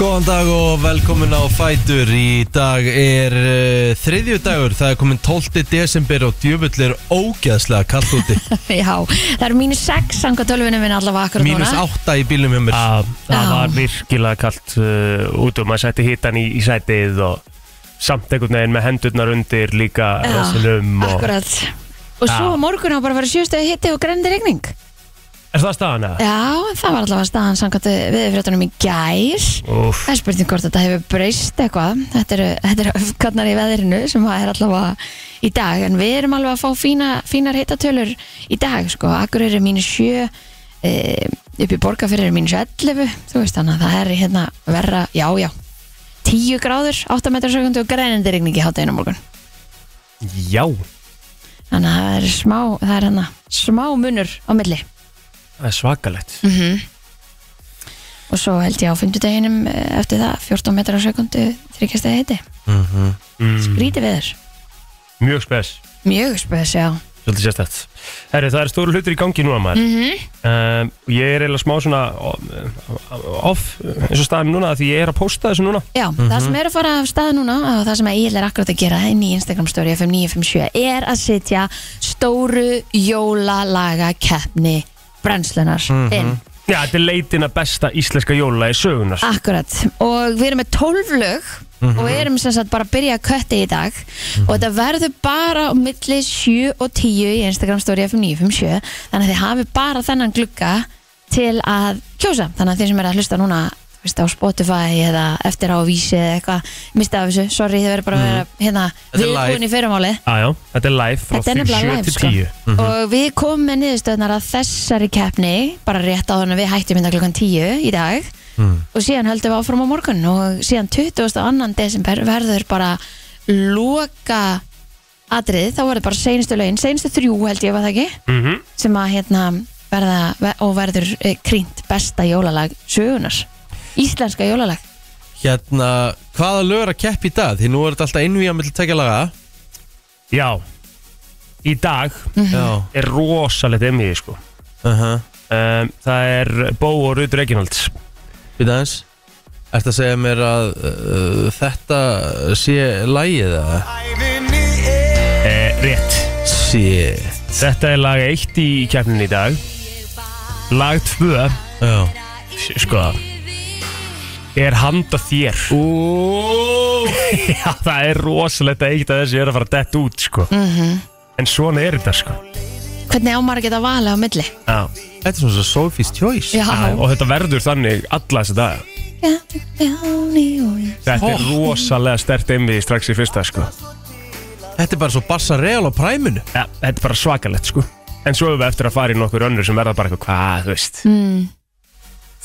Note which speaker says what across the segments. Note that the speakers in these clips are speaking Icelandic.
Speaker 1: Góðan dag og velkomin á Fætur Í dag er uh, þriðju dagur Það er komin 12. desember og djöfull er ógeðslega kallt úti
Speaker 2: Já, það eru mínus 6 sanga tölvinu minn allavega akkur
Speaker 1: Mínus 8 í bílum hjá mér
Speaker 3: að það
Speaker 2: Já.
Speaker 3: var virkilega kallt uh, út og maður setti hitan í, í sætið og samt einhvern veginn með hendurnar undir líka rassinum og...
Speaker 2: Akkurat Og svo
Speaker 3: Já.
Speaker 2: á morgun á bara að fara sjöstuði hitti og grendi regning
Speaker 3: Er það staðan eða?
Speaker 2: Já, en það var allavega staðan samkvæmt viðfréttunum í gær
Speaker 3: Úff,
Speaker 2: Það er spurning hvort þetta hefur breyst eitthvað Þetta eru, þetta eru öfkarnar í veðrinu sem það er allavega í dag En við erum alveg að fá fína, fínar hittatölur í dag sko. Akkur eru mínus 7 e, upp í borga fyrir eru mínus 11 Þú veist þannig að það er hérna verra, já já 10 gráður, 8 metrar sekundu og grænindi regning í hátæðinu morgun
Speaker 3: Já,
Speaker 2: Þannig að það er smá, það er hérna smá munur á milli
Speaker 3: það er svakalegt
Speaker 2: Mhm. Og svo held ég á fundudeginum eh, eftir það 14 metrar á sekundu, þryggjastæði hitti
Speaker 3: mm,
Speaker 2: Grítið veður,
Speaker 3: Mjög spes,
Speaker 2: mjög spes, já
Speaker 3: svolítið sérstætt Herri, það er stóru hlutur í gangi núna maður mm
Speaker 2: Mhm.
Speaker 3: Ég er eiginlega smá svona eh, off eins og staðan núna því ég er að posta þessu núna
Speaker 2: Já, það sem er að fara af stað núna og það sem að ég er akkurat að gera inn í Instagram story F5957 er að setja stóru jólalaga keppni brennslunar inn
Speaker 3: Já, þetta er leitin að besta íslenska jóla í sögunar
Speaker 2: Akkurat, og við erum með 12 lög
Speaker 1: Mhm.
Speaker 2: og við erum sem sagt bara að byrja að kötti í dag og þetta verður bara á milli 7 og 10 í Instagram story F5957 þannig að þið hafi bara þennan glugga til að kjósa þannig að þið sem er að hlusta núna þú veist, á Spotify eða eftir á vísi eða eitthvað mista af þessu, sorry þið verður bara að vera hérna
Speaker 1: Mhm. Þetta er live.
Speaker 2: viðbúin í fyrirmáli
Speaker 3: Já, já, þetta er live frá
Speaker 2: Ah. Þetta er nefnilega
Speaker 3: 7
Speaker 2: live,
Speaker 3: til Mhm.
Speaker 2: sko.
Speaker 3: 10
Speaker 2: og við komum með niðurstöðnar að þessari keppni bara rétt á þannig að við hættum hérna klukkan 10 í dag
Speaker 3: Mhm.
Speaker 2: og síðan höldum við áfram á morgun og síðan 22. desember verður bara loka atrið, þá verður bara seinustu lögin, seinustu þrjú held ég var það ekki
Speaker 3: mm
Speaker 2: sem að hérna verða ver- og verður eh, krýnt besta jólalag sögunars, íslenska jólalag
Speaker 1: Hérna, hvaða lögur að keppi í dag? Því nú er þetta alltaf innvíja mill tekja laga
Speaker 3: Já Í dag
Speaker 1: Já,
Speaker 3: er rosalegt emið sko.
Speaker 1: aha,
Speaker 3: um, Það er Bó og Rudd Reginalds
Speaker 1: við aðeins Ertu að segja mér að uh, þetta sé lægið að
Speaker 3: eh, Rétt
Speaker 1: Shit
Speaker 3: Þetta er lag 1 í keppninni í dag Lag 2
Speaker 1: Já
Speaker 3: Sko Er handa þér
Speaker 1: Ó,
Speaker 3: Já, það er rosalegt að eitt að þessi er að fara dett út sko. En svona er þetta sko.
Speaker 2: hvernig ámar að geta valið á milli
Speaker 3: Já.
Speaker 1: Þetta er svona svo Sophie's Choice
Speaker 2: Já,
Speaker 3: Og þetta verður þannig alla þessa daga Þetta er rosalega stert emið strax í fyrsta sko.
Speaker 1: Þetta er bara svo Bassa Real á præminu
Speaker 3: ja, þetta er bara svakalegt sko en svo höfum við eftir að fara í nokkur önnur sem verða bara eitthvað, hvað, þú veist
Speaker 2: Mm.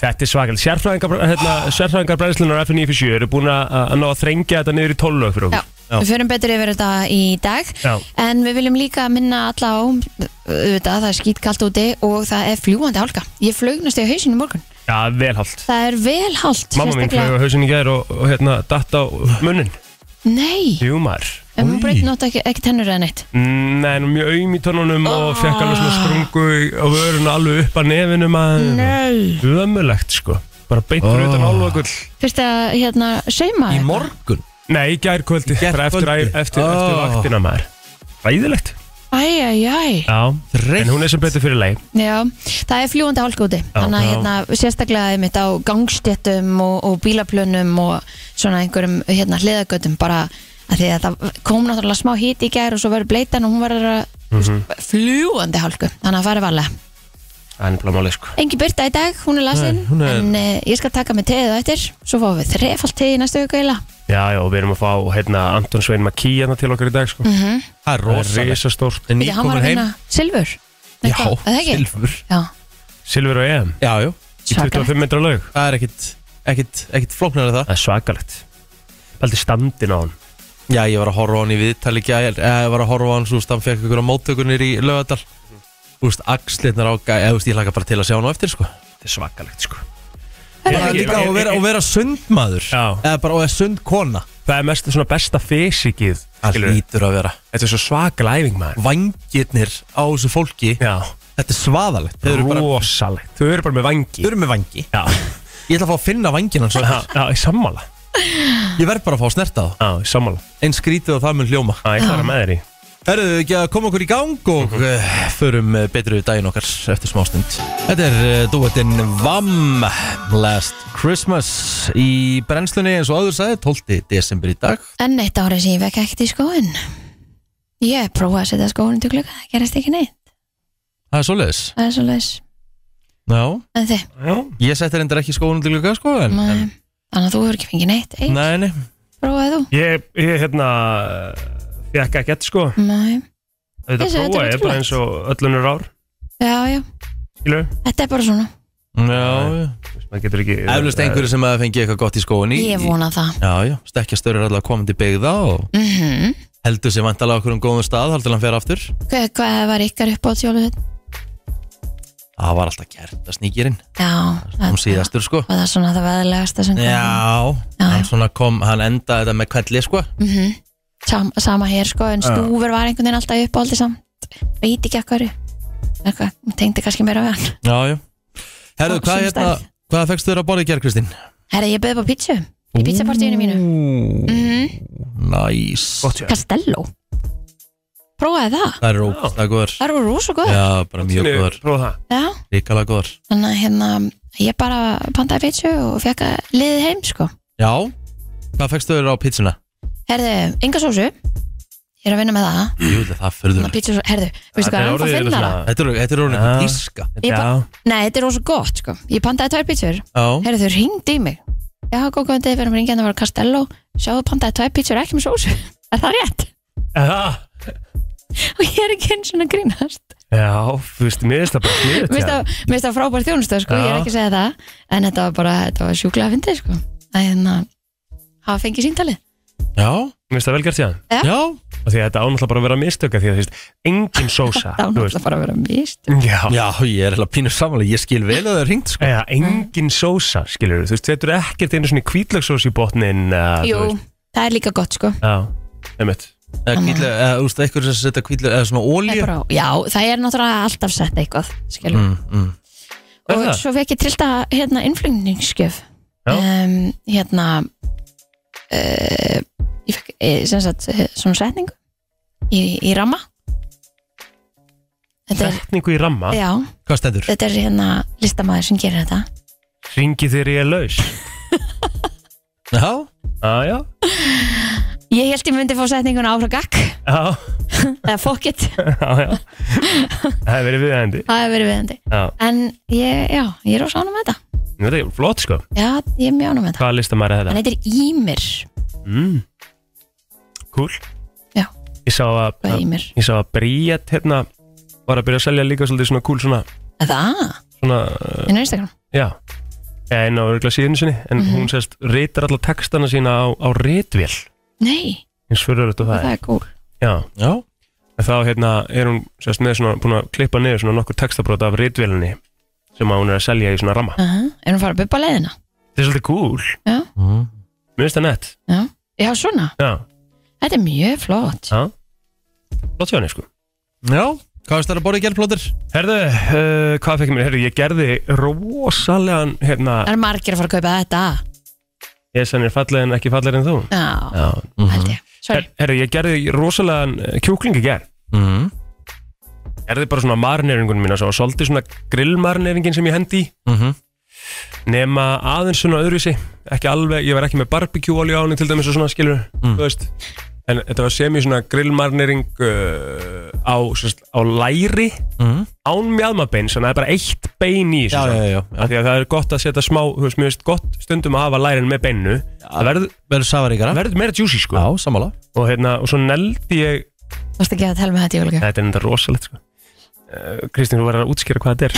Speaker 3: þetta er svakalegt, sérfræðingar hérna, sérfræðingar brennslunar F957 eru búin að að ná að þrengja þetta niður í 12 lög fyrir
Speaker 2: Já,
Speaker 3: okkur
Speaker 1: Já.
Speaker 2: við förum betur yfir þetta í dag
Speaker 3: Já.
Speaker 2: en við viljum líka minna alla á auðvitað, það er skýt kalt úti og það er fljúandi hálka ég flögnast í hausinu í morgun
Speaker 3: já, velhald
Speaker 2: það er vel hálft
Speaker 3: mamma mín flög á hausin í gær og, og hérna datt á munnin,
Speaker 2: nei,
Speaker 3: hjúmar
Speaker 2: en hún breyt nátt ekki, ekki tennur eða neitt
Speaker 3: nei, hún er mjög aum í tónunum og fekk alveg svona sprungu í- á vörun alveg upp að nefinum að
Speaker 2: nei,
Speaker 3: ömulegt sko, bara beitur
Speaker 1: Oh.
Speaker 3: utan álvagull
Speaker 2: fyrst að hérna seima
Speaker 1: Í
Speaker 2: eitthvað?
Speaker 1: morgun
Speaker 3: nei, í gær kvöldi,
Speaker 1: gær
Speaker 3: bara eftir,
Speaker 1: kvöldi.
Speaker 3: eftir, eftir,
Speaker 1: Oh.
Speaker 3: vaktina maður ræðilegt
Speaker 2: æ, æ, æ
Speaker 3: Já,
Speaker 1: Þreytt.
Speaker 3: en hún er sem betur fyrir leið
Speaker 2: Já, það er fljúandi hálka úti þannig að
Speaker 3: já.
Speaker 2: hérna, sérstaklega einmitt á gangstéttum og, og bílaplönum og svona einhverjum hérna, hliðagötum bara að því að það kom náttúrulega smá hít í gær og svo verður bleitan og hún verður að mm
Speaker 1: Mhm.
Speaker 2: fljúandi hálku, þannig að fara varlega
Speaker 3: Það er nefnilega málið sko
Speaker 2: Engi byrta í dag, hún er lasin
Speaker 1: Nei, hún er-
Speaker 2: en uh, ég skal taka með teðið á eftir svo fáum við þrefald teðið næstu auka eila
Speaker 3: Já, já, og við erum að fá hérna, Anton Svein Makí hérna til okkar í dag sko mm,
Speaker 1: Það er rosalegt
Speaker 3: Rísastórt
Speaker 1: En
Speaker 2: Viti, hann var
Speaker 1: nýkomin Mhm.
Speaker 2: að
Speaker 1: heim
Speaker 2: vinna silfur Nei,
Speaker 1: Já,
Speaker 2: hvað, er það ekki?
Speaker 1: silfur
Speaker 2: Já,
Speaker 3: Silfur og EM
Speaker 1: Já, já,
Speaker 3: Í 25 metra laug
Speaker 1: það er ekkit, ekkit, ekkit flóknar það
Speaker 3: Það er svakalegt Paldi standin á hann
Speaker 1: Já, ég var að horfa á hann í viðtali gæl eða ég var að horfa á hann, svo veist, hann fekk ykkur á móttökunir í lögadal Þú veist, axlirnar á gæl eða þú veist, ég hlaka bara til að sjá hann á eftir, sko
Speaker 3: Þetta er svakalegt sko
Speaker 1: Það er líka að vera, að vera sundmaður
Speaker 3: Já.
Speaker 1: eða bara, og að sund kona
Speaker 3: Það er mest svona besta fysikið
Speaker 1: Það
Speaker 3: skilurðu.
Speaker 1: lítur að vera
Speaker 3: Þetta er svo svakalæfing maður
Speaker 1: Vangirnir á þessu fólki
Speaker 3: Já,
Speaker 1: Þetta er svaðalegt Þau eru bara,
Speaker 3: rosalegt Þau eru bara með vangi
Speaker 1: þau eru með vangi
Speaker 3: Já
Speaker 1: Ég ætla að fá að finna vangin hans
Speaker 3: Já, já, í sammála
Speaker 1: Ég verð bara að fá að snerta það
Speaker 3: Já, í sammála
Speaker 1: Eins skrítið og það mun hljóma
Speaker 3: Já, ég fara með þér í
Speaker 1: Erðu ekki að koma okkur í gang og mm förum eh, betur við daginn okkar eftir smástund Þetta er uh, duettinn VAM Last Christmas í brennslunni eins og áður sagði 12. desember í dag
Speaker 2: Enn eitt árið sem ég vekk ekkert í skóin Ég prófa að setja skóin til klukka Það gerast ekki neitt,
Speaker 1: Það er svoleiðis
Speaker 2: það er svo leis
Speaker 1: Já,
Speaker 2: En þið,
Speaker 3: Já,
Speaker 1: ég setti reyndar ekki skóðunum til glugga sko en, en,
Speaker 2: Nei. þannig að þú hefur ekki fengið neitt Eitt,
Speaker 1: Nei, nei
Speaker 2: prófaði þú
Speaker 3: ég, ég hérna Fekk ekki eftir sko
Speaker 2: Nei.
Speaker 3: Þetta
Speaker 2: Ég sé, þetta er
Speaker 3: prófa ég
Speaker 2: ótrúlegt.
Speaker 3: bara eins og öllunur ár
Speaker 2: Já, já,
Speaker 3: Skilur,
Speaker 2: þetta er bara svona
Speaker 1: Já,
Speaker 3: maður getur ekki
Speaker 1: eflust einhverju sem að fengi eitthvað gott í skóðun í
Speaker 2: Ég vona það
Speaker 1: Já, já, stekkja störu er allavega komin til byggða og
Speaker 2: mm -hmm.
Speaker 1: heldur sér vantalega okkur um góðum stað haldur hann fer aftur
Speaker 2: Hvað hvað var ykkar upp á tjóluhut?
Speaker 1: Það var alltaf gert að sníkirinn
Speaker 2: Já,
Speaker 1: um síðastur sko
Speaker 2: Var það svona það veðilegasta sem kom?
Speaker 1: Já, hann svona kom, hann endaði þetta með kvelli sko
Speaker 2: Mhm. Sam, sama hér sko en stúfur var einhvern veginn alltaf uppáldi samt veit ekki að hverju eitthvað, hún tengdi kannski meira við hann
Speaker 1: Já, já Herðu,
Speaker 2: Og
Speaker 1: hvað,
Speaker 2: sem
Speaker 1: hérna,
Speaker 2: stærð.
Speaker 1: hvað fegstu þér að borða í gerð, Kristín?
Speaker 2: herri ég beði upp á pítsu í pítsapartíinu mínu Mhm.
Speaker 1: Næs
Speaker 3: Gott sér
Speaker 2: Castello prófaði það,
Speaker 1: Það er ógæslega góður
Speaker 2: það eru rosa góð já.
Speaker 1: Já, bara mjög góður,
Speaker 3: Prófa það
Speaker 1: ríkala góður
Speaker 2: þannig að hérna ég bara pantaði pítsu og fekk að liðið heim sko
Speaker 1: Já, hvað fegstu þér á pizzuna?
Speaker 2: herri, enga sósu ég er að vinna með það
Speaker 1: Jú, það fyrður
Speaker 2: Þannig að pítsu, herri, veistu hvað,
Speaker 3: Þetta
Speaker 2: hann fór
Speaker 3: orðið
Speaker 2: að finna það
Speaker 3: svona-
Speaker 1: Þetta er- þetta er orðin
Speaker 3: Já.
Speaker 1: eitthvað tíska
Speaker 2: Ég
Speaker 3: Já,
Speaker 2: bara- nei, þetta er rosa gott sko ég pantaði tvær pítsur
Speaker 1: Já,
Speaker 2: Herðu, þau ringdi í mig. Já, góð góðan degi, við erum að ringja hann að vera Castello. Sjáðu pandaði tvær pítsur ekki með sósu. Er það rétt?
Speaker 3: Já,
Speaker 2: Og ég er ekki eins og að grínast.
Speaker 3: já, þú veist, mér finnst það bara sniðut
Speaker 2: Mér finnst það frábær þjónustu, sko, ég er
Speaker 3: Já.
Speaker 2: ekki að segja það. En þetta var bara, þetta var sjúklega að fyndið, sko. Þannig að hafa fengið síntalið.
Speaker 1: já,
Speaker 3: Mér finnst það vel gert síðan
Speaker 2: Já.
Speaker 1: já
Speaker 3: Og því að þetta ánáttúrulega bara að vera mistöka Því að þú veist, engin sósa
Speaker 2: Það var
Speaker 3: Ah, þú veist.
Speaker 2: náttúrulega bara að vera mist.
Speaker 3: Já,
Speaker 1: Já, ég er hefðið pínur samanlega, ég skil vel að það er ringt sko
Speaker 3: Eða, engin sósa, skilur þú veist, Þetta er ekkert einu svona kvítlöksós í botnin uh,
Speaker 2: Jú, það er líka gott, sko.
Speaker 3: Já, einmitt
Speaker 1: Eða kvíðlega, eða úrst, eitthvað sem setja kvíðlega, eða svona
Speaker 2: Það er
Speaker 1: ólíu
Speaker 2: bara, já, það er náttúrulega alltaf sett eitthvað, skilur.
Speaker 1: mm, mm.
Speaker 3: Er
Speaker 2: og
Speaker 3: það?
Speaker 2: svo fekk ég trillta hérna innflutningsgjöf
Speaker 3: Já.
Speaker 2: um, hérna uh, ég fekk eh, sem sagt eh, svona setningu í, í ramma þetta er,
Speaker 3: Setningu í ramma,
Speaker 2: já,
Speaker 1: Hvað stendur?
Speaker 2: þetta er hérna listamaður sem gerir þetta
Speaker 3: ringi þegar ég er laus
Speaker 1: Já,
Speaker 3: Já, já,
Speaker 2: ég held ég myndi fá setninguna áfra gakk
Speaker 3: já,
Speaker 2: eða fókitt,
Speaker 3: já, já. Það hefur verið viðhændi
Speaker 2: það hefur verið viðandi
Speaker 3: Já,
Speaker 2: en ég, já, ég er á sánum með þetta
Speaker 3: þetta er flott sko
Speaker 2: já, ég er mjög ánum með þetta
Speaker 3: Hvaða listamæri er
Speaker 2: hann
Speaker 3: þetta?
Speaker 2: heitir Ímir,
Speaker 3: Mm. Cool
Speaker 2: Já.
Speaker 3: Ég sá að,
Speaker 2: hvað er Ímir?
Speaker 3: ég sá að Bríett hérna var að byrja að selja líka svolítið svona cool svona,
Speaker 2: það,
Speaker 3: svona uh,
Speaker 2: inn á Instagram
Speaker 3: já, en á örgla síðinu sinni en
Speaker 2: Mhm.
Speaker 3: hún sérst reytar alla textana sína á, á reytvél
Speaker 2: nei,
Speaker 3: eins fyrir þetta það
Speaker 2: það
Speaker 3: er
Speaker 2: er cool
Speaker 3: já,
Speaker 1: já,
Speaker 3: en þá hérna er hún sérst með svona búin að klippa niður svona nokkur textabrót af reytvélinni sem að hún er að selja í svona
Speaker 2: uh
Speaker 3: ramma
Speaker 2: -huh. er hún fara að bubba leiðina?
Speaker 3: þetta er svolítið cool,
Speaker 2: Já,
Speaker 1: mm.
Speaker 3: mér finnst það nett
Speaker 2: já. Já, svona.
Speaker 3: já,
Speaker 2: Þetta er mjög flott.
Speaker 3: já, flott hjá henni sko
Speaker 1: já Hvað veist þér að borða í gerð, plóðir?
Speaker 3: Herðu, uh, hvað fekk ég mér? Herðu, ég gerði rosalegan, hérna,
Speaker 2: Það er margir að fara að kaupa þetta.
Speaker 3: ég sem er fallegin, ekki fallegin en þú.
Speaker 2: Já,
Speaker 3: Já.
Speaker 2: held ég. Sorry.
Speaker 3: Her, herðu, ég gerði rosalegan eh, kjúkling í gerð.
Speaker 1: Mm.
Speaker 3: Gerði bara svona marneiringunum mína, svo svolítið svona grillmarneiringin sem ég hendi í,
Speaker 1: Mm -hmm.
Speaker 3: nema aðeins svona öðruvísi, ekki alveg, ég var ekki með barbecue olju á henni til dæmis og svona, skilur,
Speaker 1: Mm.
Speaker 3: þú veist. En þetta var semi svona grillmarneiring uh, á, sérst, á læri,
Speaker 1: Mm.
Speaker 3: án mjálmabein, svona það er bara eitt bein í þessu.
Speaker 1: Já,
Speaker 3: svona.
Speaker 1: já, já, já.
Speaker 3: af því að það er gott að setja smá þú veist, mér veist gott stundum að hafa lærin með bennu það verður,
Speaker 1: Verður safaríkara?
Speaker 3: það verður meira juicy sko
Speaker 1: Já, sammála
Speaker 3: og, hérna, og svo neldi ég
Speaker 2: Þú varst ekki að tala með þetta jólugjöf.
Speaker 3: þetta er enda rosalegt sko Eh, Kristín, þú verður að útskýra hvað þetta er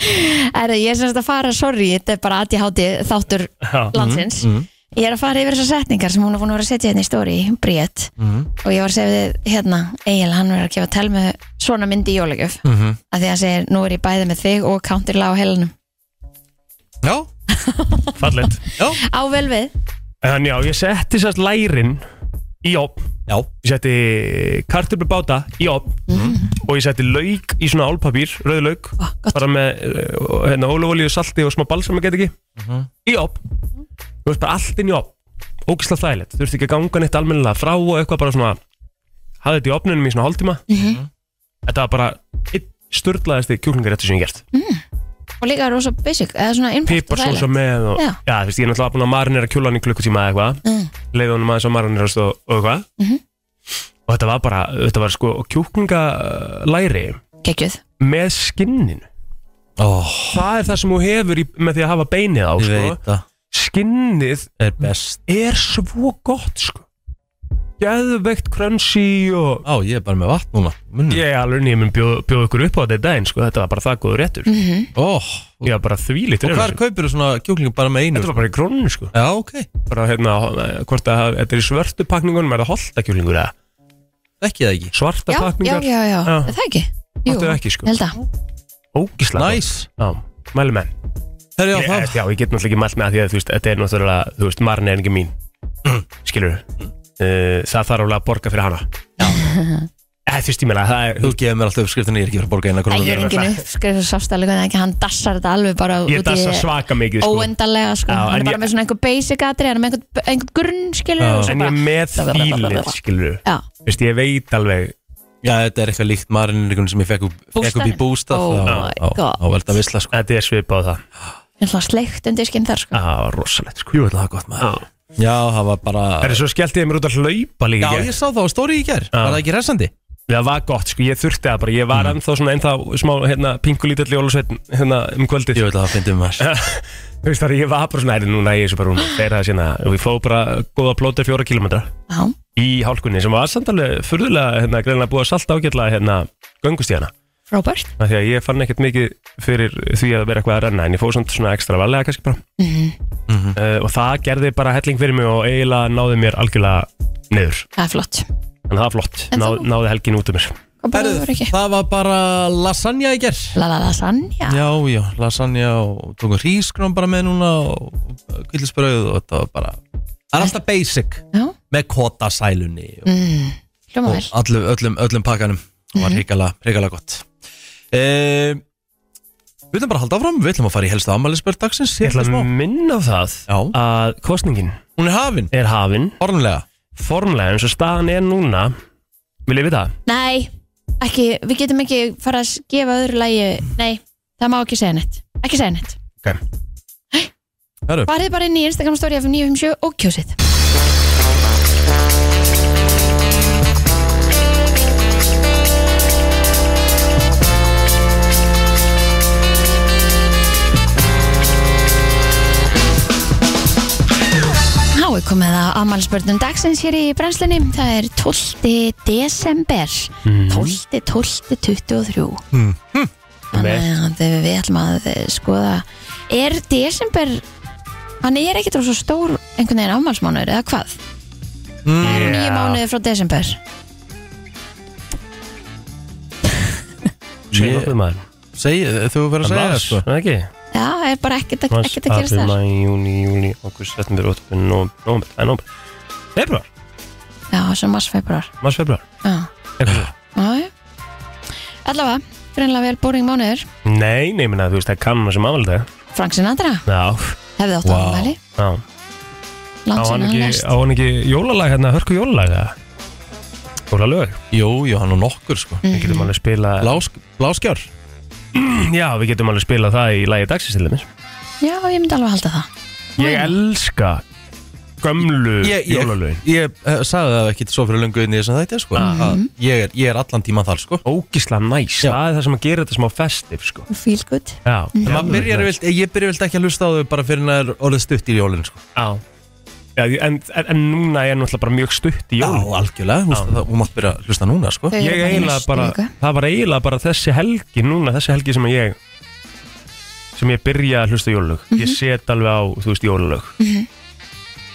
Speaker 2: Erðu, ég er semst að fara, sorry, þetta er bara að ég háti þáttur
Speaker 3: Já.
Speaker 2: landsins.
Speaker 3: Mhm,
Speaker 1: mm.
Speaker 2: Ég er að fara yfir þessar setningar sem hún er búin að vera að setja hérna í stóri, Bríett.
Speaker 3: Mhm.
Speaker 1: mm.
Speaker 2: Og ég var að segja við, hérna, Egil, hann verður að gefa tel með svona myndi í jólugjöf.
Speaker 1: Mm
Speaker 3: Mhm.
Speaker 1: -hmm.
Speaker 2: Af því að hann segir, nú er ég bæði með þig og counterlag á heilanum.
Speaker 1: Já,
Speaker 3: fallegt
Speaker 1: já,
Speaker 2: Á vel við.
Speaker 3: en já, ég setti sérst lærin í opn
Speaker 1: já
Speaker 3: ég setti kartöflu báta í opn
Speaker 2: Mm.
Speaker 3: og ég setti lauk í svona álpapír, rauð lauk
Speaker 2: Ah, gott.
Speaker 3: bara með eh, hérna, ólíu, salti og smá balsam að geta ekki í op þú veist bara allt inn í op ógislega þægilegt, þú veist ekki að ganga neitt almennilega frá og eitthvað bara svona hafði þetta í opnunum í svona hálftíma
Speaker 2: Mhm.
Speaker 3: þetta var bara einn störlaðasti kjúklingaréttur sem ég hef gert
Speaker 2: Mm, og líka rosa basic eða svona innfætt og
Speaker 3: piparsósa
Speaker 2: þægilegt
Speaker 3: með og,
Speaker 2: Já.
Speaker 3: já, þú veist, ég er náttúrulega búin að marinera kjúlan í klukkutíma eða eitthvað
Speaker 2: Mm.
Speaker 3: leiði honum aðeins að marinerast og, og eitthvað
Speaker 2: Mhm.
Speaker 3: og þetta var bara, þetta var sko kjúklingalæri
Speaker 2: geggjöð
Speaker 3: með skinninu
Speaker 1: oh,
Speaker 3: það er það sem þú hefur í, með því að hafa beinið á
Speaker 1: Ég
Speaker 3: sko.
Speaker 1: veit það
Speaker 3: skinnið
Speaker 1: er best
Speaker 3: er svo gott sko. geðveikt crunchy og
Speaker 1: Á, ég er bara með vatn núna Munni
Speaker 3: ég er alveg nýjum að bjóða bjóð ykkur upp á þetta í daginn sko. þetta var bara það góður réttur
Speaker 2: mm -hmm.
Speaker 1: oh, Og
Speaker 3: ég var bara þvílítt
Speaker 1: og hvar kaupir þú svona kjúklingu bara með einu?
Speaker 3: þetta var bara í krónu sko.
Speaker 1: Já, ok,
Speaker 3: bara hérna, hvort að það- þetta er í svörtu pakningunum, er það holtakjúlingur eða?
Speaker 1: ekki það ekki
Speaker 3: Svarta
Speaker 2: já, já,
Speaker 3: pakningar,
Speaker 2: já, já,
Speaker 3: Já.
Speaker 2: Er það ekki Jú,
Speaker 3: áttu ekki
Speaker 2: ég
Speaker 3: sko,
Speaker 2: held að
Speaker 3: ógislega
Speaker 1: Næs,
Speaker 3: Já, mælu menn
Speaker 1: herri á
Speaker 3: ég,
Speaker 1: það
Speaker 3: Já, ég get náttúrulega ekki mælt með að því að þú veist, þetta er náttúrulega, þú veist, marn er ekki mín Skilur uh, Það þarf alveg að borga fyrir hana Já Þú veist, ég meina, það er
Speaker 1: Þú gefur mér alltaf uppskriftinni, ég er ekki fyrir að borga eina
Speaker 2: Æ,
Speaker 1: krónu
Speaker 2: ég er engin uppskrif svo sástæðlega en ekki, hann dassar þetta alveg bara
Speaker 3: Ég dasa svaka mikið sko.
Speaker 2: óendalega sko,
Speaker 3: Já,
Speaker 2: hann
Speaker 3: en
Speaker 2: er bara
Speaker 3: ég-
Speaker 2: með svona einhver basic atri, hann er með einhvern einhver grunn skilur
Speaker 1: Já.
Speaker 2: og svo
Speaker 3: En ég er
Speaker 2: bara,
Speaker 3: með fílið, sko. skilur
Speaker 2: já,
Speaker 3: Þú veist, ég veit alveg
Speaker 1: Já, þetta er eitthvað líkt marinirikun sem ég fekk upp, fekk upp í
Speaker 2: Bústaðnum?
Speaker 1: bústað
Speaker 2: Oh
Speaker 1: þá-
Speaker 2: my
Speaker 1: þá-
Speaker 2: God.
Speaker 1: Þá velta að visla sko
Speaker 3: Þetta er svipað á það
Speaker 2: eins og sleikt undir skinn þar sko
Speaker 3: Já, rosalegt sko
Speaker 1: Jú, þetta var gott maður
Speaker 3: Já.
Speaker 1: Já, það var bara
Speaker 3: Það er svo skellti ég mér út að hlaupa
Speaker 1: Já,
Speaker 3: líka í gær.
Speaker 1: ég sá það á stóri í gær Var það ekki resandi?
Speaker 3: það var gott, sko, ég þurfti það bara, ég
Speaker 1: Mm.
Speaker 3: var ennþá svona ennþá smá, hérna, pingulítill í Ólusveitin, hérna, um kvöldið.
Speaker 1: Jú, þetta var fyndið maður
Speaker 3: Þú veist þar, ég var bara svona, er núna, ég er svo bara, hún fer það sína, og ég fóð bara góða plóta fjóra kilometra
Speaker 2: já,
Speaker 3: í hálkunni, sem var samt alveg furðulega, hérna, greinlega búið að salta ágætlega, hérna, göngustíðana.
Speaker 2: Robert
Speaker 3: Af því að ég fann ekkert mikið fyrir því að vera eitthvað að renna, en ég fóð svona, svona ekstra varlega kannski bara.
Speaker 1: Mhm.
Speaker 3: Uh, og það gerði bara helling fyrir mig og eiginlega náði mér algjörlega niður.
Speaker 2: það er flott,
Speaker 3: En það var flott,
Speaker 2: En
Speaker 3: Ná,
Speaker 2: þú-
Speaker 3: náði helgin út um mér.
Speaker 2: hvað bara það
Speaker 1: Herðu,
Speaker 2: voru ekki
Speaker 1: það var bara lasagna í gær
Speaker 2: la la la sann, já,
Speaker 1: Já, já, lasagna og tókum hrísgrón bara með núna og kvillisbröð og þetta var bara Það er alltaf basic
Speaker 2: já.
Speaker 1: með kotasælunni og,
Speaker 2: Mm. Mhm. hljóma vel
Speaker 1: og allum, öllum, öllum pakkanum og var hrikalega, hrikalega gott e, Við ætlum bara að halda áfram Við ætlum að fara í helstu afmælisbörð dagsins
Speaker 3: Ég
Speaker 1: hér
Speaker 3: ætla
Speaker 1: eftir smá.
Speaker 3: að minna á það
Speaker 1: Já.
Speaker 3: að kostningin
Speaker 1: Hún er hafin,
Speaker 3: er hafin
Speaker 1: orðinlega
Speaker 3: formlega eins og staðan er núna Vil ég vita?
Speaker 2: nei, ekki, við getum ekki fara að gefa öðru lægi, nei það má ekki segja neitt, ekki segja neitt
Speaker 3: Ok.
Speaker 2: Hey.
Speaker 1: Herru.
Speaker 2: Farið bara inn í Instagram story FM 957 og kjósið Há er komið að afmælisbörnum dagsins hér í brennslunni. Það er 12. desember.
Speaker 3: Mhm.
Speaker 2: 12. 12. 23. Þannig að þegar við ætlum að eh, skoða, er desember, hann er ekkert rosa stór einhvern veginn afmælsmánuður eða hvað? Það eru nýju mánuði frá desember.
Speaker 3: Segir
Speaker 1: Ég-
Speaker 3: nokkuð maður
Speaker 1: Segi, þú verður að segja það
Speaker 3: Mars,
Speaker 1: sko
Speaker 3: eða ekki?
Speaker 2: Já, það er bara ekkert að
Speaker 3: Mars,
Speaker 2: ekkert að gerast
Speaker 3: apríl,
Speaker 2: þar.
Speaker 3: maí, júni, júni, okkur, september, okkur, nómber, það er nómber Februar,
Speaker 2: Já, sem mars, februar.
Speaker 3: mars, februar
Speaker 2: Já,
Speaker 3: Eitthvað svo.
Speaker 2: já, já. Allavega, greinlega vel bóring mánuður.
Speaker 3: Nei, nei, minna, þú veist, það er kannan sem afaldi
Speaker 2: Frank Sinatra,
Speaker 3: Já,
Speaker 2: hefði átt
Speaker 1: Vá.
Speaker 2: wow. afmæli.
Speaker 3: já Á
Speaker 2: Land
Speaker 3: hann
Speaker 2: sinna hann
Speaker 3: ekki,
Speaker 2: lest.
Speaker 3: á hann ekki jólalag hérna, hörku jólalag eða? Jólalög,
Speaker 1: Jú, jú, hann og nokkur sko
Speaker 2: Mm.
Speaker 3: við getum alveg spila
Speaker 1: Blásk, Bláskjár
Speaker 3: Já, við getum alveg spila það í lagi dagsins til dæmis
Speaker 2: Já, ég myndi alveg halda það.
Speaker 3: Ég elska gömlu jólalögin
Speaker 1: ég, ég eh, sagði það ekki svo fyrir löngu inn í þessum þætti sko að ég, er, ég er allan tíman þar sko
Speaker 3: ógislega næs
Speaker 1: Já.
Speaker 3: það er það sem að gera þetta smá festiv sko.
Speaker 2: Feel good.
Speaker 3: já, hérna-
Speaker 1: En maður byrjar vilt, ég byrjar vilt ekki að hlusta á þau bara fyrir en það er orðið stutt í jólinn sko
Speaker 3: já. já en, en, en núna er náttúrulega bara mjög stutt í
Speaker 1: Já,
Speaker 3: jól
Speaker 1: algjörlega, þú veist
Speaker 3: Já.
Speaker 1: það, hún mátt byrja að hlusta núna sko
Speaker 2: Þau eru
Speaker 3: ég
Speaker 2: bara í
Speaker 3: eiginlega
Speaker 2: næstu
Speaker 3: bara,
Speaker 2: viku.
Speaker 3: það var eiginlega bara þessi helgi núna, þessi helgi sem að ég sem ég byrja að hlusta á jólalög ég
Speaker 2: Mhm.
Speaker 3: set alveg á, þú veist, jólalög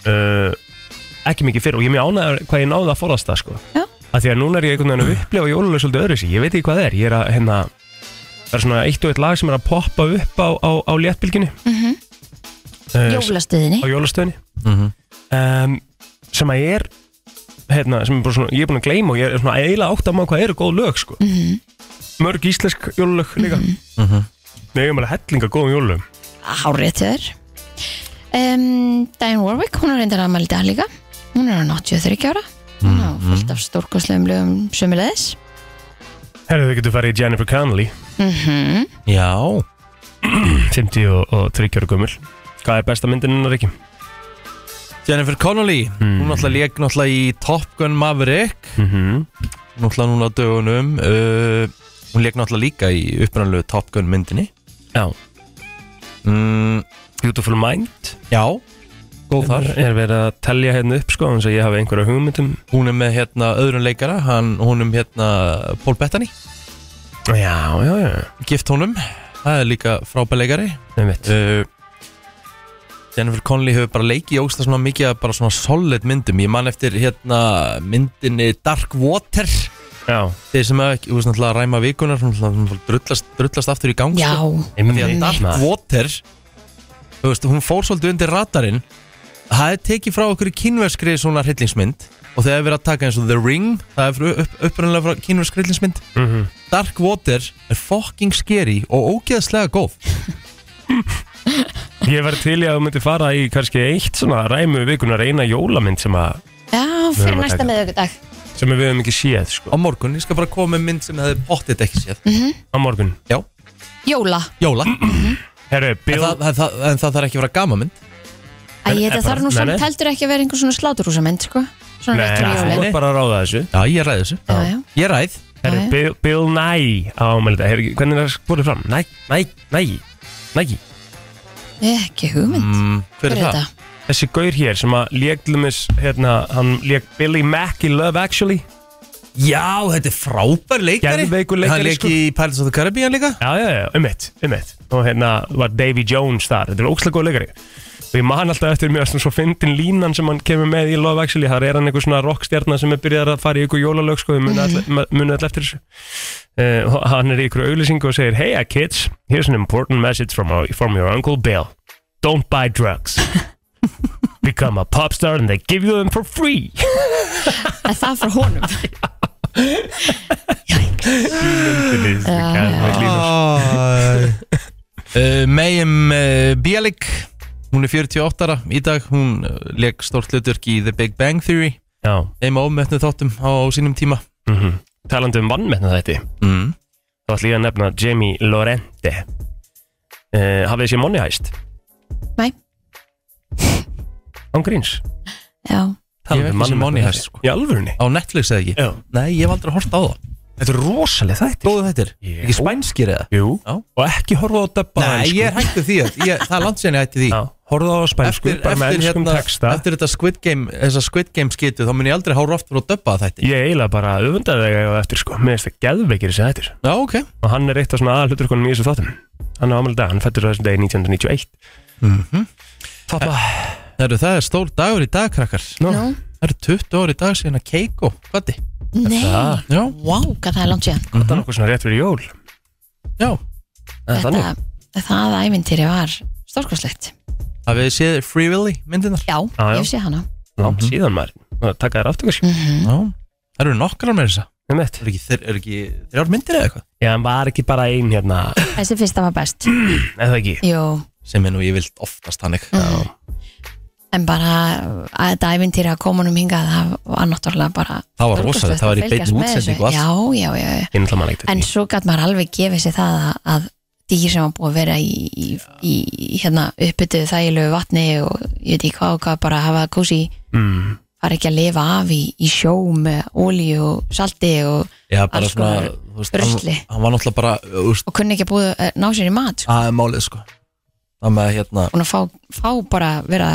Speaker 3: uh, ekki mikið fyrr og ég er mjög ánægður hvað ég náði að forðast það sko.
Speaker 2: Já.
Speaker 3: að því að núna er ég einhvern veginn að upplefa jólalög svolítið öðru ég veit ekki hvað það er, ég er að hérna, það er svona eitt og eitt lag sem er að poppa upp á, á, á léttbylginni
Speaker 2: Mhm.
Speaker 3: uh,
Speaker 2: Jólastöðinni.
Speaker 3: á jólastöðinni
Speaker 1: Mhm.
Speaker 3: um, sem að er hérna, sem er bara svona, ég er búin að gleyma og ég er svona eiginlega átt að maður hvað eru góð lög sko. mörg íslensk jólulög líka mm -hmm.
Speaker 1: Mhm.
Speaker 3: Nei, ég er maður hellinga góðum jólulög
Speaker 2: Hárið þér um, Diane Warwick, hún er reyndar að maður í dag líka Hún er á 83 ára Hún á fullt af stórkoslegum lögum sömulegis
Speaker 3: Herðu þau getur farið í Jennifer Connelly
Speaker 2: Mhm.
Speaker 1: Já
Speaker 3: 50 og, og 30 ára gömul Hvað er besta myndin hennar ekki?
Speaker 1: Jennifer Connelly,
Speaker 3: Mhm. Hmm.
Speaker 1: hún náttúrulega leik náttúrulega í Top Gun Maverick
Speaker 3: Mm -hmm.
Speaker 1: náttúrulega núna á dögunum uh, hún leik náttúrulega líka í uppræðanlegu Top Gun myndinni
Speaker 3: Já,
Speaker 1: mm,
Speaker 3: Beautiful Mind
Speaker 1: Já, góð
Speaker 3: Þar
Speaker 1: þar
Speaker 3: er verið að telja hérna upp sko eins og ég hafi einhverja um. hugmyndum
Speaker 1: hún er með hérna öðrum leikara hann, hún er með hérna Paul Bettany
Speaker 3: Já, já, já
Speaker 1: gift honum, það er líka frábær leikari
Speaker 3: Nei mitt
Speaker 1: uh, Jennifer Connelly hefur bara leikið í ógsta svona mikið af bara svona solid myndum ég man eftir hérna myndinni Dark Water
Speaker 3: Já,
Speaker 1: þeir sem hafa ekki, þú veist náttúrulega ræma vikunar svona, svona, svona, drullast, drullast aftur í gang
Speaker 2: Já,
Speaker 1: sko. því að Dark Water þú veist, hún fór svolítið undir radarinn það er tekið frá okkur kínverskri svona hryllingsmynd og þegar við erum að taka eins og The Ring það er frá- upp, upprunnilega frá kínverskri hryllingsmynd
Speaker 3: Mhm.
Speaker 1: Dark Water er fucking scary og ógeðslega góð
Speaker 3: Ég var til í að þú myndir fara í kannski eitt svona ræmu vikunar eina jólamynd sem, að,
Speaker 2: já
Speaker 3: Við
Speaker 2: fyrir
Speaker 3: erum að
Speaker 2: næsta
Speaker 3: taka.
Speaker 2: miðvikudag
Speaker 3: sem við höfum ekki séð sko
Speaker 1: á morgun, ég skal bara koma með mynd sem hefði pottit ekki séð
Speaker 3: á morgun
Speaker 1: já,
Speaker 2: Jóla
Speaker 1: jóla, en
Speaker 3: Herru, Bill
Speaker 1: það, það, það, en það þarf ekki að vera gama mynd
Speaker 2: Æ,
Speaker 3: En-
Speaker 2: þetta
Speaker 3: en
Speaker 2: þarf nú
Speaker 3: bara- nei,
Speaker 2: samt
Speaker 3: nei.
Speaker 2: heldur ekki að vera einhver svona sláturhúsamind sko. Svona
Speaker 3: Nei,
Speaker 2: rétt um
Speaker 3: þú
Speaker 2: jólin
Speaker 1: jólin.
Speaker 3: er bara að ráða þessu
Speaker 1: já, ég ræði þessu,
Speaker 2: Já, já.
Speaker 1: ég ræð
Speaker 3: Herru,
Speaker 2: Já, já.
Speaker 3: Bill, Bill Nye á melita Herru, hvernig er það spórið fram? Næ, næ, næ, næ
Speaker 2: Ekki hugmynd
Speaker 1: mm, hver er það?
Speaker 3: Þessi gaur hér sem að lék til dæmis hérna, hann lék Billy Mack í Love Actually
Speaker 1: Já, þetta er frábær leikari
Speaker 3: Geðveikur leikari,
Speaker 1: Hann leik
Speaker 3: sko.
Speaker 1: í Pirates of the Caribbean líka
Speaker 3: Já, já, já, um eitt, um eitt Og hérna var Davy Jones þar Þetta er ógslag góð leikari Og ég man alltaf eftir mér svona svo fyndin línan sem hann kemur með í Love Actually Þar er hann einhver svona rockstjarnar sem er byrjað að fara í ykkur jólalög sko,
Speaker 2: Mhm.
Speaker 3: Munu all, all eftir þessu uh, og Hann er í ykkur auðlýsingu og segir Hey uh, kids, here's an important message from, our, from your uncle Bill Don't buy drugs Become a pop star and they give you them for free
Speaker 2: En það frá honum Já, já.
Speaker 3: Þetta
Speaker 1: uh, Mayim uh, Eh, Bialik Hún er 48 ára í dag Hún uh, leik stórt hlutverk í The Big Bang Theory
Speaker 3: Já,
Speaker 1: Eim ofmetnu þáttum á sínum tíma
Speaker 3: mhm Talandi um vannmetna þetta
Speaker 1: mm.
Speaker 3: Þá ætlum ég að nefna Jamie Lorente uh, Hafið þessi Money Heist?
Speaker 2: Nei.
Speaker 3: Án gríns um
Speaker 2: Já,
Speaker 1: Ég hef ekki séð Money Heist, sko.
Speaker 3: Í alvörunni?
Speaker 1: Á Netflix eða ekki
Speaker 3: Já
Speaker 1: Nei, ég hef aldrei hort á það
Speaker 3: Þetta er rosalega þættir
Speaker 1: Góðu þetta er
Speaker 3: Já.
Speaker 1: Ekki spænskir eða
Speaker 3: Jú
Speaker 1: Já.
Speaker 3: Og ekki horfa á debba
Speaker 1: Nei, ég er hættu því að, ég, Það er langt sér ég hætti því
Speaker 3: Já, horfa á spænsku Bara með ennskum texta
Speaker 1: eftir þetta Squid Game, þessa Squid Game skitu þá mun ég aldrei hára aftur og döbba þetta
Speaker 3: Ég eiginlega bara öfundaði þegar ég á eftir sko Mér finnst það geðveikir þessi þættir
Speaker 1: Já, ok
Speaker 3: Og hann er eitt af svona aðalhuturkonum í þessu þáttum Hann er ámæli dag, hann fættur þessum degi 1991 Toppa
Speaker 1: Heru, Það er stór dagur í dag, krakkar
Speaker 3: Nú,
Speaker 2: nú,
Speaker 1: Það eru 20 ári í dag síðan að Keiko Kvati
Speaker 2: nei
Speaker 3: það-
Speaker 1: Já,
Speaker 2: Vá, hvað það er langt síðan
Speaker 3: þetta er nokkuð svona rétt fyrir jól
Speaker 1: já
Speaker 3: Eh, þannig.
Speaker 2: Þetta, það ævintýri var stórkoslegt
Speaker 1: Hafið þið séð Free Willy myndinar?
Speaker 2: Já,
Speaker 3: já.
Speaker 2: ég sé hana
Speaker 3: Langt
Speaker 2: Mhm.
Speaker 3: síðan maður Takka þér aftur kannski
Speaker 1: Já Það eru nokkrar með þessa
Speaker 3: Nei, mitt.
Speaker 1: Er ekki, þeir, er ekki þrjár myndir eða eitthvað?
Speaker 3: Já, hann var ekki bara ein hérna,
Speaker 2: Þessi fyrsta var best
Speaker 3: eða ekki
Speaker 2: Jú,
Speaker 1: Sem er nú ég vilt oftast hannig
Speaker 2: en bara að þetta ævintýri að komunum hingað það var náttúrulega bara
Speaker 1: Það var
Speaker 2: stórkostlegt
Speaker 1: rosalegt, það var í
Speaker 2: að
Speaker 1: beinni
Speaker 2: fylgjast með
Speaker 1: útsendingu og
Speaker 2: þessu.
Speaker 1: allt.
Speaker 2: Já, já, já, já
Speaker 3: Ég náttúrulega man ekkert
Speaker 2: En
Speaker 3: eftir
Speaker 2: svo gæt maður alveg gefið sér það að, að dýr sem var búið að vera í, í, í í, hérna, uppbyttuð þægilegu vatni og ég veit ekki hvað og hvað bara hafa kósi
Speaker 3: mm,
Speaker 2: var ekki að lifa af í, í sjó með ólíu og salti og,
Speaker 1: Já, bara
Speaker 2: Alls
Speaker 1: svona
Speaker 2: konar
Speaker 1: þú veist, hann,
Speaker 2: rusli.
Speaker 1: hann var náttúrulega bara þú veist,
Speaker 2: og kunni ekki að búið að ná sér í mat sko.
Speaker 1: Það er málið sko Það með hérna
Speaker 2: og að fá, fá bara að vera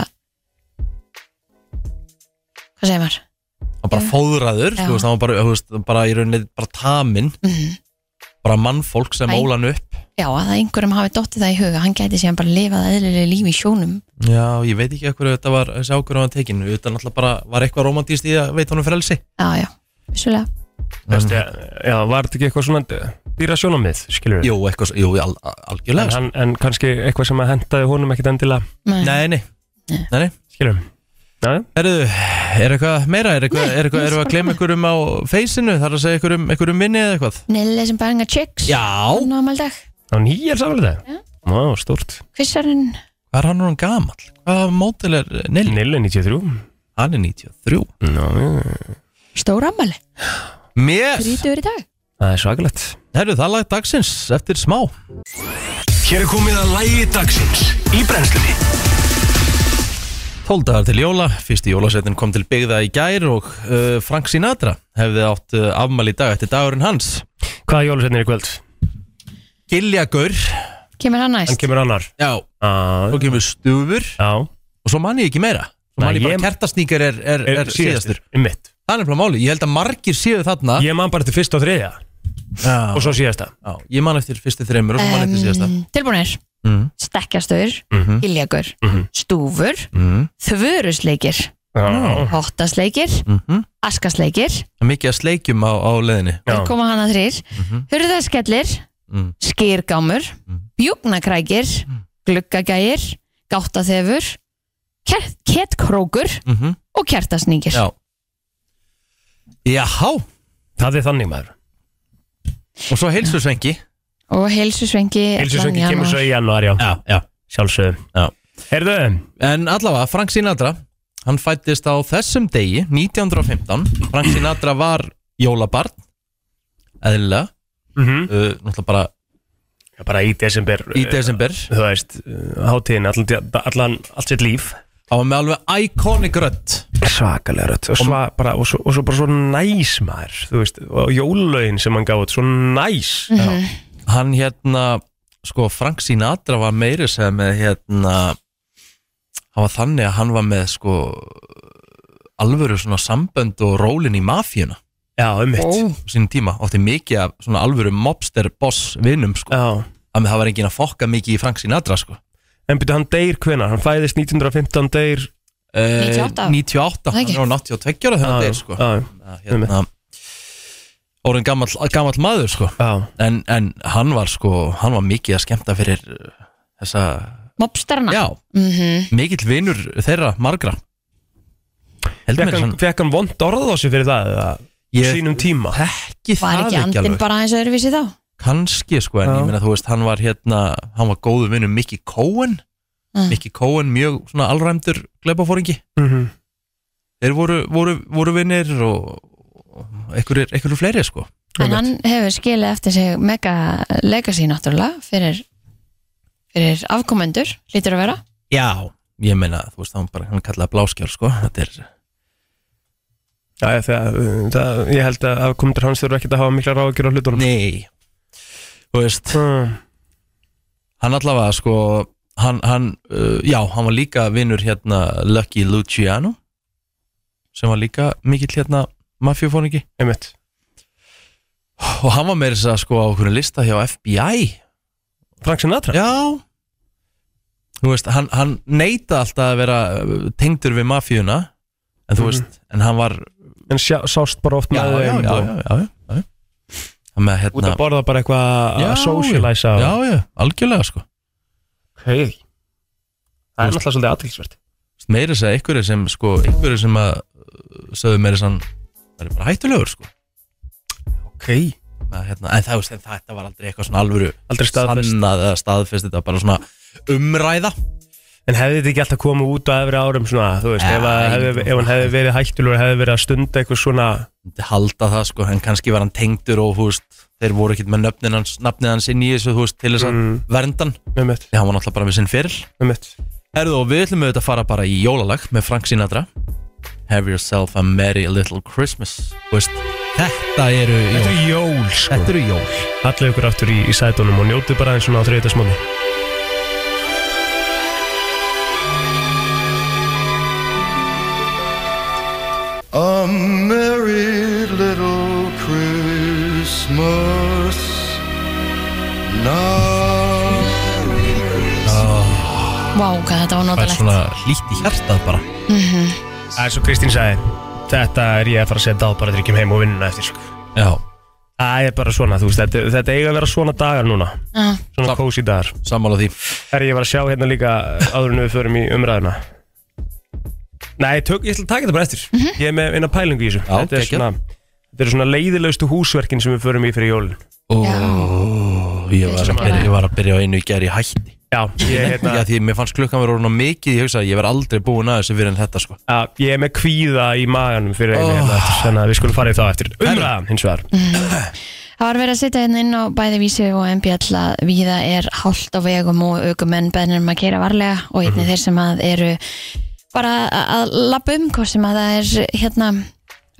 Speaker 2: hvað segir maður?
Speaker 1: hann bara
Speaker 2: Já.
Speaker 1: fóðraður
Speaker 2: Já.
Speaker 1: þú veist, hann var bara, þú veist, bara í rauninni bara taminn
Speaker 2: Mhm.
Speaker 1: bara mannfólk sem
Speaker 2: Æ.
Speaker 1: óla hann upp
Speaker 2: Já, að það einhverjum hafi dottið það í huga hann gæti síðan bara lifað eðlilegu lífi í sjónum
Speaker 1: Já, ég veit ekki hvað þetta var þessi ákvörðan að tekinu þetta náttúrulega bara var eitthvað romantíst í að veita honum frelsi
Speaker 2: Já, já, vissulega
Speaker 3: veist, Já, já, var þetta ekki eitthvað svona dýra sjónamið, skilur
Speaker 1: Jú, eitthvað, svo- jú al, al-
Speaker 3: en,
Speaker 1: algjörlega sko.
Speaker 3: hann, en kannski eitthvað sem að hendaði honum ekkit endilega,
Speaker 2: Men,
Speaker 1: Nei, nei,
Speaker 2: Nei.
Speaker 1: nei, nei.
Speaker 3: skilur Já,
Speaker 1: Herðu, er eitthvað meira? Er eitthvað,
Speaker 2: Nei, sko.
Speaker 1: er eitthvað, er
Speaker 2: ég
Speaker 1: eitthvað
Speaker 2: bara
Speaker 1: að gleyma einhverjum á feysinu? Þarf að segja einhverjum, einhverjum minni eða eitthvað?
Speaker 2: Nille sem bæringa chicks
Speaker 1: Já
Speaker 2: Nómaldag
Speaker 3: á nýjar samlega það? Já, stórt.
Speaker 2: Hvissarinn
Speaker 1: Hvað er hann orðan gamall? Hvaða mótil er Nelly?
Speaker 3: Nille 93.
Speaker 1: Hann er 93
Speaker 3: Ná, já.
Speaker 2: Stórammali
Speaker 1: Mér,
Speaker 2: Þrítur í dag
Speaker 3: það er svakalegt.
Speaker 1: herru, það er lag dagsins eftir smá
Speaker 4: Hér er komið að lægi dagsins í brennslunni
Speaker 1: 12 dagar til jóla, fyrsti jólasetin kom til byggða í gær og uh, Frank Sinatra hefði átt uh, afmæli í dag eftir dagurinn hans
Speaker 3: Hvaða jólusetnir í kvöld?
Speaker 1: Giljagur
Speaker 2: Kemur hann
Speaker 3: Hann
Speaker 2: næst
Speaker 3: kemur annar.
Speaker 1: Já,
Speaker 3: Á,
Speaker 1: svo kemur stúfur
Speaker 3: já.
Speaker 1: og svo mann ég ekki meira Svo
Speaker 3: Nei,
Speaker 1: mann ég bara
Speaker 3: ég-
Speaker 1: kertasníkar er, er, er, síðastur Ah.
Speaker 3: Mitt.
Speaker 1: Það er nefnilega máli, ég held að margir séu þarna
Speaker 3: Ég man bara til fyrst og þriðja
Speaker 1: Já,
Speaker 3: og svo síðasta.
Speaker 1: já, ég man eftir fyrstu þreymur og svo mann eftir síðasta
Speaker 2: Tilbúinir
Speaker 1: mm,
Speaker 2: Stekkjastur
Speaker 3: Mhm.
Speaker 2: Giljagur
Speaker 3: Mhm.
Speaker 2: Stúfur
Speaker 1: mm,
Speaker 2: Þvörusleikir
Speaker 3: Já.
Speaker 1: Ah.
Speaker 2: Hóttasleikir
Speaker 1: mm -hmm.
Speaker 2: Askasleikir
Speaker 1: Mikið að sleikjum á, á leðinni
Speaker 2: Þeir koma hana þrýr
Speaker 1: Mhm.
Speaker 2: Hurðaskellir
Speaker 1: mm.
Speaker 2: Skýrgámur
Speaker 1: Mhm.
Speaker 2: Bjúknakrækir
Speaker 1: Mm.
Speaker 2: Gluggagægir Gáttaþefur ker- Ketkrókur
Speaker 1: Mm -hmm.
Speaker 2: Og kertasningir
Speaker 1: Já Jáhá,
Speaker 3: Það er þannig maður.
Speaker 1: og svo heilsu svengi
Speaker 2: Og heilsusvengi
Speaker 3: Hilsusöngi
Speaker 2: allan
Speaker 3: kemur
Speaker 2: janúar.
Speaker 3: svo í januar, já.
Speaker 1: Já, já
Speaker 3: Sjálfsögum.
Speaker 1: Já.
Speaker 3: Herðu,
Speaker 1: En allavega, Frank Sinatra Hann fættist á þessum degi 1915 Frank Sinatra var jólabarn Eðlilega
Speaker 3: mm
Speaker 1: uh, Náttúrulega bara
Speaker 3: bara í desember. eh,
Speaker 1: í desember
Speaker 3: Þú veist, eh, hátíðin, allan, allan, allt sitt líf.
Speaker 1: Hann var með alveg iconic rödd
Speaker 3: svakalega rödd og, sva, bara, og, svo, og svo bara svo næs maður þú veist, og jólögin sem hann gáði svo næs
Speaker 1: Hann hérna Sko, Frank Sinatra var meiri sem með hérna Hann var þannig að hann var með sko alvöru svona sambönd og rólin í mafíuna
Speaker 3: já, um mitt
Speaker 1: á sínum tíma, átti mikið af svona alvöru mobster boss vinum sko,
Speaker 3: já.
Speaker 1: að það var enginn að fokka mikið í Frank Sinatra sko
Speaker 3: en byrju hann deyr hvenar, hann fæðist 1915 deyr
Speaker 1: Eh, 98,
Speaker 2: 98. Það
Speaker 1: hann
Speaker 2: ekki?
Speaker 1: er á 82 ára þegar
Speaker 3: Já,
Speaker 1: það
Speaker 3: já,
Speaker 1: er sko
Speaker 3: já,
Speaker 1: Að, hérna, orðin gamall, gamall maður sko
Speaker 3: já,
Speaker 1: en, en hann var sko hann var mikið að skemmta fyrir uh, þessa,
Speaker 2: Mobstarana
Speaker 1: já,
Speaker 2: Mhm.
Speaker 1: mikill vinur þeirra margra heldur mér
Speaker 3: fekk hann,
Speaker 1: sann
Speaker 3: fekk hann vond orð á sig fyrir það eða,
Speaker 1: Ég-
Speaker 3: á sínum tíma
Speaker 1: ekki
Speaker 2: Var
Speaker 1: það
Speaker 2: ekki
Speaker 1: ekki
Speaker 2: andinn
Speaker 1: alveg
Speaker 2: bara aðeins öðruvísi þá?
Speaker 1: kannski sko en
Speaker 3: Já.
Speaker 1: ég meina þú veist hann var hérna hann var góðu vinur Mickey Cohen
Speaker 2: Mm.
Speaker 1: Mickey Cohen mjög svona allræmdur glebafóringi
Speaker 3: mm
Speaker 1: þeir voru, voru, voru vinnir og, og einhverjir, einhverjir fleiri sko
Speaker 2: En hann hefur skilið eftir sig mega legacy náttúrulega fyrir, fyrir afkomendur, lítur að vera.
Speaker 1: Já Ég meina, þú veist, hann bara, hann kallaði bláskjár, sko Þetta er,
Speaker 3: já, ég, það, það, ég held að afkomendur hans þurfa ekkert að hafa mikla ráðgjur á hlutunum
Speaker 1: nei Þú veist,
Speaker 3: Mm.
Speaker 1: hann allavega, sko Hann, hann, uh, já, hann var líka vinnur hérna Lucky Luciano sem var líka mikill hérna mafjufóningi
Speaker 3: einmitt
Speaker 1: og hann var meira þess að segja, sko á okkur lista hjá FBI
Speaker 3: Frank Sinatra
Speaker 1: Já Þú veist, hann, hann neita alltaf að vera uh, tengdur við mafjuna en þú
Speaker 3: Mhm.
Speaker 1: veist, en hann var
Speaker 3: en sjá, sást bara oft
Speaker 1: Já,
Speaker 3: með
Speaker 1: já,
Speaker 3: þeim
Speaker 1: já,
Speaker 3: og-
Speaker 1: já, já, já, já. Hann Með,
Speaker 3: út
Speaker 1: hérna,
Speaker 3: að borða bara eitthvað
Speaker 1: Já,
Speaker 3: að socialæsa
Speaker 1: já, já, algjörlega sko
Speaker 3: Hey. Það er náttúrulega svolítið aðtilsvert
Speaker 1: meira þess að einhverju sem sko einhverju sem að uh, sögðu meira sann það er bara hættulegur sko
Speaker 3: Ok
Speaker 1: Með, hérna, en það veist, en þetta var aldrei eitthvað svona alvöru
Speaker 3: Aldrei staðfest
Speaker 1: sannað eða staðfest þetta var bara svona umræða
Speaker 3: En hefði þetta ekki alltaf komið út á efri árum svona Þú veist,
Speaker 1: Ja,
Speaker 3: ef, að,
Speaker 1: ég-
Speaker 3: hefði, ef hann hefði verið hættulegur Hefði verið að stunda eitthvað svona
Speaker 1: Myndi halda það sko, en kannski var hann tengdur og þú veist, þeir voru ekkert með nöfnin hans nafnið hans inn í þessu, þú veist, til þess að
Speaker 3: Mm.
Speaker 1: verndan,
Speaker 3: Með mitt,
Speaker 1: því hann var náttúrulega bara með sinn fyrir
Speaker 3: með mitt
Speaker 1: Herðu og við ætlum auðvitað að fara bara í jólalag með Frank Sinatra Have yourself a merry little Christmas Þú veist, Þetta eru jól sko.
Speaker 3: jól,
Speaker 1: Þetta eru jól
Speaker 3: Allir ykkur aftur í, í sætunum og njótið bara eins og ná þreytas móni
Speaker 5: A merry little Christmas now.
Speaker 2: Vá, hvað þetta
Speaker 1: Það
Speaker 2: var
Speaker 1: er
Speaker 2: notalegt.
Speaker 1: svona hlýtt í hjartað bara
Speaker 3: Það er svo Kristín sagði Þetta er ég að fara að setja á bara dryggjum heim og vinnuna eftir sko.
Speaker 1: Já,
Speaker 3: Það er bara svona, þú veist, þetta, þetta eiga að vera svona dagar núna
Speaker 2: Já.
Speaker 3: Svona
Speaker 1: Sam-
Speaker 3: kósi dagar
Speaker 1: sammála því
Speaker 3: eh, Herri, ég var að sjá hérna líka áður en við förum í umræðuna Nei, tök, ég ætla að taka þetta bara eftir Ég er með eina pælingu í þessu
Speaker 1: Já,
Speaker 3: Þetta er
Speaker 1: geggjað.
Speaker 3: svona, þetta er svona leiðilegustu húsverkin sem við förum í fyrir jólin
Speaker 1: Ó, ég,
Speaker 2: Ég
Speaker 1: var
Speaker 2: sem
Speaker 1: að byrja,
Speaker 2: bara-
Speaker 1: ég var að byrja á einu í gerð í hætti
Speaker 3: Já, ég, hérna,
Speaker 1: Já, því mér fannst klukkan verið orðin á mikið Ég hugsaði, ég verð aldrei búin að þessu fyrir en þetta sko
Speaker 3: já, ég er með kvíða í maganum fyrir einu
Speaker 1: Oh.
Speaker 3: hérna eftir Þannig að við skulum fara í það eftir Umræðan, hins vegar
Speaker 2: Það var verið að setja hérna inn á bæði vísi og MBL að víða er hálft á vegum og aukumenn bennir um að keira varlega og einnig þeir sem að eru bara að- að lappa um hvort sem að það er hérna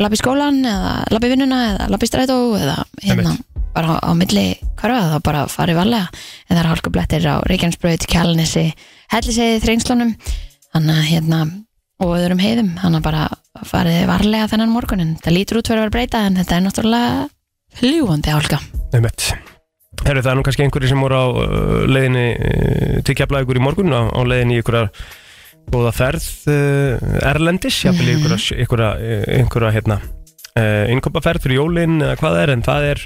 Speaker 2: lappa í skólan eða lappa í vinnuna eða lappa í strætó eða hérna bara á, á milli hverfa þá bara farið varlega en það er hálkublettir á Reykjanesbraut, Kjálnesi, Helliseiði, Þrengslunum þannig að hérna og öðrum heiðum, þannig að bara farið varlega þennan morgunin, það lítur út fyrir að vera breyta en þetta er náttúrulega Ljúandi álga
Speaker 3: Einmitt. Herru, það er nú kannski einhverjir sem voru á uh, leiðinni uh, til keflaði ykkur í morgun á, á leiðinni í ykkur góða ferð uh, Erlendis, jafnvel í ykkur ykkur ykkur hérna uh, innkopaferð fyrir jólin eða hvað það er en það er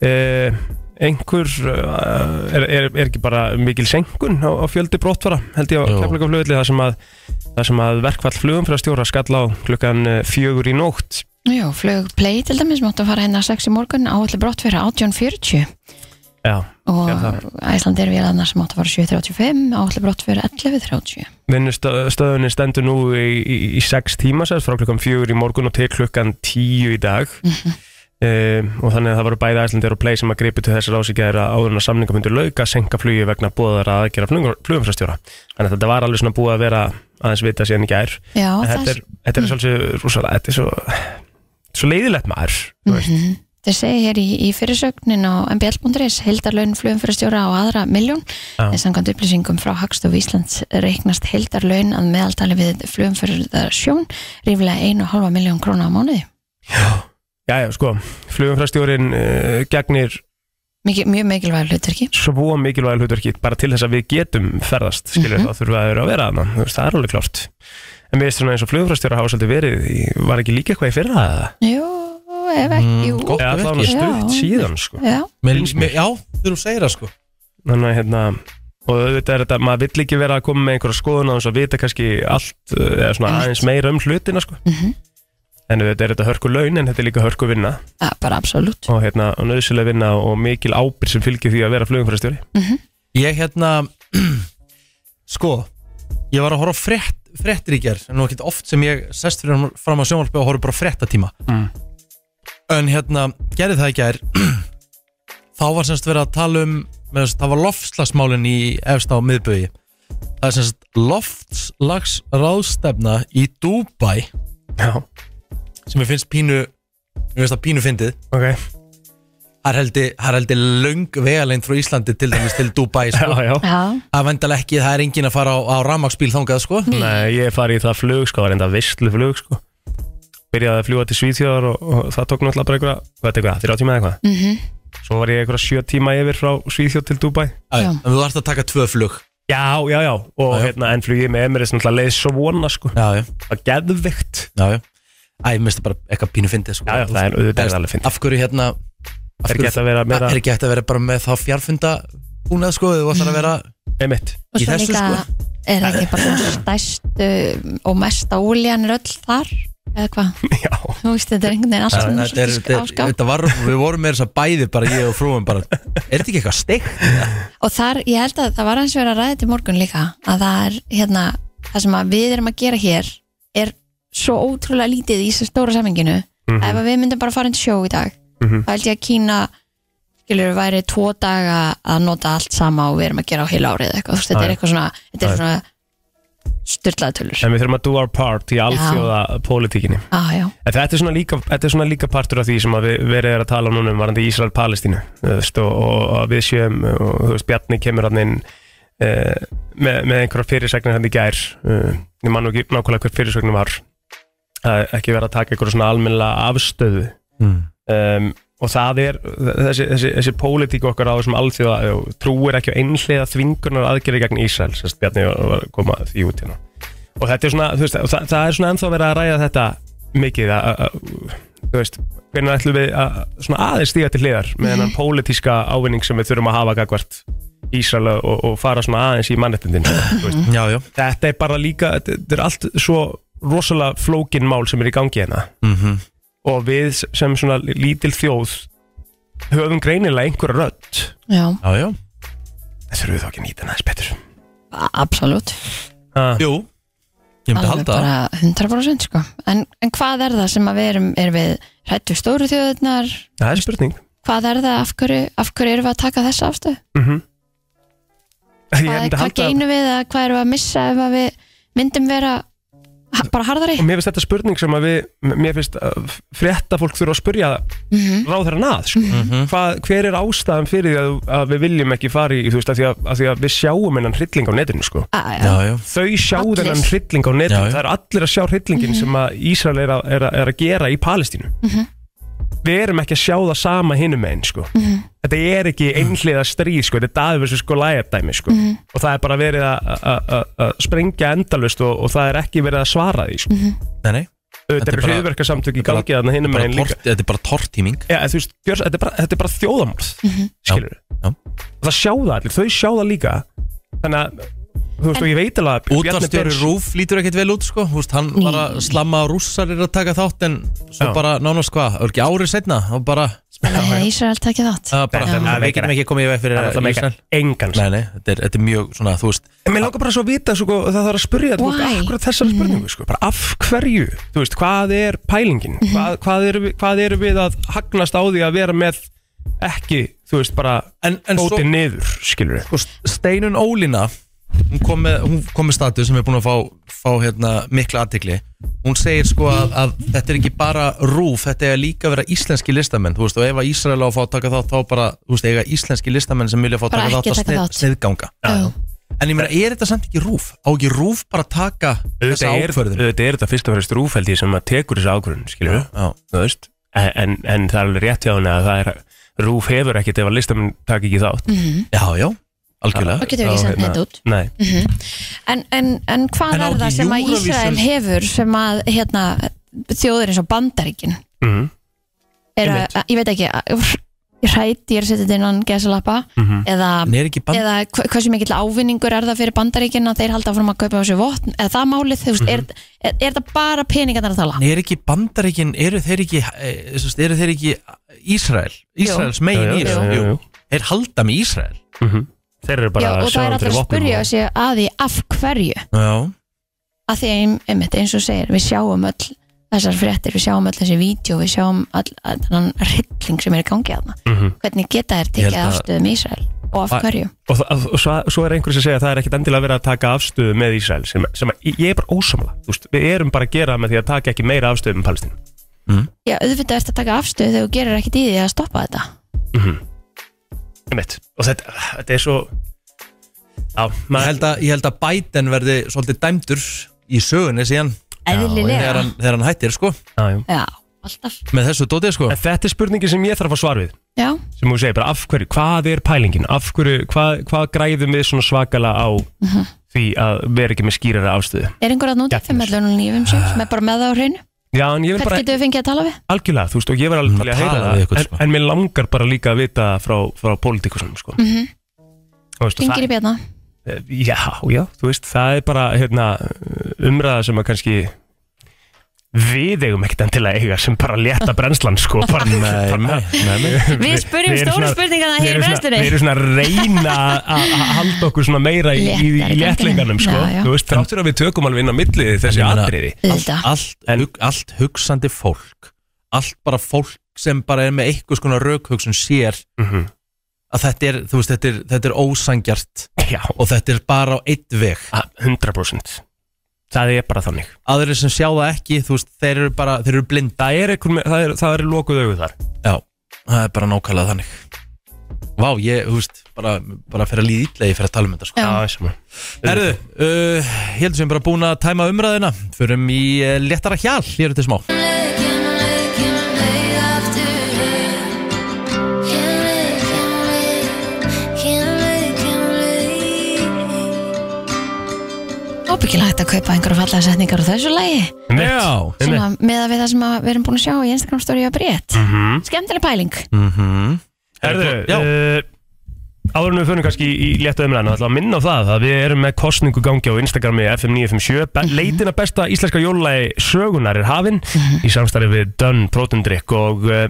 Speaker 3: uh, einhver uh, er, er, er ekki bara mikil senkun á, á fjöldi brottfara held ég á
Speaker 1: Jú.
Speaker 3: keflaði flugulli þar sem að þar sem að verkfall flugum fyrir að stjóra skall á klukkan eh, fjögur í nótt
Speaker 2: Jú, flug play til dæmis máttu að fara hérna 6 í morgun áallu brott fyrir 18.40
Speaker 3: Já,
Speaker 2: og
Speaker 3: Já, það.
Speaker 2: Æsland er vélarnar sem máttu að fara 7.35 áallu brott fyrir 11.30
Speaker 3: vinnustöðunni stendur nú í, í, í sex tíma sér, frá klukkan fjögur í morgun og til klukkan tíu í dag um, og þannig að það voru bæði æslandir og play sem að gripi til þessar ásíkjæðir að áðurinn að samninga myndu lauka, senka flugi vegna búðara að gera flugumfrastjóra þannig að þetta var alveg svona búið að vera aðeins vita síðan í gær
Speaker 2: Já,
Speaker 3: En
Speaker 2: það
Speaker 3: þetta er, þetta er svolítið rússalega, þetta er svo svo leiðilegt maður
Speaker 2: Mm.
Speaker 3: þú veist.
Speaker 2: Mhm. Þeir segja hér í, í fyrirsögnin á mbl.is heldarlaun flugumfyrastjóra á aðra miljón
Speaker 3: Já.
Speaker 2: en samkvæmt upplýsingum frá Hagstof Íslands reiknast heldarlaun að meðaltali við flugumfyrasjón ríflega 1,5 miljón króna á mánuði
Speaker 3: Jæja, sko, flugumfrastjórin uh, gegnir
Speaker 2: Miki, Mjög mikilvæg hlutverki
Speaker 3: svo mikilvæg hlutverki bara til þess að við getum ferðast skilur,
Speaker 2: Mhm.
Speaker 3: þá þurfum við að vera að vera þarna Þú veist, það er alveg klart en mér veist svona eins og flugumfrastjóra hafa svolítið verið í, var ekki líka eitthvað í fyrra eða?
Speaker 2: Jú, ef ekki,
Speaker 1: Mm,
Speaker 2: jú
Speaker 1: gott.
Speaker 3: eða
Speaker 1: ef
Speaker 3: það var
Speaker 1: ekki.
Speaker 3: stutt
Speaker 2: Já.
Speaker 3: síðan sko.
Speaker 2: Já,
Speaker 1: Mér- mér- Já, þegar þú segir það sko
Speaker 3: þannig að hérna og auðvitað er þetta, maður vill ekki vera að koma með einhverja skoðun á þess að vita kannski allt uh, eða svona
Speaker 2: Einmitt.
Speaker 3: aðeins meira um hlutina sko.
Speaker 2: Mhm.
Speaker 3: en auðvitað er þetta hörku laun en þetta er líka hörku vinna
Speaker 2: ja, bara absolutt
Speaker 3: og hérna og nöðsilega vinna og mikil ábyrg sem fylgir því að vera flugumfrastjóri
Speaker 1: Ég hérna Sko Ég var að horfa á frétt, fréttir í gerð Nú ekkert oft sem ég sest fyrir fram á sjónvarpi og horfa bara á fréttatíma
Speaker 3: Mm.
Speaker 1: En hérna, gerði það í gerð Þá var semst verið að tala um með þess, Það var loftslagsmálin í efst á miðbögi Það er semst loftslagsráðstefna í Dubai
Speaker 3: Já,
Speaker 1: sem ég finnst pínu Ég finnst það pínu fyndið
Speaker 3: ok
Speaker 1: Það er heldig, það er heldig löng vegalengd frá Íslandi til dæmis til Dubai sko.
Speaker 3: Já, já
Speaker 2: Já,
Speaker 1: Það vendal ekki, það er engin að fara á, á rammaksbíl þangað sko
Speaker 2: Mm,
Speaker 3: Nei, ég fari í það flug sko, það var enda vistlu flug sko Byrjaði að fljúa til Svíþjóðar og, og það tók náttúrulega bara einhverja, hvað er þetta, þrjá tíma eða eitthvað
Speaker 2: mm
Speaker 3: Svo var ég einhverja sjö tíma yfir frá Svíþjóð til Dubai
Speaker 1: Æ,
Speaker 2: Já.
Speaker 1: En þú þarfst að taka tvö flug
Speaker 3: Já, já, já,
Speaker 1: Já,
Speaker 3: og
Speaker 1: já.
Speaker 3: hérna enn flugið með Emirates náttúrulega leið svo vona sko
Speaker 1: Já, já,
Speaker 3: Það var geðvikt
Speaker 1: já, já. Æ, mér finnst það bara eitthvað pínu fyndið sko
Speaker 3: Já, já, það er auðvitað er það alveg fint
Speaker 1: Af hverju hérna af
Speaker 3: Það er
Speaker 1: hverju-
Speaker 3: gett að vera meira,
Speaker 1: Er ekki hægt að vera bara með þá fjarfunda búnað sko Þú ætlar að vera
Speaker 3: einmitt
Speaker 2: og
Speaker 1: Í
Speaker 2: svo
Speaker 1: þessu, sko.
Speaker 2: líka er það ekki bara stæstu og mesta ólían er öll þar eða hvað,
Speaker 3: Já,
Speaker 2: þú veist þetta er einhvern veginn allt um
Speaker 1: Það-
Speaker 2: svona
Speaker 1: Þetta er, þetta
Speaker 2: svolítið
Speaker 1: er-
Speaker 2: áskap
Speaker 1: þetta var, við vorum með þess að bæði bara ég og frúin bara Er þetta ekki eitthvað steikt?
Speaker 2: og þar, ég held að það var eins og verið að ræða til morgun líka að það er hérna það sem að við erum að gera hér er svo ótrúlega lítið í þessu stóra saminginu
Speaker 3: Mhm.
Speaker 2: ef að við myndum bara fara inn til sjó í dag
Speaker 3: Mhm.
Speaker 2: þá held ég að Kína skilur væri tvo daga að nota allt sama og við erum að gera á heila árið eitthvað, þú veist, þetta
Speaker 3: Já,
Speaker 2: er
Speaker 3: já.
Speaker 2: eitthvað svona þetta
Speaker 3: Já,
Speaker 2: er
Speaker 3: já.
Speaker 2: svona styrlaða tölur
Speaker 3: en við þurfum að do our part í alþjóða pólitíkinni
Speaker 2: ah, já,
Speaker 3: En þetta er svona líka, þetta er svona líka partur af því sem að við verið er að tala núna um varandi Ísrael-Palestínu þú veist, og, og að við séum og þú veist, Bjarni kemur hann inn e, með, með einhverja fyrirsegnir hann í gær uh, ég man nú ekki nákvæmlega hver fyrirsegnin var að ekki vera að taka einhverja svona almennlega afstöðu
Speaker 1: Mm.
Speaker 3: um, og það er þessi, þessi, þessi pólitík okkar á þessum alþjóða og trúir ekki á einhlega þvingunar aðgerði gegn Ísrael sérst Bjarni var að koma því út hérna og þetta er svona, þú veist, það, það er svona ennþá verið að ræða þetta mikið að, að, að, þú veist, hvernig ætlum við að svona aðeins stíga til hliðar með þennan pólitíska ávinning sem við þurfum að hafa gagvart Ísrael og, og fara svona aðeins í mannrettindin
Speaker 1: Já, já,
Speaker 3: þetta er bara líka, þetta þetta er allt svo rosalega flókin mál sem er í gangi hérna
Speaker 1: Mhm.
Speaker 3: og við sem svona lítil þjóð höfum greinilega einhverja rödd
Speaker 2: Já,
Speaker 1: Já, já
Speaker 3: það þurfum við þá ekki að nýta næst betur
Speaker 2: absolutt
Speaker 3: ha,
Speaker 1: Jú, ég myndi halda það.
Speaker 2: bara 100% sko en, en hvað er það sem að við erum erum við hrættu stóru þjóðurnar
Speaker 3: það er spurning
Speaker 2: hvað er það, af hverju, af hverju erum við að taka þessa afstöð
Speaker 3: mm -hmm.
Speaker 2: hvað, hvað geinum við að hvað erum við að missa ef að við myndum vera ha- bara harðari
Speaker 3: og mér finnst þetta spurning sem að við mér finnst að frétta fólk þurfa að spurja
Speaker 2: mm
Speaker 3: ráðherran að sko.
Speaker 1: Mm. Mhm.
Speaker 3: Hvað, hver er ástæðan fyrir því að, að við viljum ekki fara í þú veist, að því að, að, því að við sjáum hennan hrylling á netinu sko.
Speaker 1: Já, já,
Speaker 3: þau sjá
Speaker 2: Allir.
Speaker 3: þennan hrylling á netinu
Speaker 1: Já, Mhm. já.
Speaker 3: það er allir að sjá hryllingin sem að Ísrael er að, er að, er að gera í Palestínu
Speaker 1: Mhm.
Speaker 3: við erum ekki að sjá það sama hinum einn sko.
Speaker 1: Mhm.
Speaker 3: þetta er ekki einhliða stríð sko. þetta er Davíð versus sko lægardæmi sko.
Speaker 1: Mhm.
Speaker 3: og það er bara verið að- að að- að sprengja endalust og, og það er ekki verið að svara því sko.
Speaker 1: nei, nei
Speaker 3: þetta
Speaker 1: Þetta er
Speaker 3: eru
Speaker 1: bara-
Speaker 3: hriðverkasamtök í
Speaker 1: þetta er bara-
Speaker 3: gangi þarna hinum
Speaker 1: bara
Speaker 3: einn líka
Speaker 1: tort, Þetta er bara tortíming
Speaker 3: Já, en þú veist, Björns, þetta, er bara, þetta er bara þjóðamorð mm -hmm. skilur
Speaker 1: Já.
Speaker 3: og það sjá það allir, þau sjá það líka þannig að, þú veist, og ég veit alveg að Bjarni
Speaker 1: Útarstjóri
Speaker 3: Björns-
Speaker 1: Rúf lítur ekkert vel út sko Húst, Hann var að slamma að rússar er að taka þátt En svo
Speaker 3: Já.
Speaker 1: bara nánast hvað Örgi árið setna og bara,
Speaker 2: Nei, Ísrael tekja þátt
Speaker 1: að bara
Speaker 2: Þetta
Speaker 1: Við
Speaker 3: meikar
Speaker 1: getum ekki komið í veg fyrir
Speaker 3: það er alltaf
Speaker 1: Ísrael
Speaker 3: meika engan
Speaker 1: Nei, nei, þetta er, þetta er mjög svona, þú veist
Speaker 3: en mér langar bara svo að vita, svo, og það þarf að spyrja þú veist,
Speaker 2: Why?
Speaker 3: akkurat þessari spurningu, sko, bara af hverju þú veist, hvað er pælingin hvað, hvað, erum við, hvað erum við að hagnast á því að vera með ekki, þú veist, bara
Speaker 1: En, en svo,
Speaker 3: bótið niður, skilur
Speaker 1: sko, Steinun Ólína Hún kom með, hún kom með status sem er búin að fá, fá hérna, mikla aðtikli Hún segir sko að, að þetta er ekki bara rúf Þetta eiga líka að vera íslenski listamenn Þú veist, og ef að Ísrael á að fá að taka þátt Þá bara, þú veist, eiga íslenski listamenn sem vilja fá að
Speaker 2: Bara
Speaker 1: taka
Speaker 2: ekki
Speaker 1: þátt að
Speaker 2: taka
Speaker 1: snið,
Speaker 2: þátt.
Speaker 1: sniðganga
Speaker 2: Já.
Speaker 1: En ég meina, er þetta samt ekki rúf? Á ekki rúf bara að taka þessa ákvörðin?
Speaker 3: auðvitað er þetta fyrst og fremst rúfældi sem að tekur þessu ákvörðun, skilur
Speaker 1: Já,
Speaker 3: þú veist en, en, en það er alveg rétt hjá henni að það er Rúf hefur ekkert ef að listamenn takk ekki þátt
Speaker 2: Mhm.
Speaker 3: mm.
Speaker 1: já, já, algjörlega
Speaker 2: og getum við ekki sendt neitt út
Speaker 3: Nei,
Speaker 2: en, en, en hvað
Speaker 1: hérna. En á
Speaker 2: er það
Speaker 1: ekki
Speaker 2: sem að
Speaker 1: Eurovision-
Speaker 2: Ísrael hefur sem að hérna, þjóður eins og bandaríkin
Speaker 3: mm.
Speaker 2: er að, að- ég veit ekki að, hrætt, ég er að setja þetta innan gesalappa
Speaker 1: Mhm.
Speaker 2: eða
Speaker 1: En er ekki bann?
Speaker 2: eða hva- hversu mikill ávinningur er það fyrir bandaríkin að þeir halda áfram að kaupa á sig votn eða það málið, þú veist,
Speaker 1: Mhm.
Speaker 2: er, er, er það bara peningarnar að tala?
Speaker 1: En er ekki bandaríkin, eru þeir ekki, eh, þú veist, eru þeir ekki Ísrael, Ísraels megin í
Speaker 3: jú,
Speaker 1: þessu?
Speaker 3: jú,
Speaker 1: Jú.
Speaker 3: jú.
Speaker 1: Þeir halda með Ísrael
Speaker 3: Mhm. Þeir eru
Speaker 2: Já,
Speaker 3: bara
Speaker 2: og það er allir að spyrja sig að því af hverju
Speaker 1: Já,
Speaker 2: að því ein, einmitt, eins og segir, við sjáum öll þessar fréttir, við sjáum öll þessi vídeo við sjáum all, all, allan hrylling sem er í gangi aðna,
Speaker 3: Mhm.
Speaker 2: hvernig geta þær
Speaker 1: Ég held
Speaker 2: tekið
Speaker 1: að-
Speaker 2: afstöðum í Ísrael og af
Speaker 1: Að-
Speaker 2: hverju
Speaker 3: Og, það- og, og svo, svo er einhver sem segja að það er ekkert endilega verið að taka afstöðu með Ísrael sem, sem að, ég er bara ósamla veist, Við erum bara að gera það með því að taka ekki meira afstöðu um með Palestín
Speaker 2: Já, auðvitað ertu að taka afstöðu þegar þú gerir ekkit í því að stoppa þetta
Speaker 3: Einmitt. Og þetta, þetta er svo Já,
Speaker 1: ég
Speaker 3: maður
Speaker 1: held að, ég held að Biden verði svolítið dæmdur í sögunni síðan þegar
Speaker 2: Eðlilega
Speaker 1: hann, þegar hann hættir sko
Speaker 3: Já, já.
Speaker 2: Já, alltaf
Speaker 1: með þessu dótið sko
Speaker 3: En þetta er spurningin sem ég þarf að svara við
Speaker 2: Já,
Speaker 3: sem þú segir bara af hverju, hvað er pælingin af hverju, hvað, hvað græðum við svona svakala á því að vera ekki með skýrara afstöðu
Speaker 2: er einhver að núti
Speaker 3: Gegnir.
Speaker 2: 511 lífum sem sem er bara með það á hreinu
Speaker 3: já en ég vil
Speaker 2: Hvert
Speaker 3: bara
Speaker 2: getur við fengið að tala við?
Speaker 3: algjörlega þú veist og ég var alveg
Speaker 1: Mm,
Speaker 3: til í að
Speaker 1: að
Speaker 3: heyra
Speaker 1: tala
Speaker 3: það
Speaker 1: við ykkur,
Speaker 3: en,
Speaker 1: sko.
Speaker 3: en mér langar bara líka að vita frá, frá pólitíkusunum sko mm -hmm. veist, og
Speaker 2: Ringir í
Speaker 3: það,
Speaker 2: björna
Speaker 3: já, já, þú veist það er bara hérna, umræða sem að kannski við eigum ekkert endilega að eiga sem bara létta brennslan sko bara, bara,
Speaker 2: Við spurjum
Speaker 3: við erum
Speaker 2: stóru
Speaker 3: svona-
Speaker 2: spurningana
Speaker 3: Við
Speaker 2: hér í
Speaker 3: erum svona- við
Speaker 2: brennstunni
Speaker 3: erum svona að reyna að- að að halda okkur svona meira í, í, í
Speaker 2: Léttari
Speaker 3: léttlinganum
Speaker 2: ganginum.
Speaker 3: sko.
Speaker 2: Já, já.
Speaker 3: Þú veist, Þráttur að við tökum alveg inn á millið þessi
Speaker 1: En ég meina-
Speaker 3: atriði
Speaker 1: allt,
Speaker 2: Auðvitað.
Speaker 1: allt, hug, allt hugsandi fólk allt bara fólk sem bara er með einhvers konar raukhugsun sér
Speaker 3: Mhm.
Speaker 1: að þetta er, þú veist, þetta er, þetta er ósangjart
Speaker 3: Já,
Speaker 1: og þetta er bara á eitt veg
Speaker 3: a- 100% Það er bara þannig
Speaker 1: aðrir sem sjá það ekki, þú veist, þeir eru bara þeir eru blind,
Speaker 3: Það er, einhver, með- það er, það er lokuð auðu þar
Speaker 1: já, það er bara nákvæmlega þannig Vá, ég, þú veist, bara, bara fyrir að líða ítla ég fyrir að tala um þetta sko.
Speaker 2: Já.
Speaker 3: Já, sem-
Speaker 1: Herðu, uh, ég heldur sem bara búin að tæma umræðina Förum í uh, léttara hjal Hér er til smá
Speaker 2: Ábyggilega hægt að kaupa einhverja fallega setningar á þessu lægi
Speaker 3: Einmitt.
Speaker 1: Já
Speaker 3: Einmitt.
Speaker 2: svona, með að við það sem að við erum búin að sjá í Instagram story að breytt,
Speaker 3: Mhm.
Speaker 2: skemmtileg pæling
Speaker 1: mm -hmm.
Speaker 3: Herðu,
Speaker 1: Já.
Speaker 3: uh, áður en við förum kannski í, í létta umræðina, ætla að minna á það að við erum með kostningu gangi á Instagrami FM957 be leitin að besta íslenska jólalagi sögunar er hafin í samstarfi við Dönn Protendrykk og uh,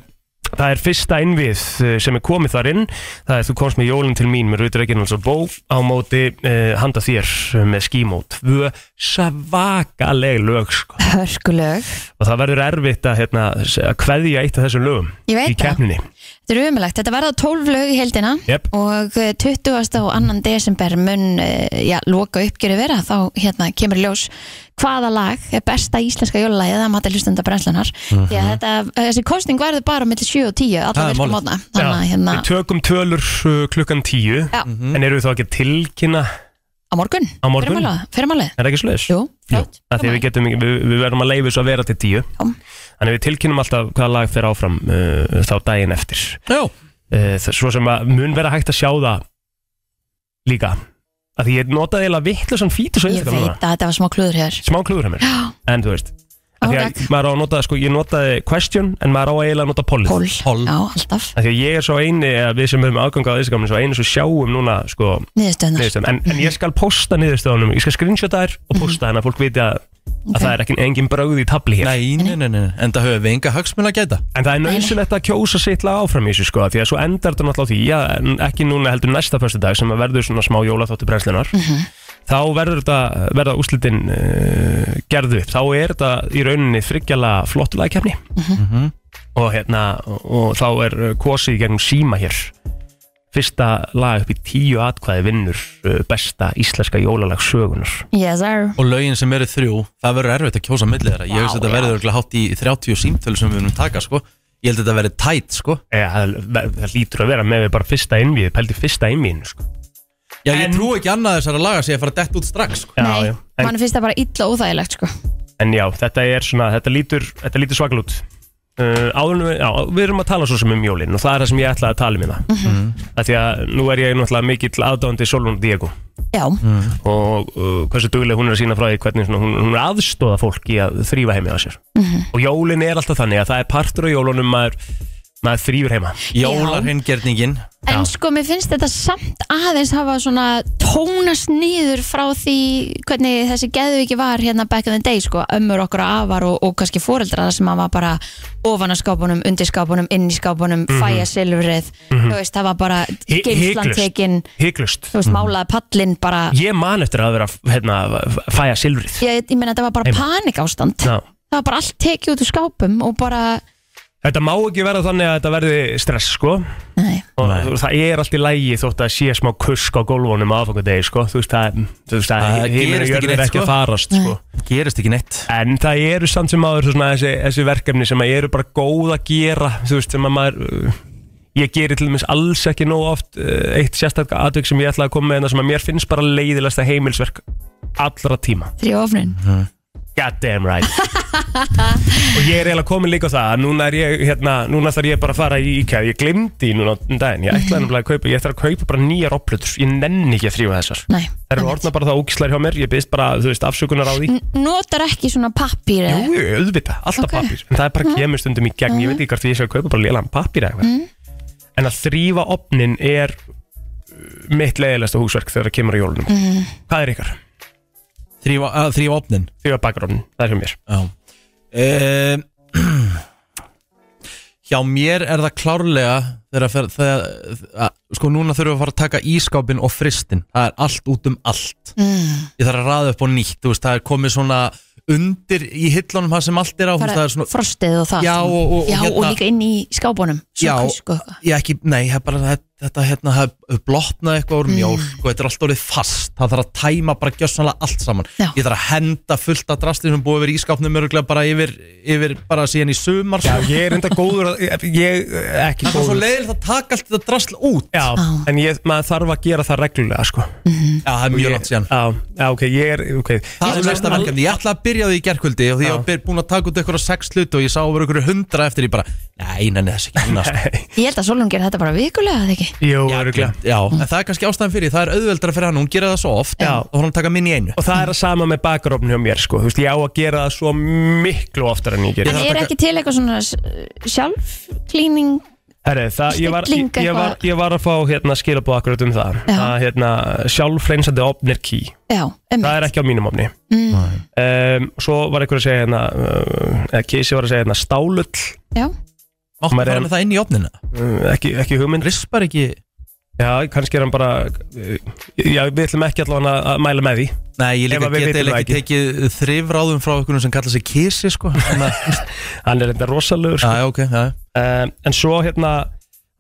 Speaker 3: það er fyrsta innvið eh, sem er komið þar inn það er þú komst með jólinn til mín með Rauður Reginals og Vó á móti uh, handa þér eh, með skímót tvö svakaleg lög sko.
Speaker 2: Hörkulög
Speaker 3: og það verður erfitt að, hérna, að kveðja eitt af þessum lögum
Speaker 2: Ég veit
Speaker 3: í
Speaker 2: það.
Speaker 3: keppninni
Speaker 2: Þetta er umulagt, þetta verða 12 lög í heldina
Speaker 3: Jep.
Speaker 2: og eh, 20. og 2. desember mun eh, já, loka uppgjöru vera þá hérna kemur í ljós hvaða lag er besta íslenska jólalagið eða mati hlustenda brennslunar
Speaker 3: Mhm.
Speaker 2: því að þetta, eh, þessi kostning verður bara millir 7 og 10
Speaker 1: Það
Speaker 2: allar
Speaker 1: er
Speaker 2: virka
Speaker 1: málið.
Speaker 2: mótna þannig að hérna
Speaker 3: Við tökum tölur uh, klukkan tíu
Speaker 2: Já.
Speaker 3: en eru við þá ekki að tilkynna er
Speaker 2: á morgun,
Speaker 3: Á morgun?
Speaker 2: fyrirmálið
Speaker 3: það ekki sluðis?
Speaker 2: Jú, flott,
Speaker 3: Því við, getum, ekki- við, við verðum að leifa þessu að vera til tíu Þannig við tilkynum alltaf hvaða lag fer áfram uh, þá daginn eftir
Speaker 1: Já,
Speaker 3: uh, það- Svo sem að mun vera hægt að sjá það líka að Því ég notaði eiginlega vittlusan fítus á
Speaker 2: ég
Speaker 3: Instagram núna.
Speaker 2: veit að þetta var smá klúður hér
Speaker 3: Smá klúður hefur En þú veist að
Speaker 2: Ó,
Speaker 3: Því að
Speaker 2: takk.
Speaker 3: maður á að nota, sko, ég notaði question en maður á eiginlega að nota poll
Speaker 2: Pól,
Speaker 1: Pól.
Speaker 2: já, alltaf,
Speaker 3: Því að ég er svo eini, eða við sem höfum aðganga á Instagram svo eini svo sjáum núna sko,
Speaker 2: niðurstöðunar
Speaker 3: niðurstöðum en, en ég skal posta niðurstöðunum Ég skal screenshota þær og posta þannig að fólk viti að, að það er ekki engin brögð í tabli hér
Speaker 1: nei, nei, nei, nei, en það höfum við enga hagsmun að gæta
Speaker 3: En það er nöðsynlegt að kjósa sitt lag áfram í þessu sko Því að svo endar þetta náttúrulega á því að n- Ekki núna heldur næsta fyrstu dag sem að verður svona smá jólaþáttu brennslunar Þá verður þetta, verða úslitin uh, gerðu upp Þá er þetta í rauninni þryggjala flottulagkefni mm Og hérna, og, og þá er uh, kosið í gegnum síma hér Fyrsta lag upp í tíu atkvæði vinnur uh, Besta íslenska jólalag sögunar
Speaker 2: Yes sir,
Speaker 1: Og lögin sem eru þrjú, það verður erfitt að kjósa millir þeirra Ég veist að þetta verður örugglega hátt í 30 símtölu sem við munum taka, sko Ég held að þetta verði tætt, sko
Speaker 3: Eða, það, það lítur að vera með við bara fyrsta innvíð Pældi fyrsta innvíðin sko
Speaker 1: Já, ég
Speaker 3: En-
Speaker 1: trú ekki annað þessara laga sé að fara dett út strax, sko
Speaker 3: Já,
Speaker 2: nei,
Speaker 3: já. En-
Speaker 2: mann finnst það bara illa óþægilegt sko
Speaker 3: En já, þetta er svona, þetta lítur, þetta lítur svakal út uh, áður, en við- já, Við erum að tala svo sem um jólin og það er það sem ég ætlaði að tala um það mm Því að nú er ég náttúrulega mikill aðdáðandi Solon Diego
Speaker 2: Já,
Speaker 3: Mm. og uh, hversu dugleg hún er að sína frá því hvernig svona, hún, hún er aðstóða fólk í að þrýfa heima á sér Og jólin er alltaf þannig að það er partur á jólunum maður, maður þrýfur heima
Speaker 1: Jólarheingerningin
Speaker 2: En sko, mér finnst þetta samt aðeins hafa svona tónast niður frá því hvernig þessi geðviki var hérna back in the day, sko, ömmur okkur og afar og, og kannski foreldrar sem hafa bara ofan að skápunum, undir skápunum, inn í skápunum, fæja silfrið, þú veist, það var bara
Speaker 3: Mhm. Hi-
Speaker 2: geimslan
Speaker 3: hiklaust. Mhm.
Speaker 2: tekin,
Speaker 3: Hygglust
Speaker 2: þú veist, málaði pallin bara,
Speaker 3: Ég man eftir að vera hérna, fæja silfrið
Speaker 2: ég, ég meina þetta var bara
Speaker 3: Einmitt.
Speaker 2: panik ástand,
Speaker 3: Já.
Speaker 2: það var bara allt tekið út úr skápum og bara,
Speaker 3: Þetta má ekki vera þannig að þetta verði stress sko
Speaker 2: nei,
Speaker 3: og þú- það er allt í lægi þótt að sé smá kusk á gólfunum aðfangadegi sko. þú veist það, þú veist, það
Speaker 1: Það
Speaker 3: heimur og
Speaker 1: gerist ekki
Speaker 3: jörður
Speaker 1: neitt,
Speaker 3: ekki
Speaker 1: sko.
Speaker 3: að farast sko.
Speaker 1: Gerist ekki neitt
Speaker 3: en það eru samt sem áður svona, þessi, þessi verkefni sem að eru bara góð að gera þú veist sem að maður uh, ég gerir til dæmis alls ekki nóg oft uh, eitt sérstakka atvik sem ég ætlaði að koma með hérna sem að mér finnst bara leiðilegsta heimilsverk allra tíma
Speaker 2: þrjófnin,
Speaker 3: God damn right Og ég er eiginlega komin líka á það að Núna, er ég, hérna, núna þarf ég bara að fara í IKEA Ég glimti núna um daginn Ég ætlaði nefnilega að kaupa Ég ætlaði að kaupa bara nýjar oplutur Ég nenni ekki að þrýfa þessar
Speaker 2: nei.
Speaker 3: Það eru orðna bara það ógislar hjá mér Ég byrst bara, þú veist, afsökunar á því
Speaker 2: N- Notar ekki svona pappír eða?
Speaker 3: Jú, jú, auðvitað, alltaf
Speaker 2: Ok.
Speaker 3: okay. pappir En það er bara kemur stundum í gegn Ég veit ekki hvort ég sé að kaupa bara lélan pappir eða eitthvað En að þrýfa opnin er uh, Mitt leiðilegsta húsverk þegar það kemur á jólunum Hvað er ykkar?
Speaker 1: Þrýfa að þrýfa opnin
Speaker 3: Þrýfa bakgrónin, það er hjá mér
Speaker 1: Já Ehm, Hjá mér er það klárlega þegar að fer, þegar, að, sko núna þurfum við að fara að taka ískápin og fristin það er allt út um allt
Speaker 2: Mm.
Speaker 1: ég þarf að raða upp á nýtt, þú veist, það er komið svona undir í hillunum það sem allt er á, þú veist, það
Speaker 2: bara
Speaker 1: er svona
Speaker 2: frostið og það
Speaker 1: Já,
Speaker 2: allt.
Speaker 1: og- og- og
Speaker 2: já, og
Speaker 1: hérna-
Speaker 2: líka inn í skápunum
Speaker 1: Já.
Speaker 2: svona kusku og eitthvað.
Speaker 1: ég ekki, nei, það er bara þetta, þetta hérna, það blotnaði eitthvað
Speaker 2: Mm.
Speaker 1: úr mjólk og þetta er allt orðið fast, það þarf að tæma bara gjössanlega allt saman,
Speaker 2: Já.
Speaker 1: ég þarf að henda fullt af drastli sem búið yfir ískapnum öruglega bara yfir, yfir, bara síðan í sumar
Speaker 3: Já,
Speaker 1: sko.
Speaker 3: ég er enda góður að, ég, ég ekki
Speaker 1: það er svo leiðilegt að taka allt þetta drastl út
Speaker 3: Já,
Speaker 2: Já. Mm.
Speaker 3: en ég, maður þarf að gera það reglulega sko.
Speaker 1: já, það er mjög langt síðan
Speaker 3: Já, já, ok, ég er okay.
Speaker 1: Það er næsta verkefni, ég ætlaði að byrja á því í gerkvöldi og því ég var búin að taka út ykkur á sex hluti og ég sá over ykkur hundra eftir ég bara Nei, nei, nei, þessi sko." ekki annars
Speaker 2: ég held að Solon gerir þetta bara vikulega eða ekki
Speaker 3: Jú, öruglega
Speaker 1: Já, en það er kannski ástæðan fyrir, því, það er auðveldara fyrir hann, hún gera það svo oft
Speaker 3: Já.
Speaker 1: og hún taka minn í einu
Speaker 3: Og það er að sama með bakarofn hjá mér sko. Þú veist, ég á að gera það svo miklu oftar en ég
Speaker 2: en
Speaker 3: gerir
Speaker 1: þarf að
Speaker 2: er
Speaker 1: taka-
Speaker 2: ekki til eitthvað svona sjálfklíning
Speaker 3: Herri, það, ég, var, ég,
Speaker 2: Stilling
Speaker 3: ég, var,
Speaker 2: eitthvað.
Speaker 3: ég var að fá hérna, skilabóð akkurat um það
Speaker 2: Já.
Speaker 3: að hérna, sjálfreinsandi opn er key
Speaker 2: Já, um
Speaker 3: það er ekki á mínum opni
Speaker 2: mm,
Speaker 3: um, svo var einhver að segja hérna, uh, eða Casey var að segja hérna, stálull
Speaker 2: Já,
Speaker 1: Máttu
Speaker 3: Maður
Speaker 1: fara
Speaker 3: er-
Speaker 1: með það inn í opnina
Speaker 3: um, ekki, ekki hugmynd
Speaker 1: Rispar ekki
Speaker 3: já, kannski er hann bara uh, já, við ætlum ekki allavega að- að mæla með því
Speaker 1: Nei, ég
Speaker 3: Ef
Speaker 1: líka
Speaker 3: að við
Speaker 1: get
Speaker 3: vitum
Speaker 1: eiginlega
Speaker 3: það
Speaker 1: ekki tekið þrifráðum frá okkur sem kallar sig kissi sko Þannig að-
Speaker 3: hann er þetta rosalegur sko.
Speaker 1: Já, ok, já
Speaker 3: um, en svo hérna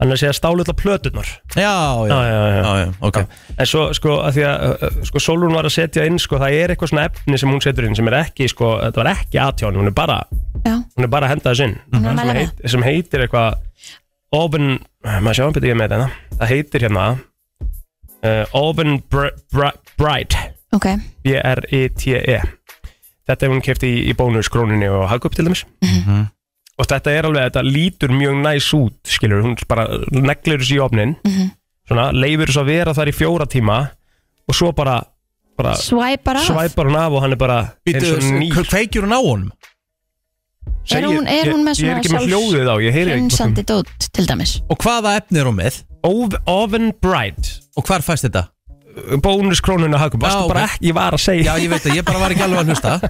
Speaker 3: hann er að segja stálull að plöturnar
Speaker 1: Já, já,
Speaker 3: Já, já, já.
Speaker 1: já, já, ok
Speaker 3: En svo, sko, að því að uh, uh, sko, Solrún var að setja inn, sko, það er eitthvað svona efni sem hún setur inn sem er ekki, sko, þetta var ekki aðtjón, hún er bara,
Speaker 2: já,
Speaker 3: hún er bara að henda þess inn
Speaker 1: Mm.
Speaker 2: Hún er að mæla
Speaker 3: sem, heit, sem heitir eitthvað open, maður sjá hann betur ég með þetta hérna. það heitir hérna uh, open br br bright
Speaker 2: ok
Speaker 3: B-R-I-T-E E. þetta er hún kefti í, í bónuskróninni og hagkup til dæmis
Speaker 2: Mhm.
Speaker 3: og þetta er alveg, þetta lítur mjög næs út skilur, hún bara neglir þessu í ofnin
Speaker 2: Mhm.
Speaker 3: svona, leifir þessu að vera þar í fjóra tíma og svo bara, bara
Speaker 2: Svæpar af
Speaker 3: svæpar hún af og hann er bara eins og
Speaker 1: Býtu,
Speaker 3: nýr
Speaker 1: hve- kveikir hún á honum?
Speaker 2: Er hún- er hún með
Speaker 3: ég, ég
Speaker 2: svona
Speaker 3: er ekki með
Speaker 2: sjálfs-
Speaker 3: hljóðið á, ég heyri ekki
Speaker 2: Hreinsandi dót til dæmis
Speaker 1: Og hvaða efni er hún með?
Speaker 3: Ov- Oven Bright
Speaker 1: Og hvar fæst þetta?
Speaker 3: bónuskróninu
Speaker 1: Já,
Speaker 3: hagkup, varstu bara
Speaker 1: ok.
Speaker 3: ekki, ég var að segja
Speaker 1: Já, ég veit það, ég bara var ekki alveg að hlusta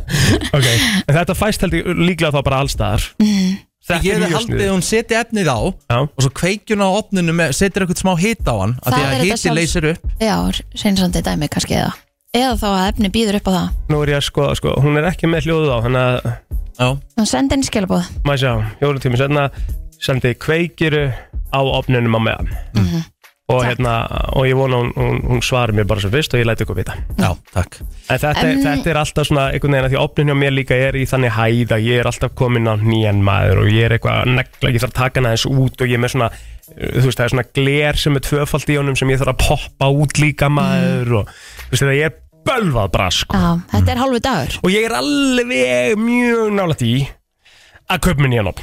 Speaker 3: Ok, en þetta fæst heldur líklega þá bara allstaðar
Speaker 2: Mhm.
Speaker 3: Þetta
Speaker 1: Ég hefði
Speaker 3: er mjög
Speaker 1: haldið um- að
Speaker 3: sniðugt.
Speaker 1: hún seti efnið á
Speaker 3: Já.
Speaker 1: Og svo kveikjun á opninu með, setir eitthvað smá hit á hann af Því
Speaker 2: Það
Speaker 1: að
Speaker 2: er þetta
Speaker 1: hiti
Speaker 2: sjálfs-
Speaker 1: leysir upp
Speaker 2: Já, hreinsandi dæmi kannski eða Eða þá að efni býður upp á það
Speaker 3: Nú er ég að skoða, sko, hún er ekki með hljóðu á Þannig að,
Speaker 1: Já,
Speaker 2: Hún sendi inn skilabóð
Speaker 3: maður sjá, jólutími senna Sendi kveikiru á opninum á meðan Og
Speaker 2: Mhm. Takk.
Speaker 3: hérna, og ég vona hún, hún, hún svarar mér bara sem fyrst og ég læti ykkur vita
Speaker 1: já, takk
Speaker 3: En þetta,
Speaker 2: En-
Speaker 3: þetta er alltaf svona einhvern veginn að því að opnin hjá mér líka er í þannig hæð að ég er alltaf komin á nýjan maður og ég er eitthvað að negla, ég þarf að taka hana aðeins út og ég er með svona, uh, þú veist, það er svona gler sem er tvöfald í honum sem ég þarf að poppa út líka maður og þú veist, þetta ég er bölvað brask sko.
Speaker 2: Mhm. Já, þetta er halvu dagur
Speaker 3: og ég er alveg mjög nálægt í að köpa mér nýjan opn.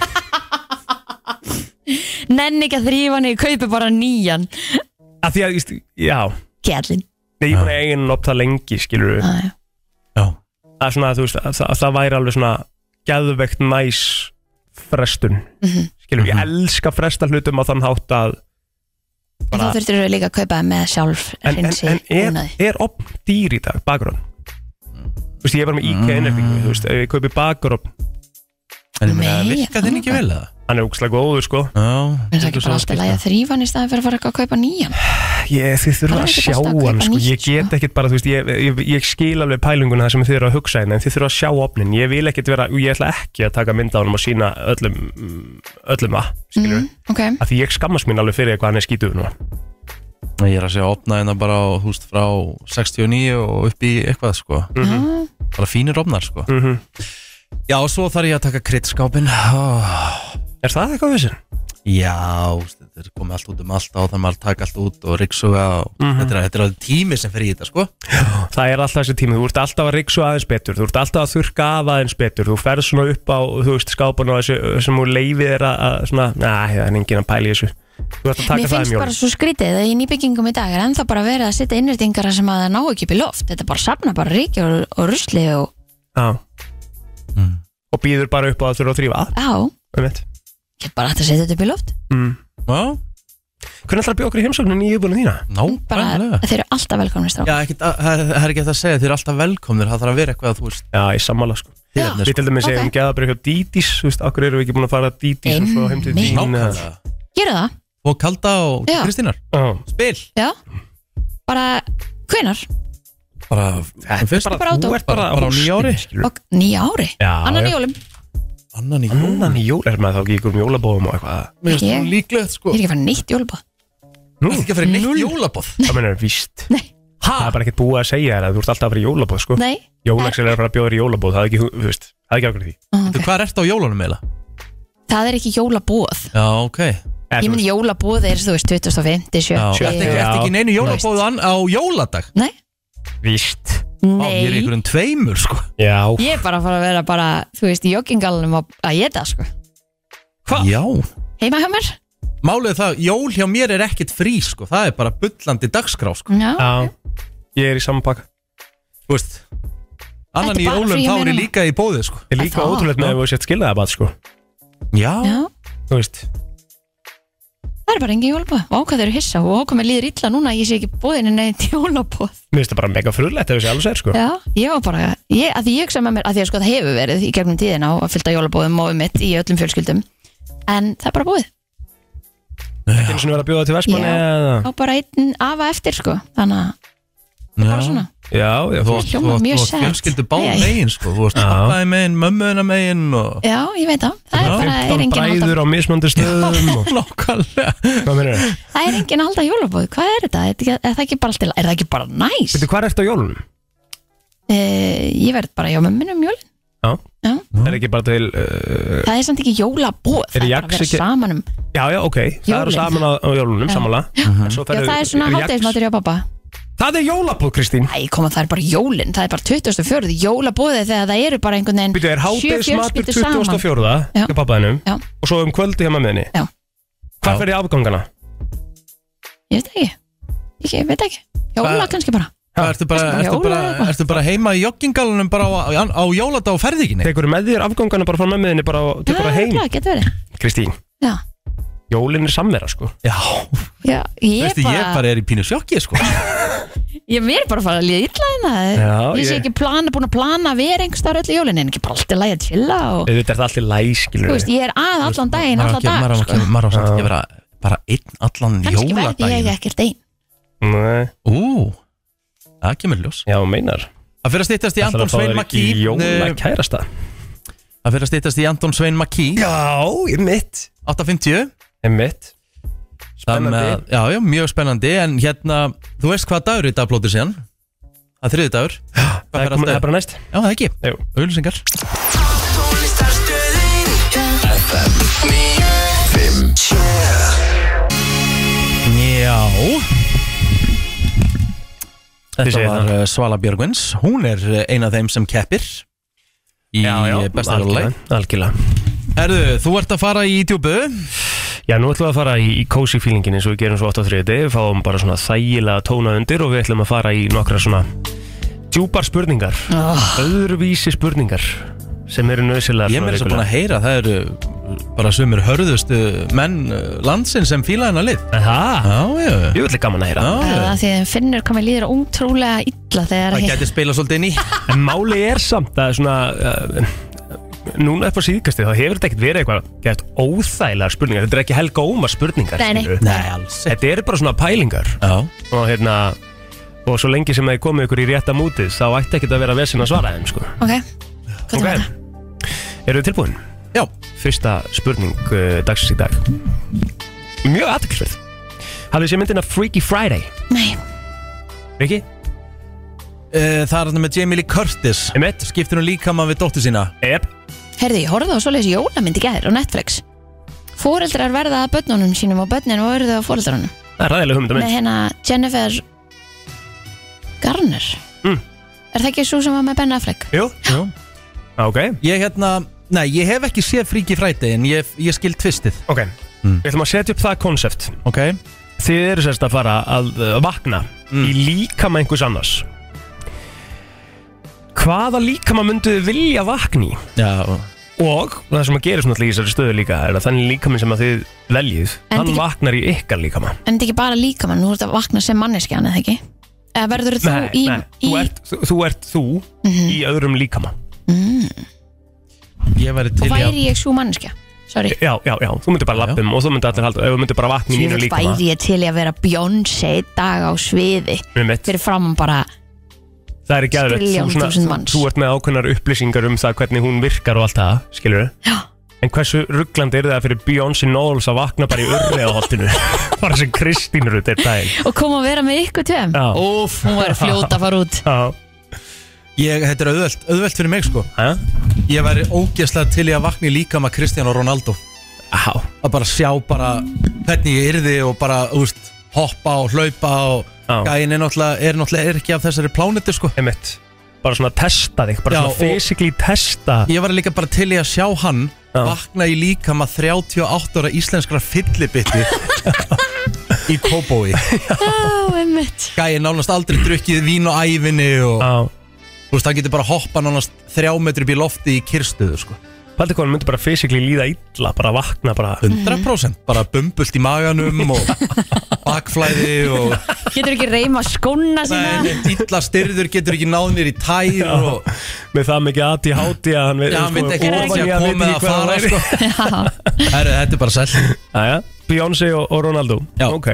Speaker 2: Nenni ekki að þrýfa hann, ég kaupi bara nýjan
Speaker 3: Að því að, ég veist, já,
Speaker 2: Kjallin
Speaker 3: ég er búin að eigin opn það lengi, skilur við,
Speaker 2: Já, já.
Speaker 3: að svona, þú veist, að, það- að það væri alveg svona geðveikt næs frestun
Speaker 2: Mhm.
Speaker 3: skilum, ég elska fresta hlutum á þann hátt að
Speaker 2: En
Speaker 3: Bara-
Speaker 2: Þú þurftir að líka að kaupa það með sjálf
Speaker 3: en, en,
Speaker 2: hreinsi
Speaker 3: en er,
Speaker 2: búnaði.
Speaker 3: er opn dýr í dag, bakgrunn þú veist, ég er bara með IKEA
Speaker 2: Mm.
Speaker 3: innrætingu þú veist, ef ég kaupi bakgrunn,
Speaker 1: En ég meina,
Speaker 2: Nei,
Speaker 1: virka þinn ekki vel eða?
Speaker 3: hann er úkslega góður sko
Speaker 1: Já,
Speaker 2: Er það ekki
Speaker 1: svo
Speaker 2: bara alltaf
Speaker 1: skipta.
Speaker 2: læg að þrýfa hann í staðin fyrir að fara eitthvað að kaupa nýjan?
Speaker 3: ég, þið
Speaker 2: Það er
Speaker 3: þurfa að
Speaker 2: ekki
Speaker 3: sjá
Speaker 2: best að kaupa
Speaker 3: hann sko,
Speaker 2: nýtt,
Speaker 3: ég get ekkert bara, þú veist ég, ég, ég skil alveg pælinguna það sem þið eru að hugsa hérna, en þið þurfa að sjá opnin, ég vil ekkert vera ég ætla ekki að taka mynda á hann og sína öllum öllum það, skilur
Speaker 2: Mm, ok,
Speaker 3: að því ég skammast mín alveg fyrir eitthvað hann er skítuð núna
Speaker 1: Ég er að segja opna hérna bara á, húst frá 69 og upp í eitthvað sko
Speaker 2: Mhm.
Speaker 1: Bara fínir opnar sko
Speaker 3: Mhm.
Speaker 1: Já, og svo þarf ég að taka kritskápin oh.
Speaker 3: Er það eitthvað vissin?
Speaker 1: Já, þú veist, þetta er komið allt út um allt á þannig að taka allt út og riksuga og
Speaker 2: Mhm.
Speaker 1: þetta, er, þetta er alveg tími sem fer í þetta sko
Speaker 3: Það er alltaf þessi tími, þú ert alltaf að riksu aðeins betur Þú ert alltaf að þurrka af aðeins betur Þú ferð svona upp á, þú veist, skápan og þessu sem hún leifið er að, að svona Næ, það er enginn að pæla í þessu Þú ert að
Speaker 2: mér
Speaker 3: taka það
Speaker 2: finnst
Speaker 3: um
Speaker 2: bara
Speaker 3: jólum
Speaker 2: svo skrítið að í nýbyggingum í dag er ennþá bara verið að setja innrýtingara sem að það ná ekki upp í loft Þetta bara safna bara ríki og, og rusli og
Speaker 3: Já Og býður bara upp á að þurfa að þrýfa
Speaker 2: á,
Speaker 3: um eitt
Speaker 2: get bara hægt að setja þetta upp í loft
Speaker 3: mm.
Speaker 1: Já,
Speaker 3: Hvernig ætlar að bjóða okkur í heimsóknin í yfirbúinu þína?
Speaker 2: Bara,
Speaker 1: nákvæmlega
Speaker 2: þeir eru alltaf velkomni stráð
Speaker 1: Já, ekkit, að- það það er ekki hægt að segja, þið er alltaf velkomnir Það þarf að vera eitthvað að þú veist
Speaker 3: Já, ég sammála sko
Speaker 2: Já.
Speaker 1: tilefni,
Speaker 3: Við
Speaker 1: sko.
Speaker 3: til dæmis
Speaker 2: Ok.
Speaker 3: segjum geðabrið hjá Dídís Þú veist, okkur erum við ekki búin að fara að Dídís og svo heim til
Speaker 2: Einmitt.
Speaker 3: þín eða-
Speaker 1: Nákvæmlega.
Speaker 2: Gera það,
Speaker 1: Og Kalda og
Speaker 2: Já.
Speaker 1: Kristínar
Speaker 3: Já.
Speaker 1: Spil
Speaker 2: já Bara, hvenar?
Speaker 1: Bara, fyrst
Speaker 2: bara átó.
Speaker 3: Þú ert bara
Speaker 1: Bara á nýju ári.
Speaker 3: skilur.
Speaker 2: Og nýja ári,
Speaker 3: Já,
Speaker 2: annan
Speaker 3: já.
Speaker 2: í jólum
Speaker 1: Annan í jól
Speaker 3: Annan í jól er maður þá ekki ykkur um jólabóðum og eitthvað
Speaker 1: Mér finnst
Speaker 2: Ég-
Speaker 1: hún líklegt sko
Speaker 2: Ég er ekki að fara nýtt jólubóð
Speaker 3: Nú,
Speaker 1: Það er ekki að fara í neitt jólabóð
Speaker 3: það mennur víst
Speaker 2: Nei,
Speaker 3: Það er bara ekkert búið að segja þér að þú ert alltaf að fara í jólabóð sko.
Speaker 2: nei,
Speaker 3: Jólaxel er að fara að bjóða þér í jólabóð Það er ekki, þú veist, það er ekki ákveðið því
Speaker 2: Ó,
Speaker 1: Þú,
Speaker 2: ok.
Speaker 1: Hvað er eftir á jólunum eiginlega?
Speaker 2: það er ekki jólabóð
Speaker 1: Já, ok
Speaker 3: Eða,
Speaker 2: Ég
Speaker 3: þú
Speaker 2: minn
Speaker 3: veist,
Speaker 2: jólabóð er, þú veist, 25, 70
Speaker 1: Þetta ekki,
Speaker 3: Já.
Speaker 1: ertu ekki í neinu jólabóðu an, á jóladag
Speaker 2: Nei,
Speaker 3: Víst
Speaker 1: Vá, Ég er
Speaker 2: nei
Speaker 1: ykkur um tveimur sko
Speaker 3: Já
Speaker 2: Ég er bara að fara að vera bara, þú veist, í joggingalunum að að geta, sko.
Speaker 3: Hva?
Speaker 1: Já
Speaker 2: Heima hjá mér?
Speaker 1: Málið er það, jól hjá mér er ekkert frí sko Það er bara bullandi dagskrá sko
Speaker 2: Já.
Speaker 3: Já Ég er í saman pakka
Speaker 1: Þú veist Annan
Speaker 2: Þetta er
Speaker 1: í
Speaker 2: bara
Speaker 1: jólum
Speaker 2: frí hjá
Speaker 1: þá
Speaker 2: mér
Speaker 1: er ég
Speaker 2: núna.
Speaker 1: líka í bóði sko
Speaker 3: Ég er
Speaker 2: Það
Speaker 3: líka
Speaker 2: það?
Speaker 3: ótrúlegt með að þú sett skiljaða bát sko
Speaker 1: Já,
Speaker 2: Já.
Speaker 3: Þú veist
Speaker 2: það er bara engin jólabóð og ákvað þeir eru hissa og ákvað mér líður illa núna að ég sé ekki bóðinu neitt jólabóð
Speaker 3: Mér finnst það bara mega frulegt ef þessi alveg sér sko
Speaker 2: Já, ég var bara, ég, að því ég hugsa með mér að því að sko það hefur verið í gegnum tíðina og að fylta jólabóðum og um mitt í öllum fjölskyldum en það er bara búið,
Speaker 3: Ekki eins og vera að bjóða til Vestmanni
Speaker 2: Já.
Speaker 3: eða
Speaker 2: þá bara einn afa eftir sko, þannig að það er bara svona
Speaker 3: Já,
Speaker 1: Þú
Speaker 3: já, þú
Speaker 1: varst-
Speaker 2: hljómar
Speaker 1: þú varst-
Speaker 2: mjög
Speaker 1: þú varst
Speaker 2: sad.
Speaker 1: fjölskyldu báð
Speaker 2: Nei.
Speaker 1: megin sko. Þú varst
Speaker 3: Já.
Speaker 1: pappaði megin, mömmuðina megin og...
Speaker 2: Já, ég veit það, það er bara, er
Speaker 3: 15
Speaker 2: engin að halda
Speaker 3: bræður á mismöndu stöðum og
Speaker 1: Nákvæmlega
Speaker 3: hvað meinar þau?
Speaker 2: það er engin að halda jólabóð, hvað er þetta, er, er, er það ekki bara alltaf, er það ekki bara næs?
Speaker 3: Veitu, hvað ertu á jólunum?
Speaker 2: Uh, ég verð bara hjá mömminu um jólin
Speaker 3: Já,
Speaker 2: Já.
Speaker 3: er ekki bara til uh,
Speaker 2: það er samt ekki jólabóð,
Speaker 3: Eh.
Speaker 2: það er
Speaker 3: Er
Speaker 2: bara að
Speaker 3: Jax
Speaker 2: vera
Speaker 3: ekki-
Speaker 2: saman um
Speaker 3: Já, já, ok, það eru
Speaker 2: Jólin.
Speaker 3: saman á, á jólunum, samanlega En svo
Speaker 2: Já,
Speaker 3: ferðu-
Speaker 2: það er svona
Speaker 3: eru jax-
Speaker 2: hátægismatur hjá pappa
Speaker 3: Það er jólabóð, Kristín
Speaker 2: Æ, koma, það er bara jólin, það er bara 24. jólabóðið þegar það eru bara einhvern veginn
Speaker 3: Býtu, er
Speaker 2: sjö
Speaker 3: hátægismatur
Speaker 2: fjölskyldur saman.
Speaker 3: 24.
Speaker 2: Já.
Speaker 3: hjá pappaðinum
Speaker 2: Já.
Speaker 3: og svo um kvöldi hjá mammiðinni
Speaker 2: Já.
Speaker 3: Hvað ferði afgangana?
Speaker 2: Ég veit ekki, ég, ég veit ekki Jóla
Speaker 1: Hvað-
Speaker 2: kannski bara
Speaker 1: Hvað, Ertu bara,
Speaker 2: Ertu bara
Speaker 1: ertu,
Speaker 2: jóla
Speaker 1: bara,
Speaker 2: eða eitthvað?
Speaker 1: ertu bara heima í joggingalunum bara á, á, á jóladag og ferði ekki neitt?
Speaker 3: Tekur með þér afgangana bara frá mammiðinni bara, og tekur
Speaker 2: Já,
Speaker 3: það heim?
Speaker 2: örugglega, getur verið
Speaker 3: Kristín,
Speaker 2: Já,
Speaker 3: jólin er samvera, sko
Speaker 1: Já,
Speaker 2: já ég,
Speaker 1: veistu,
Speaker 2: bara,
Speaker 1: ég bara er í pínu sjokki sko.
Speaker 2: ég mér er bara að fara að líða illa hérna
Speaker 3: Já,
Speaker 2: Ég sé
Speaker 3: ég-
Speaker 2: ekki plana, búin að plana að vera einhvers þar öllu jólin en ekki bara alltaf lægja að chilla og
Speaker 3: Þetta er það allir
Speaker 2: Þú
Speaker 3: læskilur
Speaker 2: veist, ég er að allan daginn,
Speaker 1: Maður á
Speaker 2: allan
Speaker 1: ekki-
Speaker 2: dag
Speaker 1: maður á
Speaker 2: sko.
Speaker 1: ekki- Maður á samt ekki að vera bara einn allan
Speaker 2: Kannski verði ég
Speaker 1: jóladaginn
Speaker 2: ekkert einn
Speaker 3: Nei,
Speaker 1: Ú, það kemur ljós
Speaker 3: já, meinar
Speaker 1: Það fyrir að styttast í
Speaker 3: Ætlarðu
Speaker 1: Anton
Speaker 3: að fá
Speaker 1: Svein
Speaker 3: þér
Speaker 1: Makki
Speaker 3: ekki Jóla
Speaker 1: eh,
Speaker 3: kærasta
Speaker 1: Það fyrir að styttast í Anton Svein Makki
Speaker 3: Já, ég mitt
Speaker 1: 8.50
Speaker 3: Ég mitt
Speaker 1: Það með-
Speaker 3: Spennandi.
Speaker 1: Já, já, mjög spennandi En hérna, þú veist hvað dagur í dag plótir síðan Það er þriði dagur Hvað
Speaker 3: Það
Speaker 1: fer
Speaker 3: er komin- það
Speaker 1: alltaf-
Speaker 3: er bara næst
Speaker 1: Já, það ekki
Speaker 3: Jú.
Speaker 1: Auðlýsingar
Speaker 4: Tónlistarstöðin FM 9 5
Speaker 1: Já
Speaker 3: Þið
Speaker 1: Þetta
Speaker 3: segið
Speaker 1: var uh, Svala Björgvins Hún er uh, ein af þeim sem keppir Í eh, besta rúlega
Speaker 3: algjörlega, algjörlega
Speaker 1: Herðu, þú ert að fara í djúbu
Speaker 3: Já, nú ætlum við að fara í, í cozy feelingin eins og við gerum svo 8 á 3 Við fáum bara svona þægilega tóna undir og við ætlum að fara í nokkra svona djúpar spurningar öðruvísi spurningar sem eru nöðsilegar
Speaker 1: Ég er mér þess að búin að heyra Það eru bara sumir hörðustu menn uh, landsins sem fíla hennar lið
Speaker 3: Það,
Speaker 1: Já, já, já,
Speaker 3: ég vil gaman að heyra
Speaker 1: já.
Speaker 2: Það því þeim finnur hvað mér líður ótrúlega illa þegar
Speaker 1: Það
Speaker 2: hitt-
Speaker 1: gæti spila svolítið inn í
Speaker 3: En máli er samt að svona uh, Núna upp á síðkastu þá hefur þetta ekkert verið eitthvað gett óþægilegar spurningar Þetta er ekki helga ómar spurningar
Speaker 2: Nei, nei.
Speaker 3: skilurðu.
Speaker 1: Nei, alls
Speaker 3: Þetta eru bara svona pælingar
Speaker 1: Já,
Speaker 3: og, hérna, og svo lengi sem þið komið ykkur í rétta mútið þá ætti ekkert að vera vesinn að svara þeim sko.
Speaker 2: Ok, hvað er
Speaker 3: Ok.
Speaker 2: þetta?
Speaker 3: Eru þið tilbúin?
Speaker 1: já
Speaker 3: Fyrsta spurning uh, dagsins í dag Mjög aðtöklisverð Hafið sér myndina Freaky Friday
Speaker 2: Nei,
Speaker 3: Riki?
Speaker 1: Eh, Það er þarna með Jamie Lee Curtis
Speaker 3: Emmett?
Speaker 1: Skiptir hún líka maður við dóttir sína
Speaker 3: Ebb?
Speaker 2: Herði, ég horfði á svoleiðis jólamynd í gær á Netflix Fóreldrar verða að börnunum sínum og börnin og verða að fóreldrarunum
Speaker 3: Það er ræðilega hugmynd að
Speaker 2: með
Speaker 3: mynd
Speaker 2: hérna Jennifer Garner
Speaker 3: Mm.
Speaker 2: Er það ekki svo sem var með Ben Affleck?
Speaker 3: Jú?
Speaker 1: Jú.
Speaker 3: Ah, Ok,
Speaker 1: Ég hérna, nei, ég hef ekki séð Freaky Friday En ég, ég skil tvistið
Speaker 3: ok Við ætlum að setja upp það konsept
Speaker 1: Ok
Speaker 3: Þið eru sérst að fara að uh, vakna í líkama einhvers annars Hvaða líkama mynduðu vilja vakna í?
Speaker 1: Já,
Speaker 3: Og það sem að gera svona í þessari stöðu líka er að þannig líkami sem að þið veljið
Speaker 2: En
Speaker 3: hann
Speaker 2: ekki-
Speaker 3: vaknar í ykkar líkama
Speaker 2: En þetta er ekki bara líka mann, nú ertu að vakna sem manneskja hann eða ekki? Eða verður þú í, í Mhm.
Speaker 3: þú, ert, þú, þú ert þú í öðrum líkama
Speaker 1: ég væri til í
Speaker 2: og
Speaker 1: að
Speaker 2: Mm. væri ég svo manneskja? Sorry
Speaker 3: Já, já, já, þú myndir bara lappum og þú myndir allir halda, ef þú myndir bara vakna í mínu
Speaker 2: Jöfull
Speaker 3: líkama
Speaker 2: væri ég til í að vera Beyoncé í dag á sviði
Speaker 3: Mér mitt,
Speaker 2: fyrir framann bara
Speaker 3: það er ekki aðrið
Speaker 2: Trilljón þúsund manns.
Speaker 3: þú ert með ákveðnar upplýsingar um það hvernig hún virkar og allt það, skilur
Speaker 2: Já.
Speaker 3: En hversu rugglandi er það fyrir Beyoncé Knowles að vakna bara í örlegaholtinu bara sem Kristín Rutt er daginn
Speaker 2: og koma að vera með ykkur tveim
Speaker 3: Já,
Speaker 1: Óf
Speaker 2: Hún var fljóta að fara út
Speaker 3: já,
Speaker 1: Ég, þetta er auðvelt, auðvelt fyrir mig sko
Speaker 3: já,
Speaker 1: Ég væri ógeðslega til í að vakna í líka maður Kristján og Ronaldo
Speaker 3: já
Speaker 1: Að bara sjá bara hvernig ég yrði Og bara, úst, hoppa og hlaupa Og
Speaker 3: Já.
Speaker 1: gæin er náttúrulega, er náttúrulega er ekki af þessari plánetu sko
Speaker 3: einmitt bara svona testa þig, bara
Speaker 1: Já, og-
Speaker 3: svona physically testa
Speaker 1: Ég var líka bara til í að sjá hann
Speaker 3: Já.
Speaker 1: vakna í líkama 38 ára íslenskra fyllibitti í Kóbói
Speaker 2: Já, einmitt
Speaker 1: Gæi nánast aldrei drukkið vín og ævinni og
Speaker 3: Já,
Speaker 1: þú veist, hann getur bara hoppa nánast þrjá metri upp í lofti í kyrstuðu sko.
Speaker 3: Paldi hvað hann myndi bara fysikli líða illa Bara vakna bara Mhm.
Speaker 1: 100% bara bumbult í maganum og bakflæði og
Speaker 2: Getur ekki reyma skóna sína
Speaker 1: Nei, neitt illa styrður getur ekki náð nýr í tær og
Speaker 3: Með það mikið aðti háti að hann veit
Speaker 1: Já, hann veit ekki
Speaker 3: sko
Speaker 1: hvernig
Speaker 3: ofan
Speaker 1: að
Speaker 3: í hann
Speaker 1: koma eða
Speaker 3: veit ekki hvað hann
Speaker 1: fara
Speaker 3: væri.
Speaker 1: sko.
Speaker 2: Já,
Speaker 1: Herru, þetta er bara sæl
Speaker 3: Jæja, Beyoncé og, og Ronaldo
Speaker 1: Já.
Speaker 3: Ok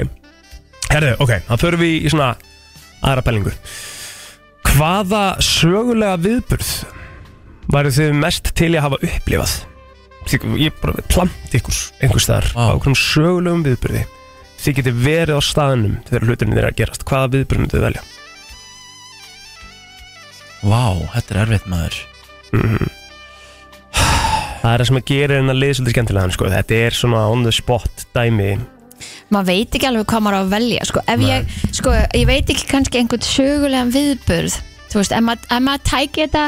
Speaker 3: Herðu, ok, þá förum við í svona aðra pælingu Hvaða sögulega viðburð væru þið mest til í að hafa upplifað? Þið- Ég bara plant ykkur einhvers staðar
Speaker 1: Vá.
Speaker 3: á okkur sögulegum viðburði Þið getið verið á staðnum þegar hlutinni þeirra gerast Hvaða viðburð myndið velja?
Speaker 1: Vá, þetta er erfitt maður
Speaker 3: Mhm. Það er það sem að gera hennar lið svolítið skemmtilegan sko. Þetta er svona on the spot dæmi
Speaker 2: maður veit ekki alveg hvað maður á að velja sko. Ef ég, sko, ég veit ekki kannski einhvern sögulegan viðburð Þú veist, ef maður, ef maður tæki þetta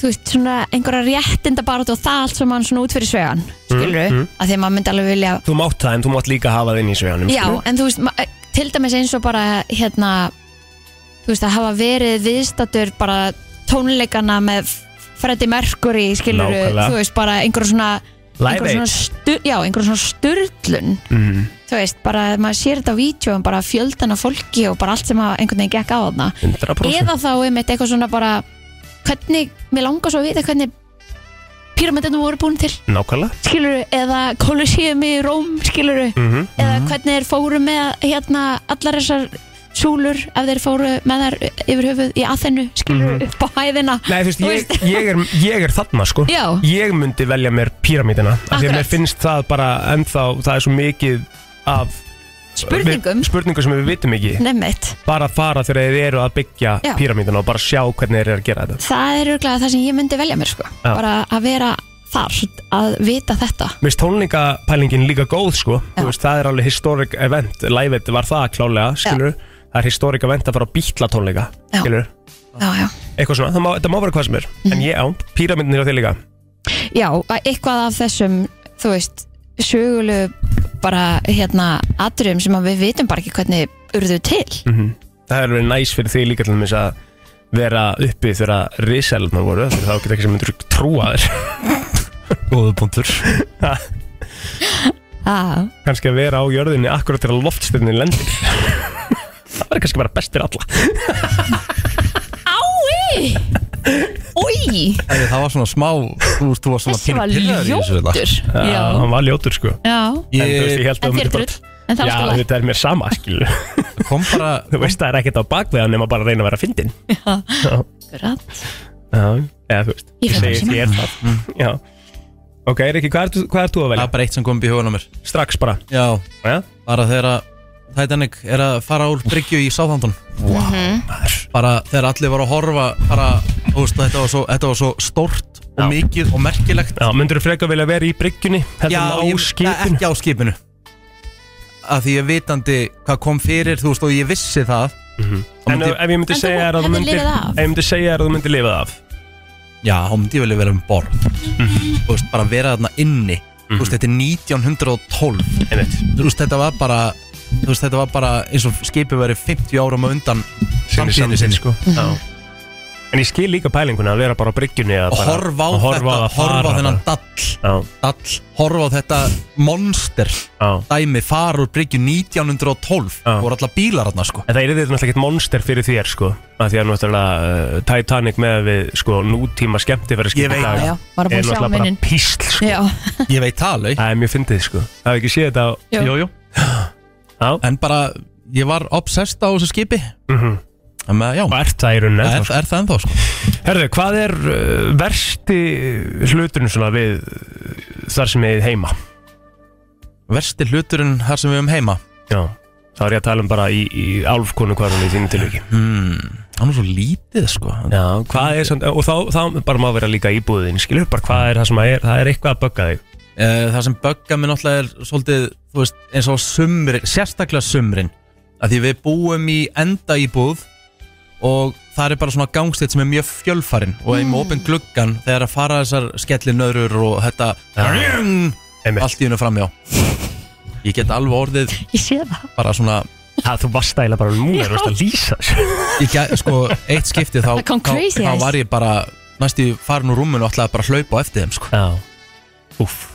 Speaker 2: Þú veist, svona einhverja réttinda bara og það allt sem mann svona út fyrir svegan Skilur við?
Speaker 3: Mhm.
Speaker 2: Mm, Því að maður myndi alveg vilja
Speaker 3: Þú mátt það en þú mátt líka hafa það inn í sveganum
Speaker 2: Já, en þú veist, ma- eh, til dæmis eins og bara hérna, þú veist, að hafa verið viðstatur bara tónleikana með Freddy Mercury, skilur
Speaker 3: Nákvæmlega.
Speaker 2: þú veist, bara einhverjum svona
Speaker 3: Live
Speaker 2: einhverjum svona,
Speaker 3: Aid.
Speaker 2: stu, já, einhverjum svona sturlun
Speaker 3: mm.
Speaker 2: þú veist, bara að maður sér þetta á vídjóum bara fjöldan af fólki og bara allt sem að einhvern veginn gekk á þarna
Speaker 3: 100%
Speaker 2: eða þá einmitt eitthvað svona bara hvernig, mér langar svo að vita hvernig píramætinu voru búin til
Speaker 3: Nákvæmlega
Speaker 2: skiluru, eða Colosseum í Róm skiluru,
Speaker 3: Mhm.
Speaker 2: eða hvernig þeir fóru með hérna allar þessar súlur ef þeir fóru með þær yfir höfuð í aðennu, skiluru, upp á hæðina
Speaker 3: Nei, þú veist,
Speaker 2: Þú
Speaker 3: ég, ég, er, ég er þarna sko
Speaker 2: Já.
Speaker 3: Ég myndi velja mér píramítina af Því að
Speaker 2: Akkurat.
Speaker 3: mér finnst það bara ennþá Það er svo mikið af
Speaker 2: spurningum,
Speaker 3: við, Spurningum sem við vitum ekki
Speaker 2: nefnitt
Speaker 3: Bara fara þegar þeir eru að byggja
Speaker 2: Já.
Speaker 3: píramítina Og bara sjá hvernig þeir eru að gera þetta
Speaker 2: það er örglega það sem ég myndi velja mér sko,
Speaker 3: Já.
Speaker 2: bara að vera þar að vita þetta
Speaker 3: Mér finnst tónleikapælingin líka góð sko
Speaker 2: Já.
Speaker 3: Þú veist, það er alveg historic event Live it var það klálega, skilur Það er historic event að fara á bítla tónleika
Speaker 2: Já.
Speaker 3: Skilur,
Speaker 2: já, já
Speaker 3: eitthvað svona, það má, það má vera hvað sem er
Speaker 2: Mhm.
Speaker 3: En ég á, píramítin er á þér líka
Speaker 2: Já, að eitthvað af þessum, þú veist, sögulegu bara, hérna, atriðum sem að við vitum bara ekki hvernig urðu til.
Speaker 3: það hefur verið næs fyrir því líka til þess að vera uppi þegar að risalarnar voru fyrir þá geta ekki sem myndur trúa þér
Speaker 1: Góðu punktur
Speaker 2: Ah.
Speaker 3: kannski að vera á jörðinni akkurat til að loftstyrnin lendir það verður kannski bara best fyrir alla
Speaker 2: Ái! Új!
Speaker 1: Það var svona smá, þú veist, þú var svona
Speaker 2: Þessi var
Speaker 1: pínu pirraður í þessu, þetta.
Speaker 2: ljótur. Já.
Speaker 3: hann var ljótur sko
Speaker 2: Já.
Speaker 3: en þú veist ég
Speaker 1: Ég
Speaker 3: held
Speaker 2: En
Speaker 3: að
Speaker 2: þér
Speaker 3: myndi
Speaker 2: drull. En það
Speaker 3: já
Speaker 2: er alltaf lægt.
Speaker 3: þetta er mér sama skilu
Speaker 1: kom bara
Speaker 3: þú veist það er ekkert á bakveðan nema bara að reyna að vera fyndin já, eða þú veist
Speaker 2: Ég fer bara
Speaker 3: segi
Speaker 2: síma.
Speaker 3: þér það já ok Rikki hvað ert- hvað ert þú að
Speaker 1: Það
Speaker 3: velja
Speaker 1: er bara eitt sem kom upp í hugan á mér
Speaker 3: strax bara
Speaker 1: Já,
Speaker 3: já
Speaker 1: bara þegar að Titanic er að fara úr bryggju í Southampton Bara þegar allir var að horfa bara, þú veist, þetta var svo, þetta var svo stórt og
Speaker 3: Já.
Speaker 1: mikið og merkilegt
Speaker 3: Já, myndur þú frekar vilja vera í bryggjunni heldur
Speaker 1: Já,
Speaker 3: en á
Speaker 1: ég-
Speaker 3: skipinu?
Speaker 1: Nei, ekki á skipinu Af því ég vitandi hvað kom fyrir, þú veist, og ég vissi það Þá
Speaker 3: En
Speaker 1: myndi-
Speaker 3: ef ég
Speaker 2: En
Speaker 3: myndi
Speaker 2: þú
Speaker 3: segja þér að þú
Speaker 2: hefðir
Speaker 3: myndir
Speaker 2: lifað af.
Speaker 3: Ef ég myndi segja þér að þú myndir lifað af
Speaker 1: Já, þá myndi ég velja vera um borð Þú veist, bara vera þarna inni Þú veist, þetta er 1912
Speaker 3: Einmitt
Speaker 1: Þú veist, þetta var bara Þú veist, þetta var bara eins og skipið verið 50 árum á undan samtíðinni sinni
Speaker 3: sko Já En ég skil líka pælinguna að vera bara á bryggjunni eða
Speaker 1: Og
Speaker 3: bara-
Speaker 1: horfa á
Speaker 3: að horfa
Speaker 1: þetta,
Speaker 3: að
Speaker 1: horfa á
Speaker 3: fara
Speaker 1: þennan
Speaker 3: bara.
Speaker 1: dall
Speaker 3: Já,
Speaker 1: Dall, horfa á þetta monster
Speaker 3: já
Speaker 1: Dæmi fara úr bryggju 1912
Speaker 3: Já.
Speaker 1: Það voru alltaf bílar þarna, sko
Speaker 3: En það er þetta náttúrulega ekkert monster fyrir þér sko að Því að náttúrulega uh, Titanic með við sko nútíma skemmti verið
Speaker 1: Ég veit
Speaker 2: Já, já, var að búin
Speaker 3: Er
Speaker 2: að sjá
Speaker 3: náttúrulega bara
Speaker 2: minnin.
Speaker 3: písl sko
Speaker 2: Já,
Speaker 1: Ég veit það alveg
Speaker 3: Það er mjög fyndið sko Það hef ekki séð þetta á
Speaker 2: Jú.
Speaker 3: jú Já,
Speaker 1: En bara, ég var obsessed á þessu skipi
Speaker 3: mhm
Speaker 1: Þannig að, já,
Speaker 3: Og ert það í rauninni
Speaker 1: er,
Speaker 3: ennþá,
Speaker 1: er það ennþá, sko
Speaker 3: Herðu, hvað er uh, versti hluturinn svona við uh, þar sem við heima?
Speaker 1: Versti hluturinn þar sem við um heima
Speaker 3: Já, þá er ég að tala um bara í, í álfkonu hvarun í þínu tilviki
Speaker 1: Hmm, hann er svo lítið sko
Speaker 3: Já, hvað er samt, og þá, þá bara má vera líka íbúðin, skilur, bara hvað er það sem að er, það er eitthvað að bögga þig
Speaker 1: Eh, Það sem bögga mér náttúrulega er svolítið þú veist, eins og sumrin, sérstaklega sumrin að því við búum í enda íbúð og það er bara svona gangstitt sem er mjög fjölfarin og er með opinn gluggan þegar að fara þessar skellinöðrur og þetta
Speaker 3: Einmitt.
Speaker 1: allt í hennu framjá Ég get alveg orðið
Speaker 2: ég sé það.
Speaker 1: bara svona
Speaker 3: Það þú varst ægilega bara núna, þú varst að lýsa þessu.
Speaker 1: ég, gæ- sko, eitt skipti þá,
Speaker 2: Það kom
Speaker 1: þá,
Speaker 2: crazy
Speaker 1: þá
Speaker 2: eyes.
Speaker 1: var ég bara næstu farin úr rúmunu og ætlaði bara að hlaupa á eftir þeim sko.
Speaker 3: Já, úff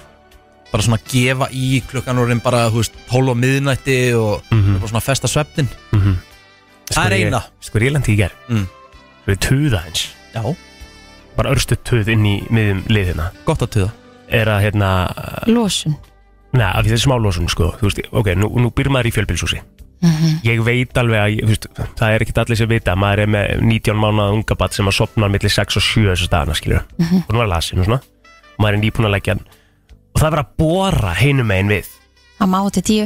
Speaker 1: bara svona að gefa í klukkan og bara, þú veist, 12 og miðnætti og bara svona að festa svefnin Það er eina.
Speaker 3: Sko er ég landi í ger
Speaker 1: Mm.
Speaker 3: Við tuða eins
Speaker 1: Já,
Speaker 3: Bara örstu tuð inn í miðum liðina
Speaker 1: gott að tuða
Speaker 3: Er að hérna
Speaker 2: Lósun
Speaker 3: Nei, af því þetta er smálósun sko Þú veist, ok, nú, nú býr maður í fjölbílshúsi
Speaker 2: Mhm.
Speaker 3: Ég veit alveg að, ég- þú veist, það er ekkert allir sem vita Maður er með 19 mánuða unga bat sem að sopna millir 6 og 7 þessu dagana, skilur
Speaker 2: Mhm.
Speaker 3: Og nú er lasin og svona Og maður er nýbúin að leggja hann Og það er verið að bóra hinum megin við
Speaker 2: Að má til tíu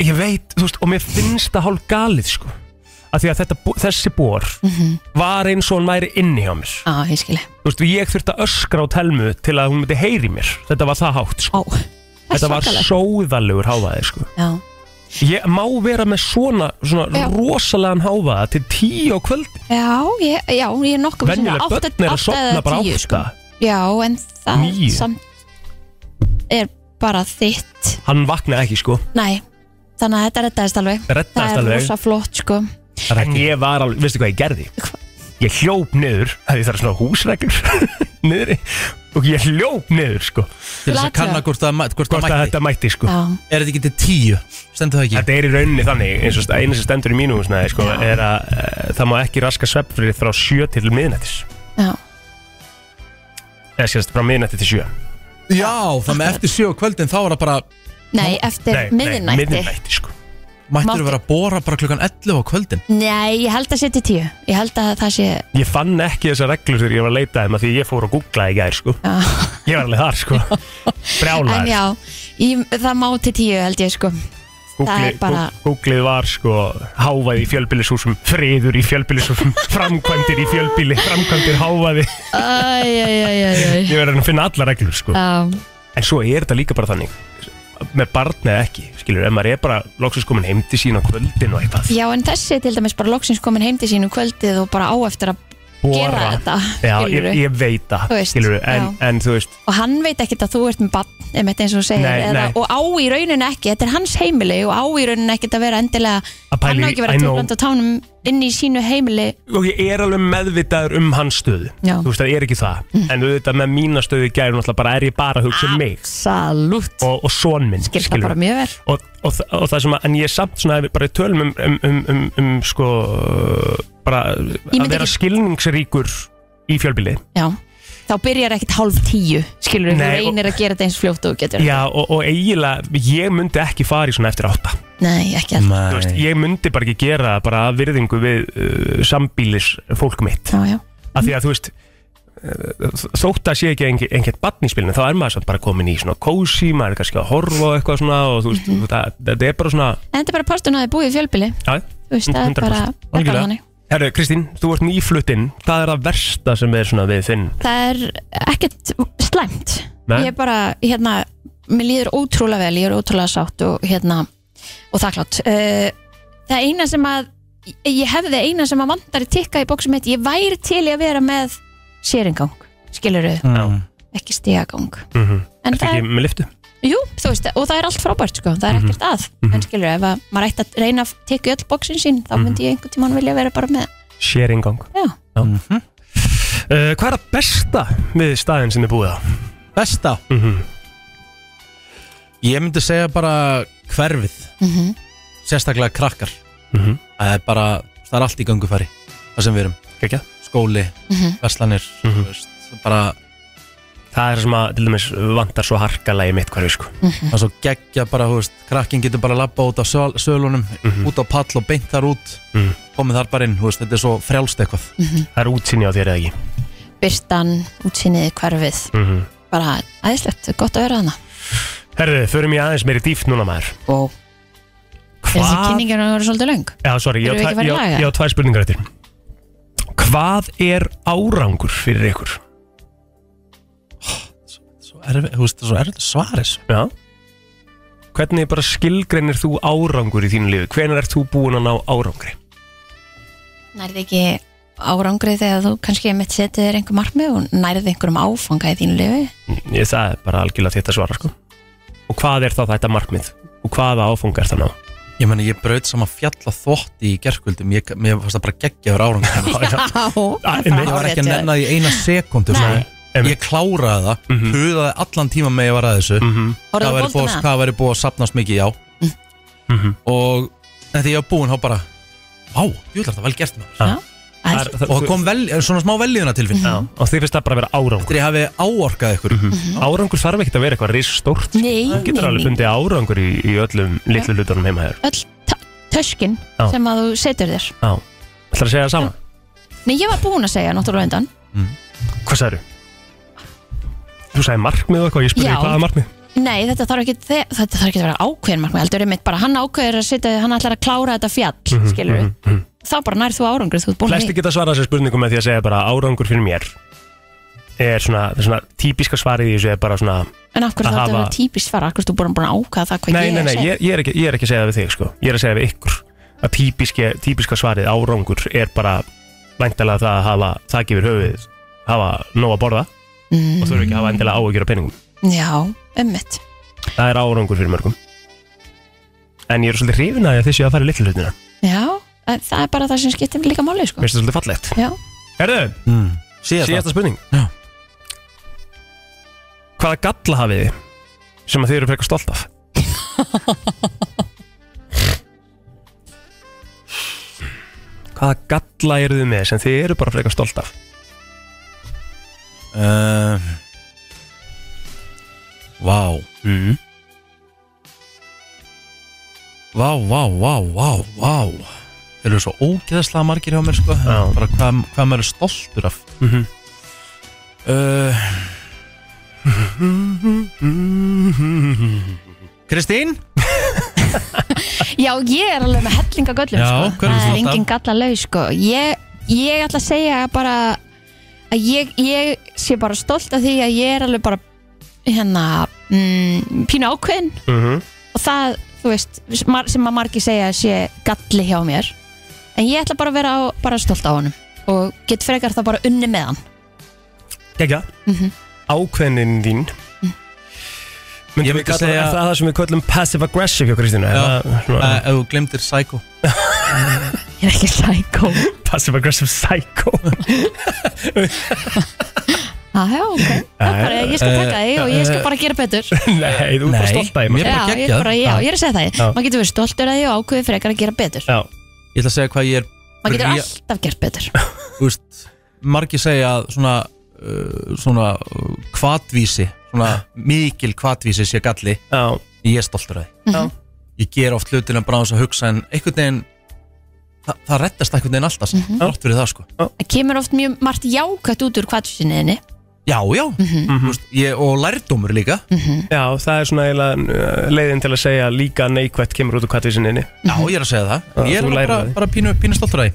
Speaker 3: ég veit, þú veist, og mér finnst það hálf galið, sko að því að þetta, bo- þessi bor
Speaker 2: Mhm.
Speaker 3: var eins og hann væri inni hjá mér
Speaker 2: Á, ég skilja
Speaker 3: þú veist, ég þurfti að öskra á telmu til að hún myndi heyri mér, þetta var það hátt sko.
Speaker 2: Á, það er
Speaker 3: þetta var
Speaker 2: svakalegt.
Speaker 3: sóðalegur hávaði sko.
Speaker 2: Já,
Speaker 3: ég má vera með svona, svona
Speaker 2: Já.
Speaker 3: rosalegan hávaða til tíu á kvöld
Speaker 2: já, ég, já, ég er nokkuð
Speaker 3: venjuleg
Speaker 2: átta-
Speaker 3: börn er að
Speaker 2: átta eða
Speaker 3: sofna bara
Speaker 2: tíu,
Speaker 3: átta
Speaker 2: sko. Já, en það
Speaker 3: Níu.
Speaker 2: samt er bara þitt
Speaker 3: hann vaknaði ekki, sko
Speaker 2: Nei, þannig að þetta reddaðist alveg
Speaker 3: Reddaðist
Speaker 2: Það er
Speaker 3: alveg.
Speaker 2: rosa flott, sko
Speaker 3: en ég var alveg, veistu hvað ég gerði
Speaker 2: Hva?
Speaker 3: ég hljóp niður, að því það er svona húsreglur niður, og ég hljóp niður, sko
Speaker 1: Til þess að
Speaker 2: Glata.
Speaker 1: kanna hvort það, mæ- hvort það
Speaker 3: hvort að
Speaker 1: mætti
Speaker 3: þetta mætti, sko
Speaker 2: Já,
Speaker 1: Er þetta ekki til tíu? Stendur það ekki?
Speaker 3: Þetta er í rauninni þannig, eins og st- eina sem stendur í mínu húsnaði, sko, er að e, það má ekki raska svefnfrið frá sjö til miðnættis.
Speaker 2: já,
Speaker 3: Eða sérst, frá miðnætti til sjö.
Speaker 1: Já, það með eftir sjö á kvöldin þá er það bara
Speaker 2: nei, eftir miðinætti nei,
Speaker 3: miðnætti, sko.
Speaker 1: Mættur
Speaker 2: Mátti-
Speaker 1: að vera að bóra bara klukkan 11 á kvöldin
Speaker 2: ég held að sé til tíu Ég held að það sé
Speaker 3: Ég fann ekki þessa reglur þegar ég var að leita þeim að því ég fór og googlaði í gær, sko.
Speaker 2: já.
Speaker 3: Ég var alveg þar, sko.
Speaker 2: En
Speaker 3: Brjálæður.
Speaker 2: já, ég, það má til tíu held ég, sko það er
Speaker 3: Googlið
Speaker 2: bara-
Speaker 3: gú- Googlið var, sko, hávaði í fjölbýlishúsum, friður í fjölbýlishúsum, framkvæmdir í fjölbýli, framkvæmdir hávaði.
Speaker 2: Æjæjæjæjæj
Speaker 3: Ég verði að finna alla reglur, sko.
Speaker 2: Já,
Speaker 3: En svo er þetta líka bara þannig með barn eða ekki, skilur, ef maður er bara loksins komin heim til sín á kvöldin og eitthvað
Speaker 2: já, en þessi er til dæmis bara loksins komin heim til sín um kvöldið og bara á eftir að gera þetta
Speaker 3: Já, ég,
Speaker 2: skilurðu.
Speaker 3: ég veit það,
Speaker 2: Þú veist,
Speaker 3: skilur, en,
Speaker 2: já.
Speaker 3: en þú veist
Speaker 2: og hann veit ekkert að þú ert með bann einmitt eins og þú segir
Speaker 3: Nei,
Speaker 2: eða,
Speaker 3: nei.
Speaker 2: og á í rauninu ekki, þetta er hans heimili og á í rauninu ekkert að vera endilega
Speaker 3: Að pæla
Speaker 2: hann á
Speaker 3: í-
Speaker 2: ekki að
Speaker 3: I
Speaker 2: vera
Speaker 3: know.
Speaker 2: tilblant á tánum inn í sínu heimili
Speaker 3: og ég er alveg meðvitaður um hans stöðu
Speaker 2: Já. Mm.
Speaker 3: þú veist, það er ekki það en auðvitað með mína stöðu í gæri náttúrulega bara er ég bara að hugsa um mig
Speaker 2: Absolutt
Speaker 3: og, og son minn,
Speaker 2: Gerð það bara mjög vel
Speaker 3: og, og, þa- og það sem að, en ég er samt svona bara í tölum um, um, um, um, um sko, bara
Speaker 2: Ég
Speaker 3: að
Speaker 2: myndi
Speaker 3: vera
Speaker 2: ekki-
Speaker 3: skilningsríkur í fjölbíli
Speaker 2: Já, þá byrjar ekkert hálf tíu skilur þú
Speaker 3: Nei, og-
Speaker 2: reynir að gera þetta eins fljótt og þú getur
Speaker 3: Já, og, og eiginlega, ég myndi ekki fara í svona eftir átta
Speaker 2: Nei, ekki alltaf
Speaker 3: Þú veist, ég myndi bara ekki gera það bara að virðingu við uh, sambílis fólk mitt
Speaker 2: Já, já,
Speaker 3: af því að þú veist uh, þótt að sé ekki einhver, einhvern barn í spilinu þá er maður samt bara komin í svona kósi maður er kannski að horfa á eitthvað svona og þú veist, mm það, þetta er bara svona
Speaker 2: en þetta er bara parturinn að þið búið í fjölbili
Speaker 3: já,
Speaker 2: Þú veist, það er bara, það er bara
Speaker 3: Algjörlega.
Speaker 2: þannig
Speaker 3: Herru, Kristín, þú ert nýfluttinn hvað er það versta sem er svona við þinn
Speaker 2: það er ekkert slæmt
Speaker 3: Nei.
Speaker 2: ég er bara, hérna mér líður ótrúlega vel, ég er ótrúlega sátt og hérna, og þakklátt uh, það eina sem að ég hefði eina sem að vandar í tikka í bóksum mitt, ég væri til í að vera með séringang, skilurðu
Speaker 1: mm.
Speaker 2: ekki stigagang
Speaker 3: mm -hmm.
Speaker 2: en
Speaker 3: Ertu
Speaker 2: það
Speaker 3: ekki
Speaker 2: er,
Speaker 3: með Mhm. liftu?
Speaker 2: jú, þú veist, og það er allt frábært sko, það er ekkert að, en skilurðu ef að maður ætti að reyna að tikka öll bóksin sín
Speaker 3: Mhm.
Speaker 2: þá myndi ég einhvern tímann vilja vera bara með
Speaker 3: Sharingang
Speaker 2: já,
Speaker 3: uh, Hvað er það besta við staðin sem er búið á?
Speaker 1: Besta
Speaker 3: Mm
Speaker 1: Ég myndi segja bara hverfið
Speaker 2: Mhm.
Speaker 1: Sérstaklega krakkar
Speaker 3: Mhm.
Speaker 1: Það er bara, það er allt í gangu fari Það sem við erum
Speaker 3: Kekja
Speaker 1: Skóli,
Speaker 2: Mhm.
Speaker 1: verslanir mm
Speaker 3: Mhm.
Speaker 1: veist, Bara,
Speaker 3: Það er sem að til dæmis vantar svo harkalega í mitt hverfi sko.
Speaker 2: Mm.
Speaker 1: það er svo geggja bara, þú veist Krakkin getur bara labba út á söl, sölunum Út á pall og beint þar út
Speaker 3: Mhm.
Speaker 1: Komið þar bara inn, þú veist, þetta er svo frjálst eitthvað
Speaker 2: Mhm.
Speaker 3: Það er útsinni á þér eða ekki
Speaker 2: byrtan, útsýnið, hverfið
Speaker 3: mm -hmm.
Speaker 2: bara æðislegt, gott að vera þarna
Speaker 3: Herðu, förum ég aðeins meiri dýft núna maður
Speaker 2: Wow. Er þessi kynningar að vera svolítið löng?
Speaker 3: Já, sorry, ég á
Speaker 2: Erum við ekki
Speaker 3: tvæ-
Speaker 2: farin
Speaker 3: ég
Speaker 2: að laga?
Speaker 3: á- ég á tvær spurningar eftir Hvað er árangur fyrir ykkur?
Speaker 1: Svo erfið, þú veist, svo erfið svaris
Speaker 3: Já Hvernig bara skilgreinir þú árangur í þínu lífi? Hvenær ert þú búin að ná árangri?
Speaker 2: Nærði ekki árangrið þegar þú kannski mitt setið þér einhver markmið og nærði einhverjum áfanga í þínu lifi?
Speaker 3: Mm, Ég, það er bara algjörlega þetta svara sko Og hvað er þá þetta markmið? Og hvaða áfunga er það ná?
Speaker 1: Ég meni, ég braut saman fjalla þvotti í gerkvöldum Ég, mér fannst það bara geggjaður árangur
Speaker 2: Já, það
Speaker 1: Ég var ekki að nenna því eina sekundu
Speaker 2: Nei.
Speaker 1: Ég kláraði það mm
Speaker 3: Mhm.
Speaker 1: Hugaði allan tíma með ég var að þessu
Speaker 2: Horfðu
Speaker 1: Hvað væri
Speaker 2: á hérna.
Speaker 1: búið að-
Speaker 2: boltana?
Speaker 1: Hvað væri búið að sapnast mikið, já Og en þegar ég var búinn, þá bara Á, júlar það vel gert maður
Speaker 2: Það er-
Speaker 1: Og það kom vel, svona smá velliðuna tilfinn
Speaker 3: Já, og því finnst það bara að vera árangur
Speaker 1: Þegar ég hafi áorkað ykkur
Speaker 3: Mhm. Árangur þarf ekkert að vera eitthvað riss stórt
Speaker 2: Mhm. Nei,
Speaker 3: Þú getur
Speaker 2: nei,
Speaker 3: alveg
Speaker 2: nei
Speaker 3: fundið árangur í, í öllum litlu hlutunum heima þér
Speaker 2: Öll ta- töskin
Speaker 3: Já.
Speaker 2: sem að þú setur þér
Speaker 3: Já, ætlar að segja það sama?
Speaker 2: Nei, ég var búin að segja náttúrulega undan
Speaker 3: Hvað sagður? Þú sagði markmið og eitthvað, ég spurði
Speaker 2: Já.
Speaker 3: hvað er markmið
Speaker 2: Nei, þetta þarf ekki, þe- þetta þarf ekki að vera ákveðin markmið heldur einmitt bara, hann ákveður að setja hann ætlar að klára þetta fjall,
Speaker 3: Mhm,
Speaker 2: mm skilur við þá bara nær þú árangur, þú ert búin að
Speaker 3: Flesti geta svarað þessi spurningum með því að segja bara árangur fyrir mér er svona, það er svona típiska svarið í þessu er bara svona
Speaker 2: en af hverju
Speaker 3: að
Speaker 2: þá þetta
Speaker 3: hafa-
Speaker 2: er típist svara, af hverju þú búin búin að ákveða það hvað
Speaker 3: Nei,
Speaker 2: ég
Speaker 3: nei,
Speaker 2: er
Speaker 3: nei,
Speaker 2: að segja
Speaker 3: ég, ég, er ekki, ég er ekki að segja það við þig sko. Ég er að segja það við ykkur að típiske, típiska svarið árangur er bara væntalega það að hafa það gefur höfuðið hafa nóg að borða og þurfa ekki að hafa endilega áhugjur á peningum
Speaker 2: Mm, Já, ummitt
Speaker 3: Það er árangur fyrir mörgum En ég er svolítið hrifin að því að þið séu að fara í litlu hlutina Mér
Speaker 2: Já, en það er bara það sem skiptir líka máli sko.
Speaker 3: finnst það svolítið fallegt
Speaker 2: Já,
Speaker 3: Herðu,
Speaker 1: mm. Síðast það
Speaker 3: síðasta spurning
Speaker 1: Já.
Speaker 3: Hvaða galla hafið þið sem að þið eru frekar stolt af? Hvaða galla eru þið með sem þið eru bara frekar stolt af?
Speaker 1: Uh, vá
Speaker 3: Mm.
Speaker 1: Vá, vá, vá, vá, vá Þeir eru svo ógeðaslega margir hjá mér sko
Speaker 3: Já.
Speaker 1: Bara hvað, hvað maður er stoltur af
Speaker 3: Mhm.
Speaker 1: Uh, Kristín?
Speaker 2: Já, ég er alveg með hellinga göllum
Speaker 1: Já, hverju
Speaker 2: sko. Það
Speaker 1: þú
Speaker 2: er
Speaker 1: stolt af?
Speaker 2: engin galla laus sko. ég, ég ætla að segja bara að ég, ég sé bara stolt af því að ég er alveg bara hérna mm, pínu ákveðin
Speaker 1: Mhm.
Speaker 2: og það, þú veist, mar- sem að margir segja að sé galli hjá mér en ég ætla bara að vera á, bara stolt á honum og get frekar það bara unni með hann
Speaker 3: Gekja
Speaker 2: Mhm.
Speaker 3: Ákveðnin þín Myndum
Speaker 1: Ég
Speaker 3: við
Speaker 1: myndi
Speaker 3: kalla-
Speaker 1: segja-
Speaker 3: Er það það sem við köllum passive aggressive hjá Kristínu? Er
Speaker 1: Já.
Speaker 3: það svona-
Speaker 1: Uh, ef þú glemdir Psycho
Speaker 2: Ég er ekki sækó
Speaker 3: Passive aggressive psycho
Speaker 2: Jájá, Ah, ok, það er bara, ég skal taka þig og ég skal bara gera betur
Speaker 3: Nei, þú er bara
Speaker 1: Nei,
Speaker 3: stolt af
Speaker 1: mér-
Speaker 3: mér
Speaker 1: er
Speaker 2: Já,
Speaker 1: bara
Speaker 2: ég,
Speaker 1: geggjað.
Speaker 2: bara, já, ég er að segja það
Speaker 3: Já.
Speaker 2: Maður getur verið stoltur að því og ákveðið frekar að gera betur
Speaker 3: Já,
Speaker 1: Ég ætla að segja hvað ég er
Speaker 2: Maður getur
Speaker 1: bría-
Speaker 2: alltaf gert betur
Speaker 1: þú veist, margir segja að svona, uh, svona uh, kvatvísi, svona mikil kvatvísi sé galli,
Speaker 3: já,
Speaker 1: ég er stoltur af því
Speaker 3: Já.
Speaker 1: ég ger oft hlutina bara á þess að hugsa en einhvern veginn það, það rettast einhvern veginn alltaf mm -hmm. fyrir það sko
Speaker 2: Það kemur oft mjög margt jákvætt út úr kvartsinniðinni
Speaker 1: já, já,
Speaker 3: Mhm.
Speaker 1: þú veist, ég, og lærdómur líka
Speaker 3: já, það er svona eiginlega uh, leiðin til að segja líka neikvætt kemur út úr kvartvísinni
Speaker 1: já, ég er að segja það,
Speaker 3: Já,
Speaker 1: ég er
Speaker 3: þú
Speaker 1: alveg
Speaker 3: lærir
Speaker 1: bara,
Speaker 3: af því.
Speaker 1: bara pínu, pínu stoltur af því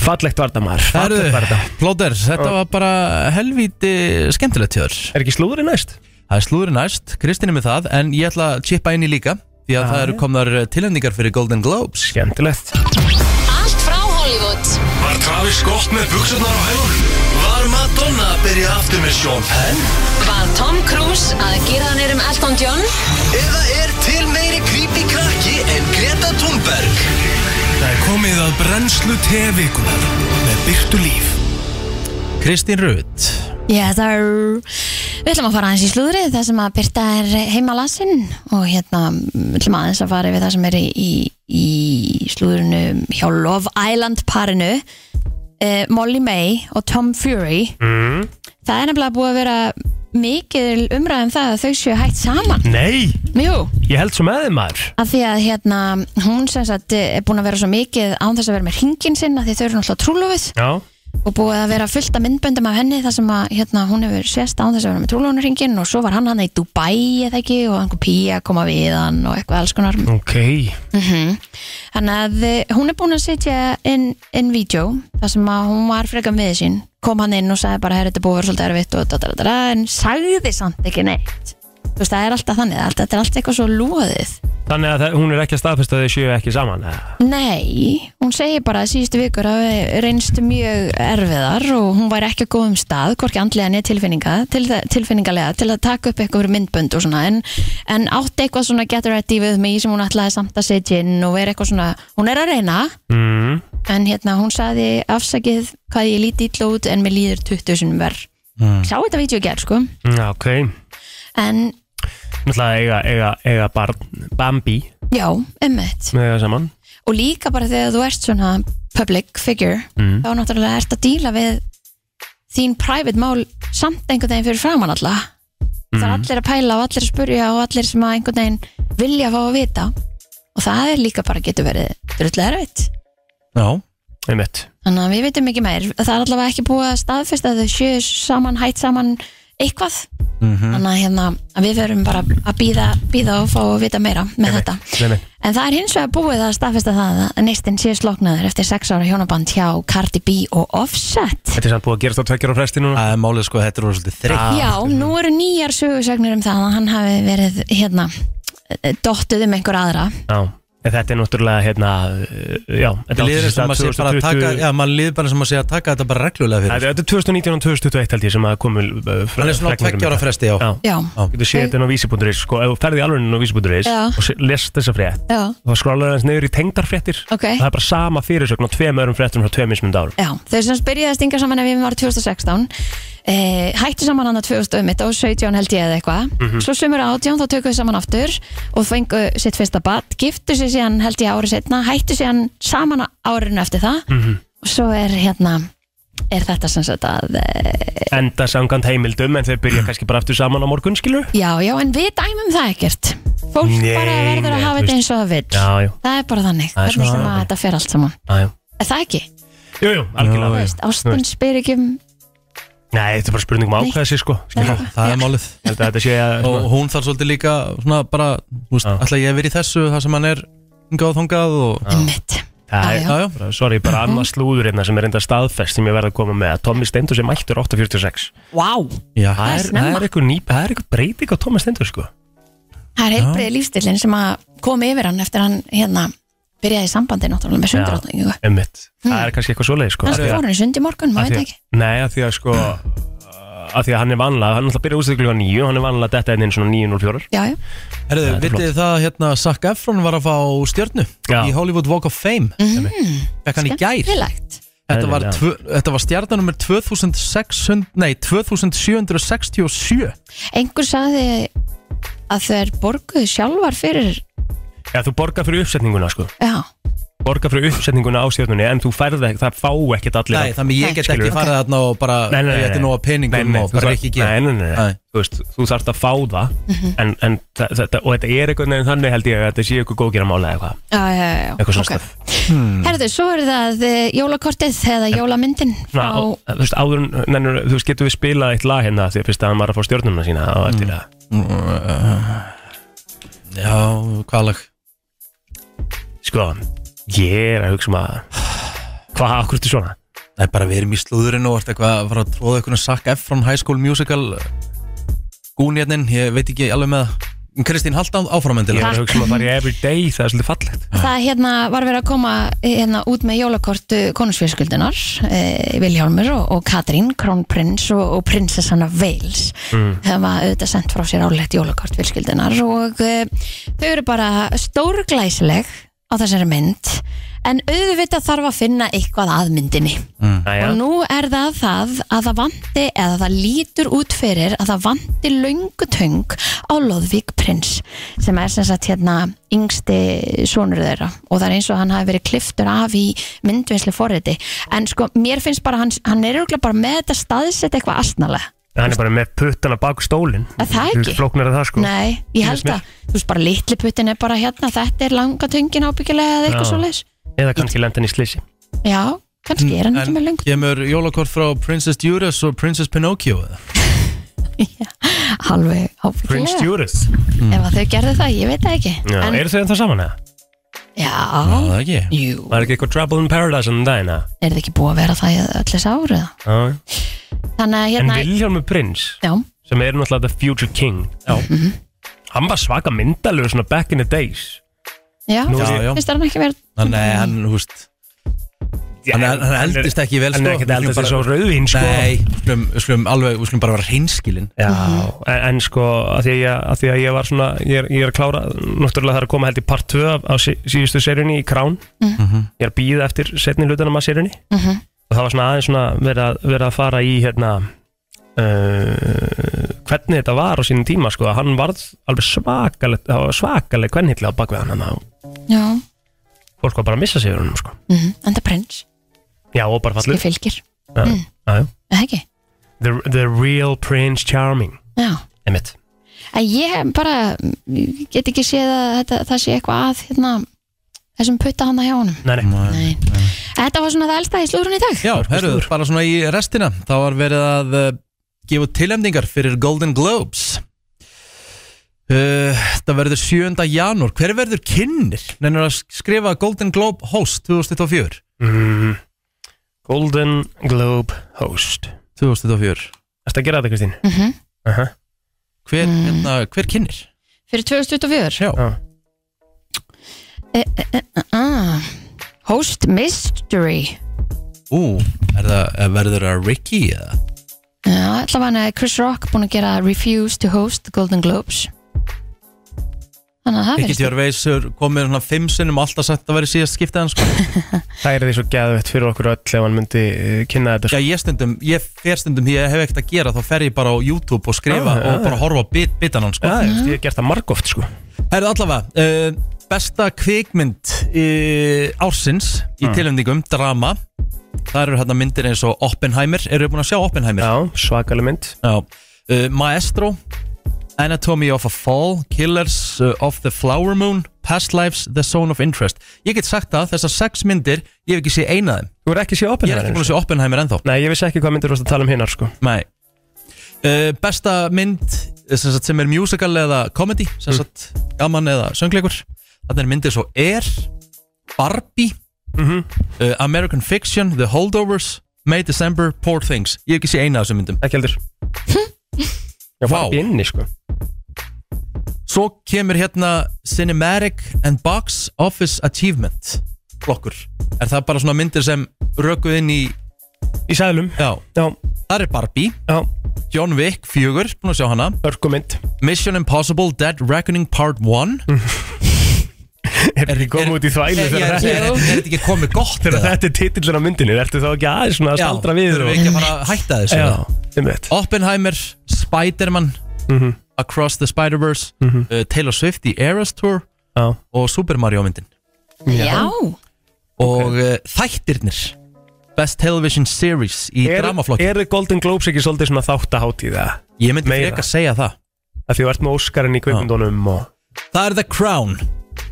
Speaker 3: Fallegt var það maður
Speaker 1: Herðu,
Speaker 3: Fallegt var það
Speaker 1: Plóter, þetta var bara helvíti skemmtilegt hjá þér
Speaker 3: Er ekki slúðri næst?
Speaker 1: Það er slúðri næst, Kristín er með það En ég ætla að chippa inn í líka Því að það eru komnar tilhendingar fyrir Golden Globes
Speaker 3: Skemmtilegt
Speaker 6: Allt frá Hollywood
Speaker 4: Var Travis Scott með buksarnar á hælunum? Var Madonna að byrja aftur með Sean Penn?
Speaker 6: Var Tom Cruise að gera hann erum Elton John
Speaker 4: Eða er til meiri creepy krakki en Greta Thunberg? Það er komið að brennslu tevikunar með byrtu líf.
Speaker 1: Kristín Rutt
Speaker 2: Já, það er Við ætlum að fara aðeins í slúðrið það sem að Birta er heimalasin og hérna mm, ætlum aðeins að fara við það sem er í, í, í slúðrinu hjá Love Island parinu eh, Molly May og Tom Fury mm. Það er nefnilega búið að vera mikil umræðum það að þau séu hægt saman
Speaker 3: Nei,
Speaker 2: Jú,
Speaker 3: ég held svo með þið maður
Speaker 2: af því að hérna hún sem sagt er búin að vera svo mikið án þess að vera með hringin sinn af því þau eru náttúrulega trúlofið
Speaker 3: Já,
Speaker 2: og búið að vera fullt af myndböndum af henni þar sem að hérna, hún hefur sést án þess að vera með trúlónurringin og svo var hann hann í Dubai eða ekki og einhver pía koma við hann og eitthvað alls konar
Speaker 3: ok
Speaker 2: þannig að eh, hún er búin að sitja inn, inn vídeo þar sem að hún var frekar miður sín kom hann inn og sagði bara, herri, þetta er búið að vera svolítið erfitt og da, da, da, da, en sagði samt ekki neitt þú veist, það er alltaf þannig allt, þetta er allt eitthvað svo loðið
Speaker 3: Þannig að það, hún er ekki að staðfesta að þau séu ekki saman eða?
Speaker 2: nei, hún segir bara að síðustu vikur hafi reynst mjög erfiðar og hún var ekki á góðum stað hvorki andlega niður tilfinninga til, þe- tilfinningalega til að taka upp eitthvað fyrir myndbönd og svona en, en átti eitthvað svona get ready with me sem hún ætlaði samt að setja inn og vera eitthvað svona, hún er að reyna
Speaker 3: Mm.
Speaker 2: en hérna hún saði afsakið hvað ég líti illa út en mér líður 20 sinum verð
Speaker 3: Mm.
Speaker 2: sá þetta vídeo gerð sko
Speaker 3: Já, Mm, ok
Speaker 2: en
Speaker 3: Náttúrulega eiga, eiga, eiga barn Bambi
Speaker 2: já, emmitt
Speaker 3: með það saman
Speaker 2: og líka bara þegar þú ert svona public figure
Speaker 3: Mm.
Speaker 2: þá náttúrulega ert að díla við þín private mál samt einhvern veginn fyrir framann alla það er allir að pæla og allir að spurja og allir sem að einhvern veginn vilja fá að vita og það er líka bara getur verið drullega erfitt
Speaker 1: Já,
Speaker 3: Einmitt
Speaker 2: þannig að við veitum ekki meir það er allavega ekki búið að staðfesta að þau séu saman, hætt saman eitthvað
Speaker 3: Mhm.
Speaker 2: þannig að, hérna, að við verum bara að býða, býða og fá að vita meira með þetta
Speaker 3: Einmitt.
Speaker 2: en það er hins vegar búið að staðfesta það að neistinn sé sloknaður eftir 6 ára hjónaband hjá Cardi B og Offset
Speaker 3: Þetta er samt búið að gerast á tveggjur á fresti núna
Speaker 1: það er málið sko, þetta er orðið svolítið þreytt
Speaker 3: Ah.
Speaker 2: Já, nú eru nýjar sögursagnir um það að hann hafi verið hérna eh, dottuð um einhver aðra
Speaker 3: Já En þetta er náttúrulega hérna uh, Já, þetta
Speaker 1: Þetta líður eins
Speaker 3: átti sér
Speaker 1: og
Speaker 3: stað
Speaker 1: maður sé bara að
Speaker 3: 2020
Speaker 1: taka, já, maður líður bara sem maður sé að taka þetta bara reglulega
Speaker 3: Þetta
Speaker 1: fyrir.
Speaker 3: þetta er 2019 og 2021 held ég sem að uh, komu
Speaker 1: Hann er svona á tveggja ára fresti, já.
Speaker 3: Já,
Speaker 2: Já,
Speaker 3: getur séð þetta inn á vísi.is sko, ef þú ferði alveg inn á vísi.is
Speaker 2: Já.
Speaker 3: og se- lest þessa frétt
Speaker 2: já,
Speaker 3: þá skrálar hans neyður í tengdarfréttir
Speaker 2: Ok.
Speaker 3: það er bara sama fyrirsögn á tveim öðrum fréttum frá tveim mismund árum
Speaker 2: já Þau sem byrjaði að stinga saman ef við varum 2016 eh, Hættu saman hann að 2000 um og 17 held ég eða eitthvað
Speaker 3: Mhm.
Speaker 2: Svo sömur 18 þá tökum við saman aftur og fengu sitt fyrsta bat Giftu sér síðan held ég árið setna Hættu síðan saman á árinu eftir það
Speaker 3: Mhm.
Speaker 2: Og svo er hérna Er þetta sem sagt að eh,
Speaker 3: enda samkant heimildum en þau byrja kannski bara aftur saman á morgun skilur
Speaker 2: Já, já, en við dæmum það ekkert Fólk
Speaker 3: Nei,
Speaker 2: bara verður
Speaker 3: nei,
Speaker 2: að hafa
Speaker 3: þú
Speaker 2: þetta
Speaker 3: veist.
Speaker 2: eins og það vill
Speaker 3: Já, já.
Speaker 2: Það er bara þannig,
Speaker 3: Það er
Speaker 2: hvernig
Speaker 3: svona
Speaker 2: sem að
Speaker 3: þannig.
Speaker 2: þetta fer allt saman
Speaker 1: Ah,
Speaker 3: aðjó
Speaker 2: Er það ekki?
Speaker 3: Jú, jú, algjörlega
Speaker 1: Já,
Speaker 2: Þú
Speaker 1: já.
Speaker 2: veist, Ástin spyr ekki um
Speaker 3: Nei, þetta er bara spurning um
Speaker 2: Nei.
Speaker 3: ákvæða sér sko Skilur,
Speaker 2: Nei.
Speaker 1: Það er málið.
Speaker 3: held að þetta sé eh, að
Speaker 1: Og hún þarf svolítið líka, svona bara, þú veist,
Speaker 3: Já.
Speaker 1: ætla ég að vera í þessu, það sem hann er hingað og þangað og...
Speaker 2: mitt
Speaker 3: Það
Speaker 2: Ah, Já,
Speaker 1: Ah, Já, já.
Speaker 3: er, bara- sorry, bara annað slúður hérna sem er enda staðfest sem ég verði að koma með að Tommy Stendur sem mættur 8.46
Speaker 2: Vá,
Speaker 1: Já,
Speaker 3: Það
Speaker 2: er
Speaker 3: er,
Speaker 2: snemma.
Speaker 3: það er eitthvað nýp, það er eitthvað breyting á Tommy Stendur sko
Speaker 2: það er heilbriði lífstilin sem að kom yfir hann eftir hann hérna byrjaði í sambandi náttúrulega með sundrátningu
Speaker 3: Emmitt,
Speaker 2: Hmm.
Speaker 3: það er kannski eitthvað svoleið sko
Speaker 2: Kannski
Speaker 3: Af því að-
Speaker 2: fór hann í sund í morgun,
Speaker 3: af
Speaker 2: maður
Speaker 3: því
Speaker 2: veit
Speaker 3: að-
Speaker 2: ekki
Speaker 3: Nei, af því að sko uh, af því að hann er vanlega, hann er alltaf að byrja útstöðu klukkan 9 hann er vanlega að detta hérna inn inn svona 9.04
Speaker 2: Já, já,
Speaker 1: Herðu,
Speaker 3: er
Speaker 1: vitið þið það að hérna Zac Efron var að fá stjörnu
Speaker 3: Já.
Speaker 1: í Hollywood Walk of Fame Fekk hann í gær
Speaker 2: skemmtilegt
Speaker 1: Þetta var,
Speaker 3: Eðlilega.
Speaker 1: tvö, þetta var stjarnan nummer 2600, nei, 2767
Speaker 2: Einhver sagði að þeir borguðu sjálfar fyrir
Speaker 3: Já, þú borgar fyrir uppsetninguna sko
Speaker 2: Já,
Speaker 3: borgar fyrir uppsetninguna á stjórnunni en þú færði ekki, það fá ekkert allir
Speaker 1: Nei,
Speaker 3: að-
Speaker 1: þannig ég get
Speaker 3: Skilur.
Speaker 1: ekki farið þarna og bara
Speaker 3: Nei, nei, nei,
Speaker 1: Þetta er
Speaker 3: nei.
Speaker 1: nóg að
Speaker 3: Nei,
Speaker 1: peningum
Speaker 3: nei,
Speaker 1: og
Speaker 3: þú
Speaker 1: bara
Speaker 3: þarf-
Speaker 1: ekki
Speaker 3: Nei,
Speaker 1: gera
Speaker 3: nei, nei,
Speaker 1: Nei.
Speaker 3: nei. þú veist, þú þarft að fá það
Speaker 2: Mhm.
Speaker 3: en, en þa- þetta, og þetta er einhvern veginn þannig held ég að þetta sé eitthvað góðgera mála eða eitthvað
Speaker 2: já, já, já, já.
Speaker 3: eitthvað Hmm. svona
Speaker 2: ok.
Speaker 3: okay.
Speaker 2: Herðu, svo er það eh, jólakortið eða jólamyndin
Speaker 3: Svona, á,
Speaker 2: frá
Speaker 3: þú veist, áður, en- nennir, þú veist, getur við spilað eitt lag hérna því að fyrst að hann var að fá stjórnuna sína á
Speaker 2: Mm.
Speaker 3: eftir það
Speaker 1: Já, hvað lag?
Speaker 3: sko, ég er að hugsa um að hvað, akkur ertu svona?
Speaker 1: Nei, bara við erum í slúðurinn og ert eitthvað að fara að tróða eitthvað Zac Efron High School Musical Gúnjarnin, ég veit ekki alveg með það. Kristín, halda áfram
Speaker 3: Ég er
Speaker 1: endilega
Speaker 3: að hugsa um að fara í everyday, það er svolítið fallegt
Speaker 2: Það hérna var verið að koma eh, hérna, út með jólakortu konungsfjölskyldunar eh, Vilhjálmur og, og Katrín Krónprins og, og prinsessan af Wales það var auðvitað sendt frá sér álegt jólakort fjölskyldunar og eh, þau eru bara stórglæsileg á þessari mynd en auðvitað þarf að finna eitthvað að myndinni
Speaker 3: Næja,
Speaker 2: og nú er það það að það vanti eða það lítur út fyrir að það vanti löngutöng á Lóðvík prins sem er sem sagt hérna yngsti sonur þeirra og það er eins og hann hafi verið kliftur af í myndvinslu forriti en sko mér finnst bara hann, hann er auðvitað bara með þetta staðsett eitthvað astnalega
Speaker 3: hann er bara með puttana bak stólinn
Speaker 2: Er það ekki?
Speaker 3: Flóknar það sko
Speaker 2: Nei, ég
Speaker 3: Finnst
Speaker 2: held
Speaker 3: mér.
Speaker 2: að þú veist bara litli puttin er bara hérna þetta er langatöngin ábyggilega eða eitthvað
Speaker 3: Já.
Speaker 2: svoleiðis
Speaker 3: Eða kannski lenda hann í slissi
Speaker 2: Já, kannski er hann ekki með löngu
Speaker 1: Kemur jólakort frá Princess Judas og Princess Pinocchio eða?
Speaker 2: Halveg
Speaker 3: Prince
Speaker 2: ábyggilega
Speaker 3: Judas
Speaker 2: Ef að þau gerðu það, ég veit það ekki
Speaker 3: Já,
Speaker 2: En-
Speaker 3: eru þau ennþá saman eða?
Speaker 1: Já,
Speaker 2: Já,
Speaker 1: það ekki
Speaker 2: jú,
Speaker 3: Var ekki eitthvað Trouble in Paradise en daginn eða?
Speaker 2: er það ekki búið að vera það í öll þessi árið
Speaker 3: Já.
Speaker 2: Þannig að
Speaker 3: En
Speaker 2: hérna
Speaker 3: Vilhjálmur Prins
Speaker 2: Já,
Speaker 3: sem er náttúrulega the future king Mhm. Hann var svaka myndalögur svona back in the days
Speaker 2: Já,
Speaker 3: Nú er
Speaker 1: Já,
Speaker 3: ég-
Speaker 1: já.
Speaker 2: finnst þér hann ekki verið
Speaker 1: Hann, nei, hann, þú veist Hann, hann, hann eldist ekki vel sko.
Speaker 3: Hann er ekkert eldast eins og rauðvín sko
Speaker 1: Nei, við skulum, við skulum alveg, við skulum bara vera hreinskilin
Speaker 3: Já, en, en sko að því, að ég, að því að ég var svona ég er, ég er að klára, náttúrulega það er að koma held í part 2 af, af sí- síðustu seríunni í Krán
Speaker 1: Mhm.
Speaker 3: Ég er að býða eftir setni hlutanum af seríunni
Speaker 2: Mhm.
Speaker 3: og það var svona aðeins svona verið að, verið að fara í hérna uh, hvernig þetta var á sínum tíma sko, að hann varð alveg svakaleg það var svakaleg kvennhilli á bakvið hann þannig að
Speaker 2: Já,
Speaker 3: fólk var bara að missa sig um sko.
Speaker 2: mm -hmm. enda prins,
Speaker 3: Já, og bara
Speaker 2: ég
Speaker 3: fallið
Speaker 2: fylgir
Speaker 3: Já, já, já.
Speaker 2: Það ekki,
Speaker 3: the, the real Prince Charming
Speaker 2: já
Speaker 3: Emmett
Speaker 2: að ég bara ég get ekki séð að þetta, það sé eitthvað að hérna, þessum putta handa hjá honum
Speaker 3: Nei, nei,
Speaker 2: Nei. Þetta var svona það elsta í slúrun í dag
Speaker 1: Já, herruðu, bara svona í restina þá var verið að uh, gefa út tilnefningar fyrir Golden Globes uh, Það verður 7. janúr, hver verður kynnir? Nennir að skrifa Golden Globe host 2024
Speaker 3: mm. Golden Globe host
Speaker 1: 2024
Speaker 3: Ertu að gera þetta Kristín?
Speaker 2: mm
Speaker 1: Mhm.
Speaker 2: -hmm.
Speaker 3: Uh -huh.
Speaker 1: Hver, hérna, hver kynnir?
Speaker 2: Fyrir 2024
Speaker 1: Já,
Speaker 2: ah, Host Mystery
Speaker 1: ú, er það, er- verður það Ricky eða?
Speaker 2: Já, allavega hann er Chris Rock búin að gera Refuse to host the Golden Globes Þannig að það
Speaker 1: Ricky
Speaker 2: verðist
Speaker 1: Tjörveisur komið svona fimm sinnum alltaf sagt að verið síðast skiptið hans sko.
Speaker 3: Það er því svo geðvett fyrir okkur öll ef hann myndi eh, kynna þetta
Speaker 1: Já,
Speaker 3: sko.
Speaker 1: ég stundum, ég fer stundum því ég hef ekkert að gera þá fer ég bara á YouTube og skrifa
Speaker 3: Já, já,
Speaker 1: og bara horfa á bit, bitan hans sko.
Speaker 3: Já, ég veist, ég hef gert það margóft sko
Speaker 1: Það er allavega uh, Besta kvikmynd uh, ársins í mm. tilöfningum, drama Það eru hérna myndir eins og Oppenheimer Eru þið búin að sjá Oppenheimer?
Speaker 3: Já, svakaleg mynd
Speaker 1: Uh, Maestro Anatomy of a Fall Killers uh, of the Flower Moon Past Lives, The Zone of Interest Ég get sagt það, þessar sex myndir Ég hef ekki séð eina af þeim
Speaker 3: Þú er ekki séð
Speaker 1: Ég er
Speaker 3: Oppenheimer?
Speaker 1: ekki búin að séð Oppenheimer ennþá
Speaker 3: Nei, ég vissi ekki hvað myndir þú varst að tala um hinnar sko
Speaker 1: Nei uh, Besta mynd eh, sem, sagt, sem er musical eða comedy sem sagt gaman eða söngleikur Þannig er myndir svo Air Barbie uh, American Fiction, The Holdovers May, December, Poor Things Ég hef ekki sé eina af þessum myndum
Speaker 3: Ekki heldur Já,
Speaker 1: Vá.
Speaker 3: bara inni sko
Speaker 1: Svo kemur hérna Cinematic and Box Office Achievement Blokkur Er það bara svona myndir sem rökuð inn í
Speaker 3: Í sæðlum
Speaker 1: Já,
Speaker 3: Já,
Speaker 1: þar er Barbie
Speaker 3: já,
Speaker 1: John Wick, fjögur, búin að sjá hana
Speaker 3: örkumynd
Speaker 1: Mission Impossible, Dead Reckoning Part 1
Speaker 3: Er þið komið út í þvælu
Speaker 1: Ég- ég- ég-
Speaker 3: þegar þetta-
Speaker 1: Er er þetta ekki komið gott
Speaker 3: þegar
Speaker 1: eða?
Speaker 3: þetta er titillin á myndinni? Ertu þá ekki aðeins svona að
Speaker 1: Já,
Speaker 3: staldra við
Speaker 1: Þurfum við
Speaker 3: og...
Speaker 1: ekki að fara að hætta þessu
Speaker 3: Já,
Speaker 1: eða?
Speaker 3: einmitt
Speaker 1: Oppenheimer, Spider-Man
Speaker 3: Mhm.
Speaker 1: Across the Spider-Verse uh, Taylor Swift í Eras Tour
Speaker 3: Já,
Speaker 1: og Super Mario myndin
Speaker 2: Já,
Speaker 1: og okay. þættirnir Best Television Series í
Speaker 3: Er-
Speaker 1: dramaflokki
Speaker 3: Eru Golden Globes ekki svolítið svona þáttaháttíð eða?
Speaker 1: Ég myndi
Speaker 3: meira?
Speaker 1: frekar segja það
Speaker 3: Af því þú ert með Óskarinn í kvikmyndunum og
Speaker 1: Það er The Crown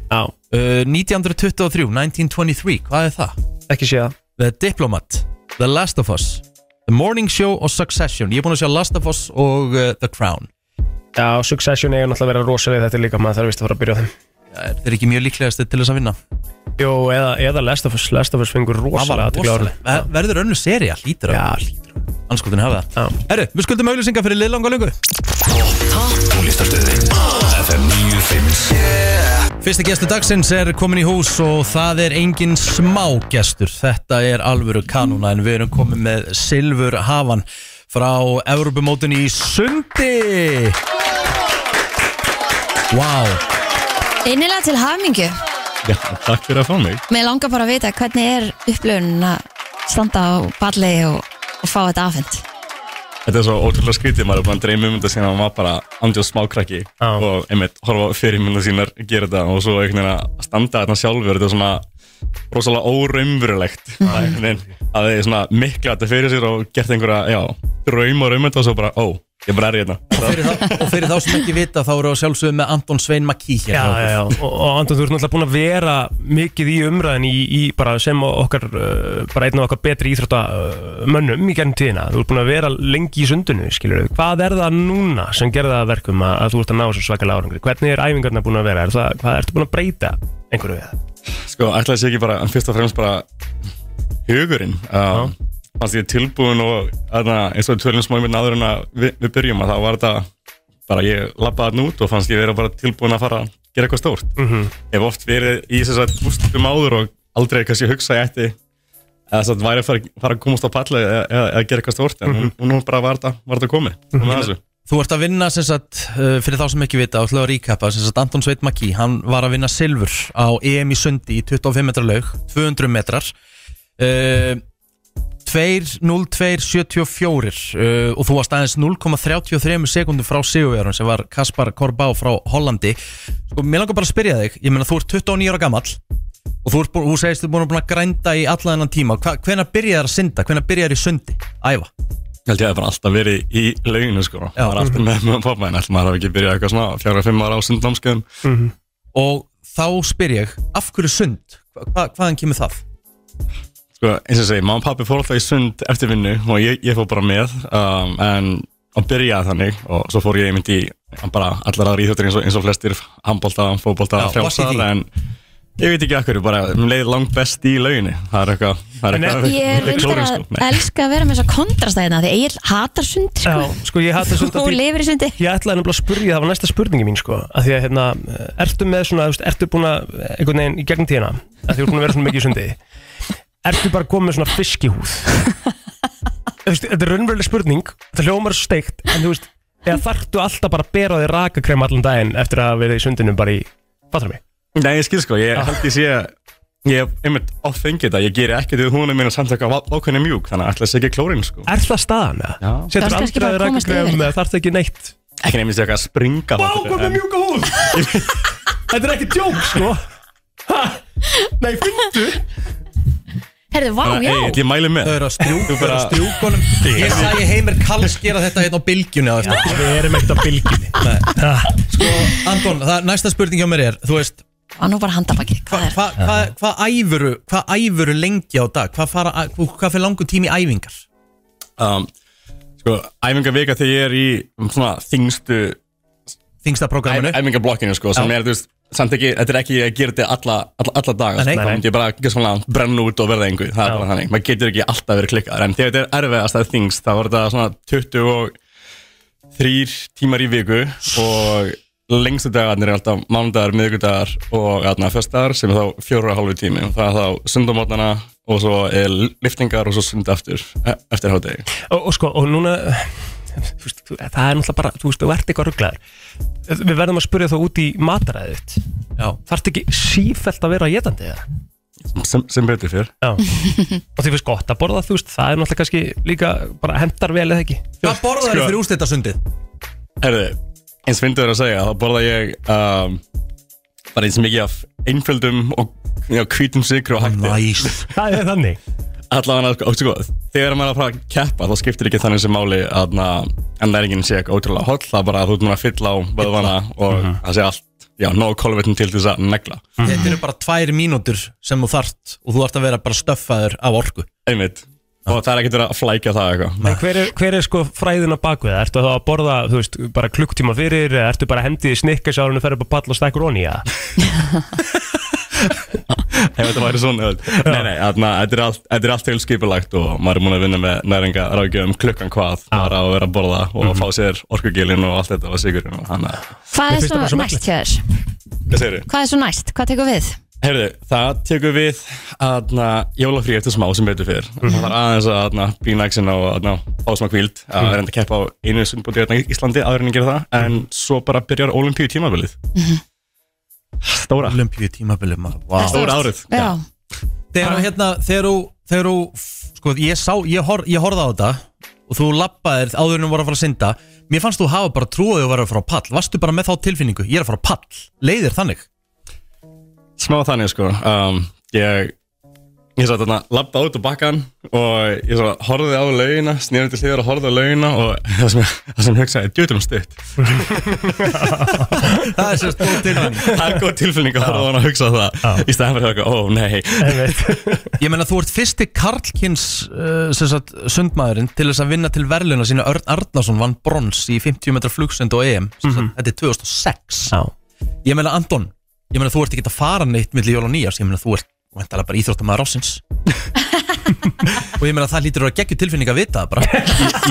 Speaker 3: Já,
Speaker 1: uh, 1923, 1923, hvað er það?
Speaker 3: ekki séð það
Speaker 1: The Diplomat, The Last of Us The Morning Show og Succession Ég er búin að sjá Last of Us og uh, The Crown
Speaker 3: Já, Succession eiga náttúrulega að vera rosalega þetta er líka, maður þarf vist að fara að byrja á þeim
Speaker 1: Þeir eru ekki mjög líklegast til þess að vinna
Speaker 3: Jó, eða, eða Last of Us, Last of Us fengur
Speaker 1: Það var
Speaker 3: rosalega aðtekla
Speaker 1: rosalega.
Speaker 3: árið
Speaker 1: Ver- Verður önnu seri að hlýtur
Speaker 3: Já,
Speaker 1: að
Speaker 3: hlýtur
Speaker 1: anskotin hafa það
Speaker 3: Já.
Speaker 1: Herru, við skuldum auðlýsingar fyrir liðlanga lungu
Speaker 4: Tónlistarstöðin FM 957
Speaker 1: Fyrsta gestur dagsins er komin í hús og það er engin smá gestur Þetta er alvöru kanúna en við erum komin með Silfur Hafan frá Evropamótin í sundi Vá
Speaker 2: innilega til hamingju
Speaker 7: Já, takk fyrir að fá mig.
Speaker 2: Mér langar bara að vita hvernig er upplöfun að standa á balli og, og fá þetta afhend
Speaker 7: Þetta er svo ótrúlega skrítið, maður er búin að dreyma um þetta síðan að maður bara andjóð smákrakki
Speaker 3: Já.
Speaker 7: og einmitt horfa fyrir minna sínar gera þetta og svo einhvern veginn að standa þarna sjálfur, þetta er svona rosalega óraumverulegt Það er einhvern veginn að það er svona miklu að þetta fyrir sér og gert einhverja, já, drauma og raum þetta og svo bara, ó, ég bara er hérna.
Speaker 1: fyrir þá, Og fyrir þá sem ekki vita þá eru á sjálfsögum með Anton Svein hérna Makí hér
Speaker 3: Já, já, já, og, og Anton, þú ert náttúrulega búin að vera mikið í umræðin í, í bara sem okkar, uh, bara einn af okkar betri íþrótta uh, mönnum í gennum tíðina Þú ert búin að vera lengi í sundinu, skilur við Hvað er það núna sem gerði það að verkum að, að þú ert að ná þessu svakalega árangri? Hvernig er æfingarna búin að vera? Er það, hvað ertu búin að breyta einhverju við það?
Speaker 7: Sko, ætlaði sé ekki bara, fyrst og fremst bara hugurinn um, hérna fannst ég tilbúin og aðna, eins og við tölum smá einmitt áður en að við, við byrjum að það var þetta bara ég labbaði hann út og fannst ég vera bara tilbúin að fara að gera eitthvað stórt
Speaker 8: Mhm.
Speaker 7: Ég hef oft verið í þess að úrstum áður og aldrei kannski hugsa ég ætti eða þess að væri að fara, fara að komast á palli eða, eða, eða gera eitthvað stórt en mm -hmm. nú bara var þetta, var þetta komið mm -hmm.
Speaker 1: Þú ert að vinna sem sagt, uh, fyrir þá sem ekki vita og ætlaðu að ríkappa, sem sagt Anton Sveitmaki hann var að vinna silfur á EM í sundi í 25 metrar laug, 200 metrar uh, 2.02.74 uh, og þú varst aðeins 0,33 sekundum frá Sigurverðun sem var Kaspar Korbá frá Hollandi sko, mér langar bara að spyrja þig, ég meina þú ert 29 ára gamall og þú, ert, búin- þú segist þú búin að búin að grænda í alla þennan tíma Hva, hvenær byrjar að synda, hvenær byrjar í sundi æfa,
Speaker 7: Ég held ég að það bara alltaf verið í lauginu sko Já. Það var alltaf með með pappa en alltaf maður hafi ekki byrjað eitthvað svona fjára fimm ára á sundnámskeiðum
Speaker 1: og þá spyr ég, af hverju sund hva, hva, hvaðan kemur það?
Speaker 7: sko, eins og ég segi, mamma og pappi fór alltaf í sund eftir vinnu og ég, ég fór bara með um, en og byrjaði þannig og svo fór ég einmitt í bara allar aðra íþjóttir eins og, eins og flestir handbólta, fótbólta,
Speaker 1: Já, varst í
Speaker 7: frjálsar
Speaker 1: því?
Speaker 7: en ég veit ekki akkur, bara mér leið langt best í lauginni, það er eitthvað það er
Speaker 8: En
Speaker 7: eitthvað-
Speaker 2: Ég
Speaker 7: eitthvað
Speaker 2: reyndar
Speaker 7: klórinn,
Speaker 2: að
Speaker 7: sko. Nei.
Speaker 2: elska að vera með þess að kontrast það hérna Því Egil hatar sund
Speaker 8: Já,
Speaker 2: sko.
Speaker 8: sko ég hætti svolítið
Speaker 2: Hún lifir í sundi
Speaker 8: Ég ætlaði nefnilega að spurja, það var næsta spurningi mín sko að því að hérna, ertu með svona þú veist, ertu búin að, einhvern veginn í gegnum tíðina að því þú er búin að vera svona mikið í sundi ertu bara komið með svona fiskihúð Þú veist, þetta er raunveruleg spurning það hljómar svo steikt en þú veist, eða þarftu alltaf bara að bera á því rakakrem allan daginn eftir að hafa verið í sundinu bara í, fattur mig?
Speaker 7: Nei, ég skil sko, ég held ég sé að ég hef einmitt oft fengið þetta, ég geri ekkert við húnum minna samt eitthvað vá- vákvæmni mjúk þannig að ætla að segja klórin sko
Speaker 8: Er það staðan eða?
Speaker 7: Já.
Speaker 2: Það
Speaker 8: Setur
Speaker 2: er kannski
Speaker 8: aldrei að
Speaker 2: bara að komast yfir
Speaker 8: rakakrem
Speaker 2: þetta.
Speaker 8: eða þarftu ekki neitt
Speaker 7: ekki nefnist ég eitthvað að springa
Speaker 8: Vá,
Speaker 7: þáttur,
Speaker 8: hvað með
Speaker 7: en-
Speaker 8: mjúka húð? Þetta er ekki djók sko Ha? Nei, fyndu
Speaker 2: Herðu, vá,
Speaker 7: Þannig
Speaker 2: já
Speaker 7: að, Egill, ég mæli með
Speaker 1: Þau eru að strjúk,
Speaker 7: Þú
Speaker 1: þau eru
Speaker 7: bara-
Speaker 1: að strjúkonum Ég sagði Heimir Kalls gera þetta hérna á bylgjunni á eftir
Speaker 8: Við erum ekkert á bylginni
Speaker 1: Sko, Anton, það, næsta spurning hjá mér er Þú veist,
Speaker 2: Var nú bara handabakið, hvað
Speaker 1: hvað
Speaker 2: er?
Speaker 1: hva, hva, hva æfuru Hvað æfuru lengi á dag? Hvað fara, að- hvað fyrir langu tími í æfingar?
Speaker 7: um, sko, æfingavika þegar ég er í um, svona þingstu
Speaker 1: Þingsta prógraminu
Speaker 7: æfingablokkinu sko, sem
Speaker 1: Já.
Speaker 7: er, þú veist, samt ekki, þetta er ekki að gera þetta alla, alla, alla
Speaker 1: Nei,
Speaker 7: daga, sko,
Speaker 1: nei.
Speaker 7: þá myndi ég bara ekki svona brenna út og verða einhver, það er
Speaker 8: Já.
Speaker 7: bara þannig, maður getur ekki alltaf verið klikkaður, en þegar þetta er erfiðast að þingst, þá var þetta svona 20 og þrýr tímar í viku og lengstu dagarnir er alltaf mánudagar, miðvikudagar og aðna föstagar sem er þá fjóru og hálfu tími og það er þá sundamotnana og svo er liftingar og svo sund aftur, e- eftir hádegi.
Speaker 8: og, og sko, og núna þú veist, þú- það er náttúrulega bara, þú veist, þú ert eitthvað rugglaður við verðum að spyrja þá út í mataræðið þitt.
Speaker 1: Já.
Speaker 8: þarftu ekki sífælt að vera getandi eða?
Speaker 7: sem, sem betur fyrr.
Speaker 8: Já. og því finnst gott að borða þú veist, það er náttúrulega kannski líka bara hendar vel eða ekki
Speaker 1: Hvað borðar þið
Speaker 7: Sko-
Speaker 1: fyrir úrstættasundið?
Speaker 7: Herðu, eins fyndur að segja, þá borða ég um, bara eins mikið af einföldum og já, hvítum sykru og hætti.
Speaker 1: Næs
Speaker 8: það er þannig
Speaker 7: Allavega, sko, og sko, þegar maður er að fara að keppa, þá skiptir ekki þannig sem máli að na, en næringin sé eitthvað ótrúlega holl, það er bara að þú ert mér að fylla á vöðvana og það sé allt, já, nóg kolvetnum til þess að negla.
Speaker 1: Þetta eru bara tvær mínútur sem þú þart og þú ert að vera bara stöffaður af orku
Speaker 7: Einmitt. Og það er ekkert verið að flækja það eitthvað.
Speaker 8: En hver er, hver er sko fræðina bakvið það? Ertu þá að borða, þú veist, bara klukktíma fyrir eða ertu bara að hendi í snikkas ára og ferðu upp að palla og stekkur onni í það?
Speaker 7: Ef þetta væri svona, þú veist. nei, nei, þarna, þetta er allt- þetta er allt til skipulagt og maður er múin að vinna með næringa ráðgjöfum klukkan hvað, maður á að vera að borða og fá sér orkugilin og allt þetta og sigurinn og þannig að
Speaker 2: Hvað
Speaker 8: Mér
Speaker 2: er
Speaker 8: finnst það bara svo
Speaker 2: svo næst hjá þér?
Speaker 7: Hvað segirðu?
Speaker 2: Hvað er svo næst? Hvað tekur við?
Speaker 7: Heyrðu, það tekur við aðna, jólafrí eftir smá sem betur fyrir Það var aðeins að aðna, bína eksin á aðna, ásma kvíld að reynda að keppa á einu sundbúti í Íslandi áður en ég gera það en svo bara byrjar olimpíu tímabilið Stóra
Speaker 1: Olympíu tímabilið maður Vá
Speaker 7: Stóra árið
Speaker 2: Já,
Speaker 1: Þegar þú hérna, þegar þú, þegar þú, sko, ég sá, ég, hor, ég horfði á þetta og þú lappaðir áður en þú voru að fara að synda Mér fannst þú hafa bara trúið að vera að fara á pall Varstu bara með þá tilfinningu, ég er að fara á pall Leiðir þannig
Speaker 7: Smá þannig sko um, Ég Ég satt þarna, labba út á bakkan og ég svo horfði á laugina, snýrði til hliðar og horfði á laugina og það sem, það sem ég hugsaði, djöðum stutt.
Speaker 1: Það er sérst góð tilfinning
Speaker 7: Það er góð tilfinning að horfa á hann að hugsa það í stæðan fyrir eitthvað, ó nei,
Speaker 1: Ég meina þú ert fyrsti Karlkins uh, sem sagt, sundmaðurinn til þess að vinna til verðluna sína Örn Arnason vann brons í 50 metra flugsund og EM sem sagt, Þetta er 2006
Speaker 8: Já.
Speaker 1: Ég meina Anton, ég meina þú ert ekki að fara neitt milli jól og nýjars, ég meina þú ert Væntalega bara íþróttamaður ásins Og ég meina það lítur að geggju tilfinning að vita það bara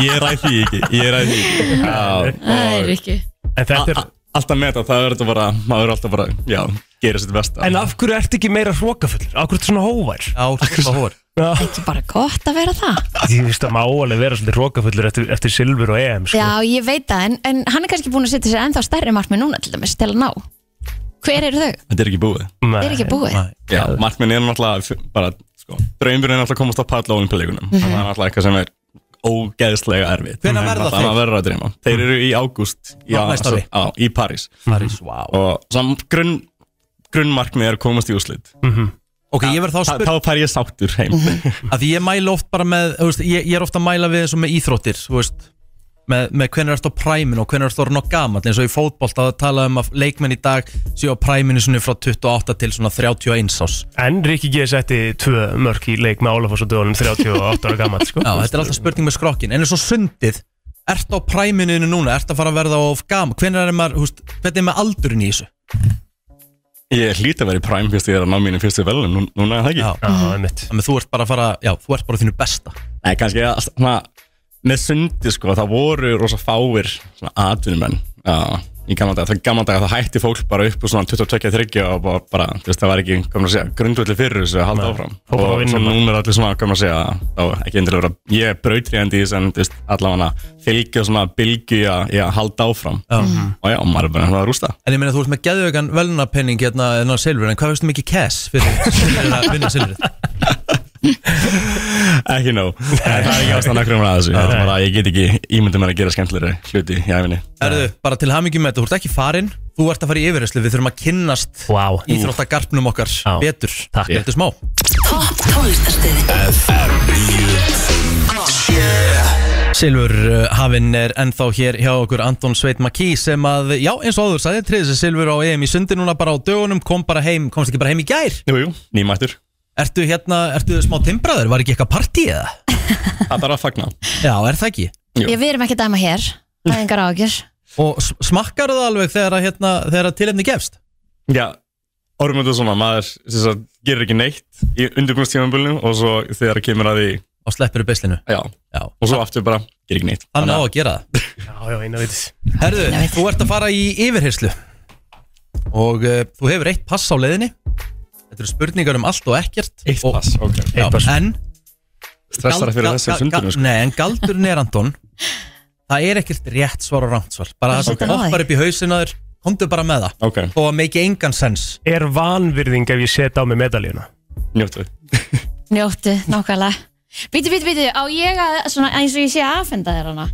Speaker 7: ég ræð því ekki, ég ræð því ekki. Já,
Speaker 2: það er
Speaker 7: og
Speaker 2: ekki
Speaker 8: En þetta er
Speaker 7: A- Alltaf með þetta, það er þetta bara, maður er alltaf bara, já, gerir sitt besta
Speaker 8: En af hverju ertu ekki meira hrókafullur? Af hverju ertu svona hóvar?
Speaker 1: Já, hvað hóður
Speaker 2: Ekki bara gott að vera það
Speaker 8: Því þú veist að maður áalega vera svolítið hrókafullur eftir, eftir silfur og EM sko.
Speaker 2: Já, ég veit það, en, en hann er kannski búin að setja sér ennþá stærri markmið núna til dæmis til að ná Hver eru þau?
Speaker 7: Þetta er ekki búið
Speaker 8: Nei.
Speaker 2: Þeir eru ekki búið
Speaker 1: Nei.
Speaker 7: Já, markminn er náttúrulega f- bara, sko, draumurinn er náttúrulega að komast á pall á olimpíuleikunum mm Það er náttúrulega eitthvað sem er ógeðslega
Speaker 1: Mhm.
Speaker 7: erfitt
Speaker 1: Hvenær
Speaker 7: Það er
Speaker 1: verða
Speaker 7: alltaf
Speaker 1: þeir? Mhm.
Speaker 7: að verða að dreyma Þeir eru í ágúst í,
Speaker 1: Á næsta ári.
Speaker 7: á, í París
Speaker 1: París, wow
Speaker 7: Og sam, grunn, grunnmarkmið er að komast í úslit
Speaker 1: Ok, ég verð þá að
Speaker 7: Þa-
Speaker 1: spyrja
Speaker 7: Þá fær ég sáttur heim
Speaker 1: að því ég mæla oft bara með þú veist, ég, ég er oft að mæla við þessu með íþróttir þú veist, með, með hvernig erst á præminu og hvernig erst orðin á gaman eins og í fótbolt að tala um að leikmenn í dag séu á præminu svona frá 28 til svona 31 ás
Speaker 8: En Rikki G. setti tvö mörk í leik með Álafoss og dögunum 38 ára gammal sko.
Speaker 1: Já, þetta er alltaf spurning með skrokkin en eins og sundið, ert á præminuðinu núna ert að fara að verða á gaman hvernig er maður, þú veist, hvernig er maður aldurinn í þessu
Speaker 7: Ég hlýt að vera í Prime fyrst ég er að ná mínu fyrstu velun nú, Núna er það ekki
Speaker 1: Já.
Speaker 8: Já, einmitt
Speaker 1: þannig að þú ert bara að fara, já, þú ert bara á þínu besta
Speaker 7: Nei, kannski að, svona, með sundi sko, það voru rosa fáir svona atvinnumenn já, í gamla daga, það gamla daga það hætti fólk bara upp úr svona 22-30 og bara, bara þú veist, það var ekki, komur að segja, grundvöldi fyrir þessu að halda
Speaker 8: Nei,
Speaker 7: áfram
Speaker 8: fólk var að
Speaker 7: og
Speaker 8: vinna
Speaker 7: svo
Speaker 8: bara.
Speaker 7: núna er allir svona, komur að segja þá ekki endilega vera, ég er brautriðandi í þessu en þú veist, allavega fylgja svona bylgju í að- í að halda áfram og já, maður er bara að rústa
Speaker 1: en ég meina þú ert með geðvögan velnapenning hérna, hérna silfur, en hvað veistum ekki cash fyrir, fyrir að vinna silfrið
Speaker 7: ekki nóg, En það er ekki ástæðan að krumra að þessu, þetta er bara, ég get ekki ímyndum mér að gera skemmtilegri hluti í æfinni
Speaker 1: Erðu, bara til hamingjum með þetta, þú ert ekki farin Þú ert að fara í yfirherslu, við þurfum að kynnast
Speaker 8: Vá.
Speaker 1: Íþróttagarpnum okkar
Speaker 8: Já.
Speaker 1: betur
Speaker 8: Takk.
Speaker 1: Þetta er smá
Speaker 6: Topp tónlistarstöð
Speaker 1: Silfur uh, Hafinn er ennþá hér hjá okkur Anton Sveit Makí sem að, já eins og áður sagði, triði sér Silfur á EM í sundi núna bara á dögunum, kom bara heim, komst ekki bara heim í gær
Speaker 7: Jú, jú, nýmættur,
Speaker 1: Ertu hérna, ertu smá timbraður, var ekki eitthvað partí eða?
Speaker 7: það er bara að fagna
Speaker 1: Já, er það ekki?
Speaker 7: Jú.
Speaker 2: Ég við erum ekki að dæma hér, það er engar ágjör
Speaker 1: Og s- smakkarðu það alveg þegar að, hérna, þegar að tilefni gefst?
Speaker 7: Já, orðum þetta svona maður sem sagt, gerir ekki neitt í undirbúinstímanbúlinu og svo þegar kemur að því
Speaker 1: Og sleppirðu beislinu?
Speaker 7: já,
Speaker 1: Já,
Speaker 7: og svo aftur bara gerir ekki neitt
Speaker 1: hann á að gera það
Speaker 8: Já, já, eina vitið
Speaker 1: Herðu,
Speaker 2: Ég veit.
Speaker 1: þú ert að fara í yfirherslu og uh, þú hefur eitt pass á leiðinni Þetta eru spurningar um allt og ekkert
Speaker 7: Eitt
Speaker 1: og,
Speaker 7: pass, ok
Speaker 1: já,
Speaker 8: Eitt pass.
Speaker 1: En,
Speaker 7: Stressar fyrir þessu sundinu sko.
Speaker 1: nei, en galdurinn er Anton Það er ekkert rétt svar og rámt svar Bara það sem
Speaker 2: Þetta er
Speaker 1: poppar upp í hausinn á þér Komdu bara með það
Speaker 7: Ok,
Speaker 1: Og að make engan sens
Speaker 8: Er vanvirðing ef ég set á mig medalíuna?
Speaker 7: njóttu
Speaker 2: Njóttu, nákvæmlega Bíti, bíti, bíti, á ég að, svona, eins og ég sé að aðfenda þér hana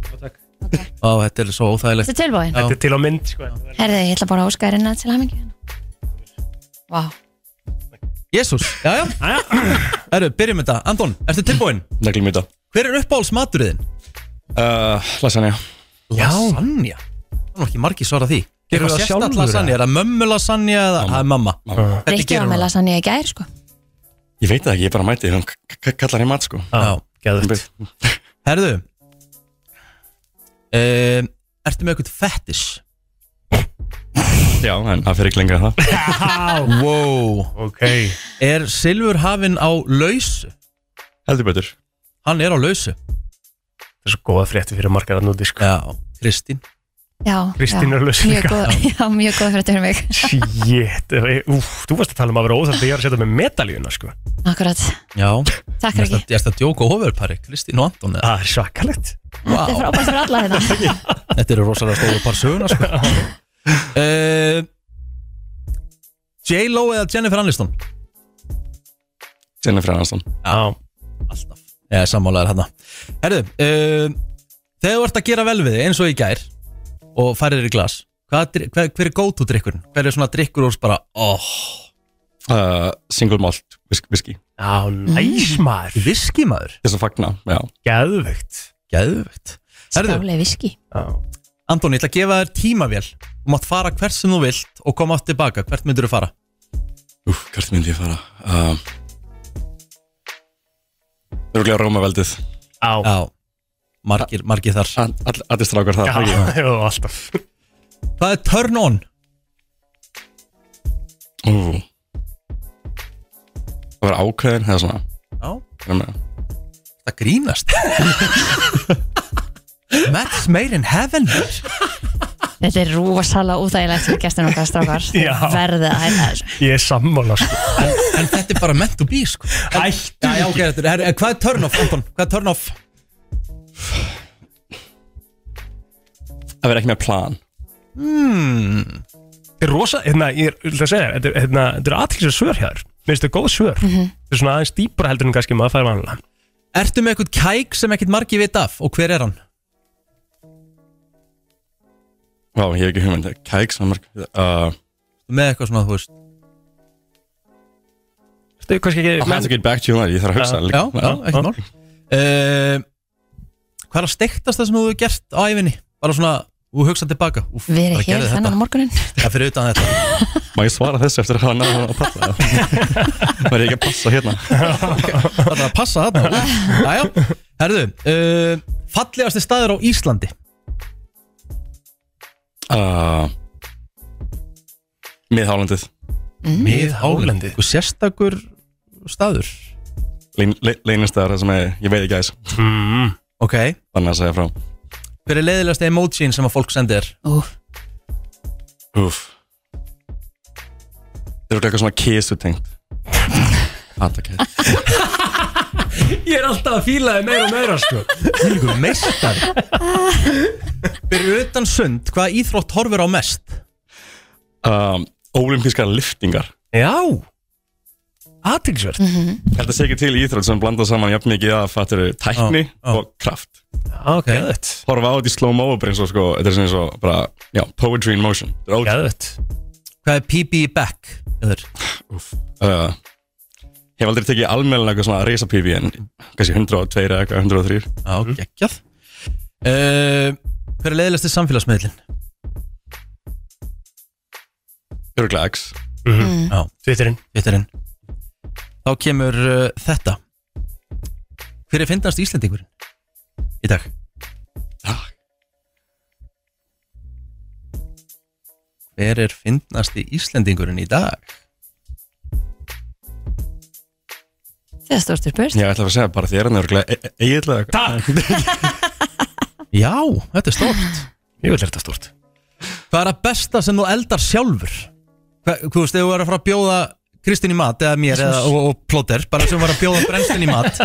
Speaker 1: Ó, þetta er svo óþægilegt
Speaker 2: Þetta er tilbúin
Speaker 1: Já.
Speaker 8: Þetta er til á mynd sko.
Speaker 2: Herði, ég ætla bara að óska þér innan til hamingju Vá,
Speaker 1: Jésús, já, já Erðu, byrjum þetta Anton, ertu tilbúinn?
Speaker 7: Neglum í þetta
Speaker 1: Hver er uppáhalds maturðin?
Speaker 7: uh, Lasagna
Speaker 1: Já Lasagna Það er nú ekki margir svara því
Speaker 8: Gerðu
Speaker 1: Gerðu
Speaker 8: það
Speaker 1: það sérstætt
Speaker 8: sjálfur,
Speaker 1: lasagna, er það mömmu lasagna eða það er mamma?
Speaker 7: Mamma.
Speaker 1: Þetta
Speaker 2: Rikki
Speaker 1: gerir
Speaker 2: var
Speaker 1: hún
Speaker 2: með
Speaker 1: það.
Speaker 2: lasagna í gær, sko
Speaker 7: Ég veit það ekki, ég bara mæti hún k- k- kallar í mat sko
Speaker 1: Já.
Speaker 8: Geðvægt
Speaker 1: Herðu um, Ertu með eitthvað fettis?
Speaker 7: Já, en það fyrir ekki lengra en það
Speaker 1: Wow
Speaker 8: Ok
Speaker 1: Er Silfur hafinn á lausu?
Speaker 7: Heldur betur
Speaker 1: Hann er á lausu
Speaker 8: Það er svo góða frétti fyrir margar að núti sko.
Speaker 1: Já Kristín
Speaker 2: Já,
Speaker 8: Kristín
Speaker 2: já.
Speaker 8: er laus
Speaker 2: Mjög
Speaker 8: líka.
Speaker 2: góð, já, mjög góð fyrir þetta fyrir mig
Speaker 8: Shit Úf, þú varst að tala um að vera óþægt Ég er að setja á mig medalíuna sko.
Speaker 2: Akkurat,
Speaker 1: Já
Speaker 2: takk
Speaker 1: Ég
Speaker 2: Rikki
Speaker 1: erst að djóka og ofurpari Kristín og Anton eða?
Speaker 8: Það er svakalegt
Speaker 2: Þetta er
Speaker 1: Vá
Speaker 2: frábært fyrir alla hérna. þetta
Speaker 1: Þetta eru rosalega stóru par söguna sko uh, J-Lo eða Jennifer Aniston?
Speaker 7: Jennifer Aniston
Speaker 8: Já
Speaker 1: Alltaf Já, sammálaður hérna Herðu uh, Þegar þú ert að gera vel við þig eins og í gær Og færir í glas hvað, dri- hver, hver er go-to drikkurinn? Hver er svona drikkur og bara Oh,
Speaker 7: uh, Single malt whisk- whisky
Speaker 8: Já, næs maður
Speaker 1: viski maður
Speaker 7: Þess að fagna, já
Speaker 8: Geðvægt
Speaker 1: Geðvögt Herðu,
Speaker 2: Stálega viski
Speaker 8: Já
Speaker 1: Antoni, ég ætla að gefa þér tímavél Þú mátt fara hvert sem þú vilt og koma aftur tilbaka Hvert myndur þú fara?
Speaker 7: Úf, hvert myndi ég fara uh, Rúglega Rómaveldið
Speaker 8: Já,
Speaker 1: Já, margir, margir þar
Speaker 7: All- all- Allir strákar það ekki?
Speaker 8: já, já, alltaf
Speaker 1: Hvað er turn on?
Speaker 7: Ú. Mm. Það var ákveðin eða svona
Speaker 1: Já,
Speaker 7: hvað er með það?
Speaker 1: það grínast Match made in heaven maður.
Speaker 2: Þetta er rosalega úþægilegt fyrir gestin okkar strákar Þið
Speaker 8: Já.
Speaker 2: verðið að hætta þessu
Speaker 8: Ég er sammála sko.
Speaker 1: En þetta er bara meant to be sko
Speaker 8: Ættu
Speaker 1: Já, já, ok, þetta er, herru, en hvað er turn off, Anton? Hvað er turn off?
Speaker 7: að vera ekki með plan
Speaker 8: Þetta er rosa, hérna, ég er- ég ætla að segja þér, þetta er- hérna, þetta eru aðtilsir svör hjá þér Mér finnst þetta góð svör Þetta er svona aðeins dýpra heldur en kannski maður fær vanlega
Speaker 1: Ertu með eitthvað kæk sem ekkert margi vit af og hver er hann?
Speaker 7: Vá, ég hef ekki hugmynd Kæk samar uh,
Speaker 1: Með eitthvað svona, þú veist
Speaker 8: Þetta er kannski
Speaker 7: I
Speaker 8: ekki
Speaker 7: have to get back to you on that Ég þarf að hugsa
Speaker 1: Uh, Já, já, ekkert mál uh, Hvað er að stektast það sem þú hefur gert á æfinni? Bara svona, þú hugsaði tilbaka Úf,
Speaker 2: Verið
Speaker 1: bara
Speaker 2: hér
Speaker 1: gerði
Speaker 2: þennan á morgunin
Speaker 1: Já, fyrir utan þetta
Speaker 7: Má ég svara þessu eftir að hafa náðan að passa Var ég ekki að passa hérna
Speaker 1: Það er að passa þarna Jæja, herðu uh, Fallegasti staður á Íslandi
Speaker 7: uh, Miðhálandið
Speaker 1: Miðhálendi Einhver sérstakur staður
Speaker 7: Lein- le- Leynistæðar það sem ég, ég veit ekki aðeins
Speaker 8: mm,
Speaker 1: Ok
Speaker 7: Þannig að segja frá
Speaker 1: Hver er leiðilegasti emojín sem að fólk sendir þér?
Speaker 2: Ú,
Speaker 7: Úf Það eru eitthvað svona kísu tengt Atakæð
Speaker 8: Ég er alltaf að fíla þið meira og meira sko.
Speaker 1: Þvílíkur meistar Fyrir utan sund, hvaða íþrótt horfir á mest?
Speaker 7: um, Ólimpískar liftingar
Speaker 8: Já Aðtilsvert
Speaker 7: Þetta sé ekki til íþrótt sem blandar saman jafn mikið að fattir tækni
Speaker 1: Já, já.
Speaker 7: og kraft
Speaker 8: Ah, Ok,
Speaker 1: Geðvett
Speaker 7: Horfa á þetta í slow-mo og bara eins og sko Þetta er sem eins og bara, já, poetry in motion Þetta er ótrúlega
Speaker 8: gæðvett
Speaker 1: Hvað er PB back? Eður?
Speaker 7: uh, Hef aldrei tekið almennilega eitthvað svona reysa pífi en kannski 102 eða eitthvað 103
Speaker 1: Já, geggjað uh, Hver er leiðilegasti samfélagsmiðlin?
Speaker 7: Örgla X
Speaker 8: Twitterinn
Speaker 1: Vitturinn Þá kemur uh, þetta Hver er fyndnast Íslendingurinn? Í dag
Speaker 7: Ah,
Speaker 1: Hver er fyndnasti Íslendingurinn í dag?
Speaker 2: Þegar stórstur spurst
Speaker 7: Ég ætla að segja bara þér en e, örgla eiginlega Takk
Speaker 1: Já, þetta er stort
Speaker 8: Ég vil þetta stort
Speaker 1: Hvað er að besta sem þú eldar sjálfur? Hvað, þú veist, ef þú er að fara að bjóða Kristín í mat eða mér eða, og, og plóter bara sem var að bjóða brennslinn í mat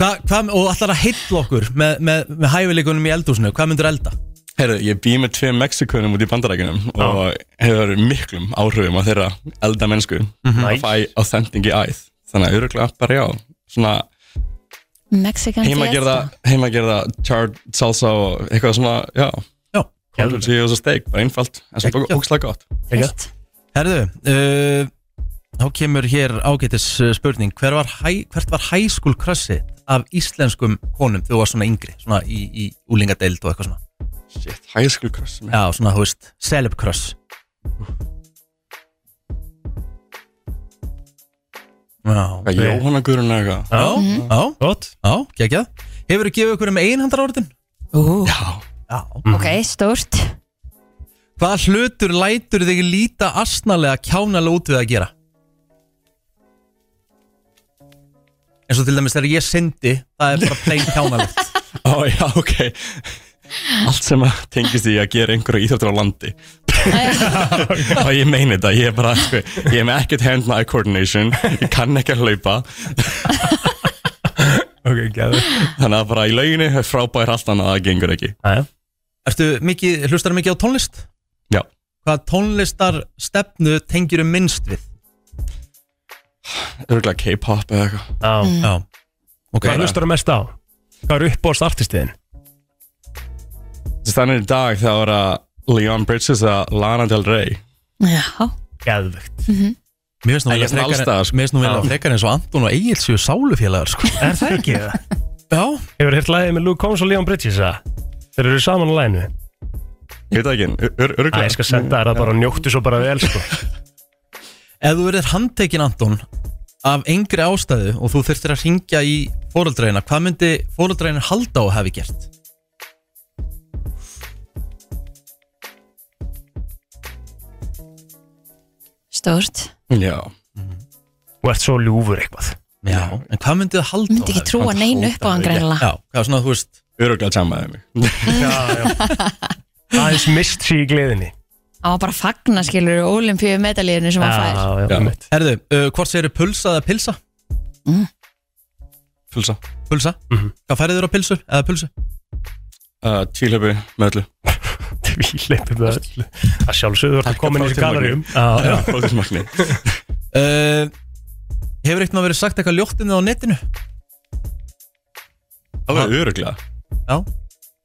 Speaker 1: hvað, hvað, og allar að heilla okkur með, með, með hæfileikunum í eldhúsinu hvað myndur elda?
Speaker 7: Herru, ég bý með tveim Mexikunum út í bandarækjunum og hefur miklum áhrifum á þeirra elda mennsku að
Speaker 1: Mm.
Speaker 8: Nice.
Speaker 7: fæ authentic í æð þannig að örgla bara já svona
Speaker 2: Mexikan
Speaker 7: heimagerða heimagerða charred salsa og eitthvað svona, já
Speaker 1: Já.
Speaker 7: Kóldur síðu og svo steik, bara einfalt en svo
Speaker 1: Geggjað.
Speaker 7: ógslag gott
Speaker 2: Fyrst.
Speaker 1: Herðu, uh, þá kemur hér ágætis uh, spurning Hver var hæ, Hvert var hæskúl krassi af íslenskum konum þegar þú var svona yngri svona í, í úlingadeild og eitthvað svona
Speaker 7: Shit, high school crush man.
Speaker 1: Já, svona, þú veist, celeb crush Já,
Speaker 7: Hvað, Jóhanna Guðrun eða eitthvað
Speaker 1: já,
Speaker 8: Mhm.
Speaker 1: já,
Speaker 8: Gott
Speaker 1: já, geggjað Hefur þú gefið ykkur um einhandar orðin?
Speaker 2: Ú,
Speaker 1: Já
Speaker 2: ok, stórt
Speaker 1: Hvaða hlutur lætur þig líta asnalega kjánalega út við að gera? En svo til dæmis þegar ég syndi það er bara plain kjánalegt
Speaker 7: Ó, já, ok Allt sem að tengist í að gera einhverju íþjóttur á landi og ég meini þetta ég er bara, sko, ég er með ekkert hand-eye coordination ég kann ekki að hlaupa
Speaker 8: Ok, gæðvett
Speaker 7: þannig að bara í lauginu er frábær allt annað að það gengur ekki
Speaker 8: Mhm.
Speaker 1: Ertu mikið, hlustar mikið á tónlist?
Speaker 7: Já.
Speaker 1: Hvaða tónlistar stefnu tengir um minnst við?
Speaker 7: örgulega K-pop eða eitthvað
Speaker 8: Já
Speaker 1: Já Ok,
Speaker 8: Hvað hlustar þú mest á? Hvað er upp á startistiðin?
Speaker 7: Þessi þannig í dag þá er að Leon Bridges að Lana Del Rey
Speaker 2: Já,
Speaker 8: Gæðvegt
Speaker 1: mér finnst nú
Speaker 7: En
Speaker 1: vel
Speaker 7: ég er
Speaker 1: að
Speaker 7: svona
Speaker 1: frekar-
Speaker 7: alls staðar, sko.
Speaker 1: Mér finnst nú vel að frekar eins og Anton og Egil séu sálufélagar sko.
Speaker 8: Er það ekki það?
Speaker 1: Já
Speaker 8: Hefur hirt lagið með Luke Combs og Leon Bridges það? Þeir eru saman á læginu
Speaker 7: ég veit það ekki, ör-
Speaker 8: Æ,
Speaker 7: örgulega
Speaker 8: ég skal senda þér það bara og njóttu svo bara vel sko
Speaker 1: Ef þú verður handtekinn Anton af engri ástæðu og þú þurftir að ringja í fóröldræðina hvað myndi fóröldræðina halda og hafi gert?
Speaker 2: stórt
Speaker 7: já,
Speaker 8: Og ert svo ljúfur eitthvað
Speaker 1: Já, en hvað myndið þið halda?
Speaker 2: Myndi ekki trúa
Speaker 7: hann
Speaker 2: neinu
Speaker 7: hótar
Speaker 2: upp á hann
Speaker 7: því ekki.
Speaker 2: greinilega
Speaker 1: Já, hvað svona, þú veist
Speaker 7: örgulega tjamaði mig
Speaker 8: Já, já
Speaker 3: aðeins mist sér í gleðinni
Speaker 2: Það var bara að fagna skilur Ólimpíu medalíðinu sem hann fær
Speaker 3: já, já, einmitt.
Speaker 1: Herðu, uh, hvort segir pulsa eða pilsa?
Speaker 7: Pulsa
Speaker 1: Pulsa?
Speaker 7: Mhm.
Speaker 1: Hvað færið þér á pilsu? Eða pulsu?
Speaker 7: uh, Tvílöpi með öllu
Speaker 3: Við leipum með öllu að sjálfsögðu þú ert komin í þessu galeríum Já, já.
Speaker 7: Prótismakni
Speaker 1: Uh, hefur eitthvað verið sagt eitthvað ljóttinu á netinu?
Speaker 7: Það var öruglega
Speaker 1: Já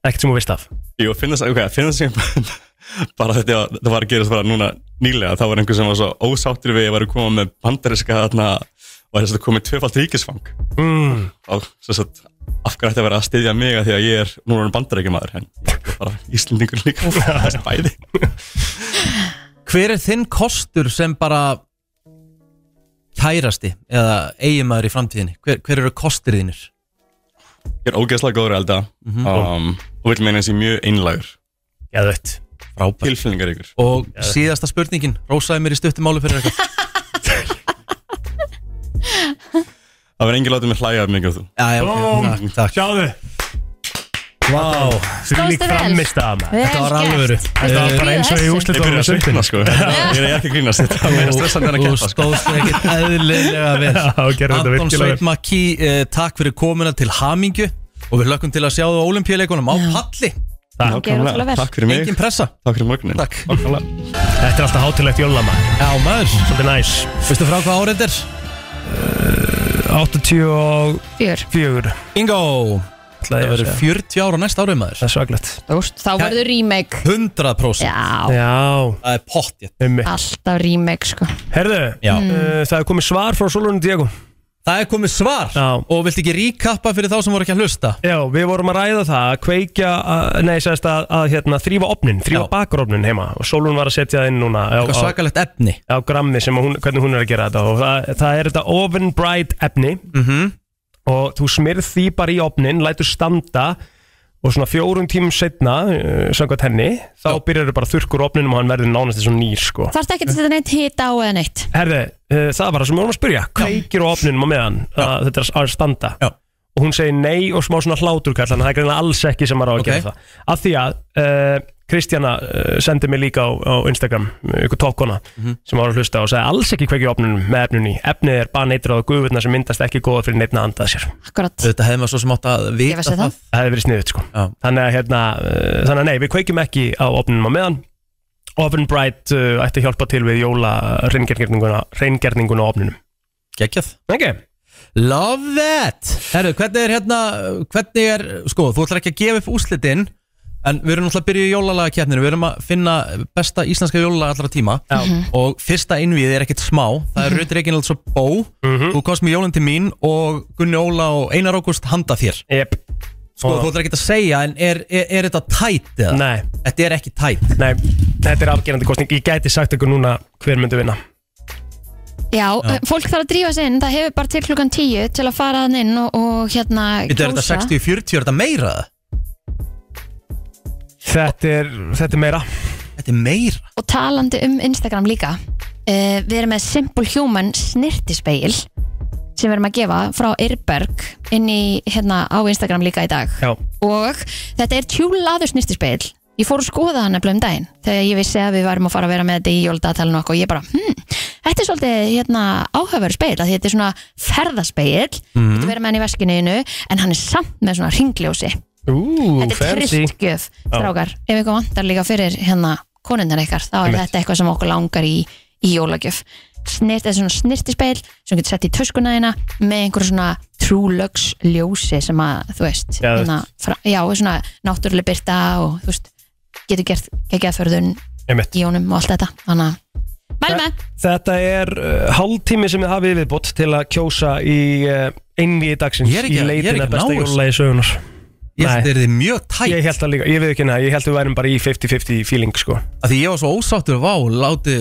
Speaker 3: ekkert sem þú veist af
Speaker 7: Jú, finnast, ok, finnast sem bara þetta, þetta var að gerast bara núna nýlega, það var einhver sem var svo ósáttur við að ég var að koma með bandariska þarna og þess að komið tvöfalt ríkisfang
Speaker 3: mm.
Speaker 7: og svo satt af hverju ætti að vera að styðja mig að því að ég er núna bandarækjamaður en ég er bara Íslendingur líka það er bæði
Speaker 1: Hver er þinn kostur sem bara kærasti eða eiginmaður í framtíðinni? Hver, hver eru kostir þínir?
Speaker 7: Ég er ógeðslega góður að elda um, og vil meina þessi mjög einlægur
Speaker 3: Já, þú veit
Speaker 1: Frábært
Speaker 7: tilfinningar ykkur
Speaker 1: Og síðasta spurningin, rósaði mér í stuttum málu fyrir eitthvað
Speaker 7: Það verður engin látið mér hlæja af mikið og þú
Speaker 1: Já, já, ok, takk, takk
Speaker 3: Sjáðu
Speaker 1: Vá,
Speaker 3: Þvílík
Speaker 2: Stóðstu vel.
Speaker 3: frammistaða maður
Speaker 1: þetta var alvöru
Speaker 3: Það var bara eins og í
Speaker 7: Ég
Speaker 3: úrslit
Speaker 7: byrja að svitna sko, ég er ekki að grínast þetta er meira stressandi en að
Speaker 1: Þú
Speaker 7: keppa sko
Speaker 1: stóðst ekkert eðlilega vel
Speaker 3: Já, gerðu þetta
Speaker 1: Anton
Speaker 3: virkilega vel.
Speaker 1: Sveitmaki, eh, takk fyrir komuna til hamingju og við lökkum til að sjá þú á olimpíuleikunum á palli,
Speaker 2: ótrúlega vel.
Speaker 7: Takk fyrir mig,
Speaker 1: engin pressa
Speaker 7: takk fyrir mögnin
Speaker 1: Takk
Speaker 3: Þetta er alltaf hátilegt jólama
Speaker 1: Já, maður,
Speaker 3: Svolítið næs
Speaker 1: veistu frá hvað árið er?
Speaker 3: 84
Speaker 2: Fjör
Speaker 1: Bingo
Speaker 3: Það
Speaker 1: Það verður 40 ára næsta árið maður
Speaker 3: Það er svaglegt
Speaker 2: Úst, Þá verður remake
Speaker 1: 100%
Speaker 2: Já,
Speaker 3: Já,
Speaker 1: Það er pott
Speaker 3: ummi
Speaker 2: alltaf remake sko
Speaker 3: Herðu,
Speaker 1: Já.
Speaker 3: uh, það er komið svar frá Solon Diego
Speaker 1: Það er komið svar
Speaker 3: Já.
Speaker 1: Og viltu ekki ríkappa fyrir þá sem voru ekki að hlusta?
Speaker 3: Já, við vorum að ræða það að kveikja, að- nei, sagðist að, að hérna, þrýfa opnin, þrýfa
Speaker 1: Já.
Speaker 3: bakarofnin heima og Solon var að setja það inn núna á,
Speaker 1: Eitthvað
Speaker 3: á,
Speaker 1: svakalegt efni
Speaker 3: á grammi sem hún, hvernig hún er að gera þetta og það, það er þetta oven bright efni
Speaker 1: Mhm.
Speaker 3: og þú smyrð því bara í opnin, lætur standa og svona fjórum tímum setna uh, samkvæmt henni, þá
Speaker 1: Já.
Speaker 3: byrjar þau bara að þurrkur opninum og hann verður nánast eins og nýr sko.
Speaker 2: Þarftu ekki að setja neitt hita á eða neitt
Speaker 3: Herði, uh, það var það sem við vorum að spyrja Kveikir á opninum á meðan að þetta er að standa
Speaker 1: Já.
Speaker 3: Og hún segir nei og smá svona hláturkall Þannig að það er greinlega alls ekki sem maður á að
Speaker 1: Ok.
Speaker 3: gera það Af því að uh, Kristjana uh, sendi mig líka á, á Instagram uh, Ykkur tókona
Speaker 1: Mhm.
Speaker 3: sem var að hlusta Og segði alls ekki kveikir á opninum með efninu í Efnið er bara neitrað og gufurna sem myndast ekki góða fyrir neitna andað sér
Speaker 2: Akkurat
Speaker 1: Þetta hefði maður svo sem átt að
Speaker 2: Ég
Speaker 1: vita
Speaker 2: vissi það.
Speaker 1: það
Speaker 3: Það hefði verið sniðut sko
Speaker 1: Já.
Speaker 3: þannig að, hérna, uh, þannig að nei, við kveikjum ekki á opninum á meðan Oven Bright uh, ætti að hjálpa til við jóla reyngerningun, reyngerningun á opninum
Speaker 1: Gekkjað
Speaker 3: okay.
Speaker 1: Love that Herru, hvernig er hérna Hvernig er, sko, þú ætlar ekki að gefa upp úslitin En við erum náttúrulega að byrja í jólalaga Við erum að finna besta íslenska jólalaga allra tíma
Speaker 3: Mhm.
Speaker 1: Já. Og fyrsta innvíð er ekkert smá Það er Rutt Reginalds og Bó Þú komst með jólinn til mín Og Gunni Óla og Einar Ágúst handa þér
Speaker 3: Yep.
Speaker 1: Sko, þú ætlar ekki að segja En er, er, er þetta tætt eða?
Speaker 3: Nei,
Speaker 1: Þetta er ekki tætt
Speaker 3: nei, þetta er afgerandi kostning Ég gæti sagt ykkur núna hver myndi vinna
Speaker 2: Já, Já. fólk þarf að drífa sig inn Það hefur bara til klukkan 10 til að fara þann inn og, og hérna
Speaker 1: Þetta er þetta 60-40, er þetta meira? eða?
Speaker 3: Þetta er, þetta er meira
Speaker 1: Þetta er meira
Speaker 2: og talandi um Instagram líka uh, við erum með Simple Human snirtispeil sem við erum að gefa frá Irberg inn í, hérna, á Instagram líka í dag
Speaker 3: Já,
Speaker 2: og þetta er tjúlaður snirtispeil ég fór að skoða hann nefnilega um daginn þegar ég vissi að við varum að fara að vera með þetta í jóldatalinn og okkur og ég bara, hm, þetta er svolítið hérna, áhauveru speil, af því þetta er svona ferðaspeil, mm. þetta verið með hann í veskinu en hann er samt með svona ringljósi
Speaker 3: ú,
Speaker 2: þetta er trilltgjöf strákar, ef ykkur vantar líka fyrir hérna konunnar ykkar, þá er
Speaker 3: Einmitt.
Speaker 2: þetta eitthvað sem okkur langar í, í jólagjöf Snirt, þetta er svona snirtispeil sem getur sett í töskuna þína með einhver svona true lux ljósi sem að þú veist, hérna,
Speaker 3: Já, þú
Speaker 2: fra, já svona náttúrulega byrta og þú veist getur gert geggjaförðun
Speaker 3: Einmitt.
Speaker 2: í honum og allt þetta þannig að, mælu með
Speaker 3: Þetta er uh, hálftími sem þið hafið viðbót til að kjósa í uh, einvíði dagsins
Speaker 1: Ég er ekki-
Speaker 3: í
Speaker 1: ég er
Speaker 3: leitin
Speaker 1: ekki
Speaker 3: að besta
Speaker 1: náist.
Speaker 3: jólulegi sögunar
Speaker 1: Ég held
Speaker 3: Nei.
Speaker 1: að þetta er mjög tætt
Speaker 3: Ég held það líka, ég við ekki hérna, ég held við værum bara í 50-50 feeling sko
Speaker 1: að því ég var svo ósáttur vá, láti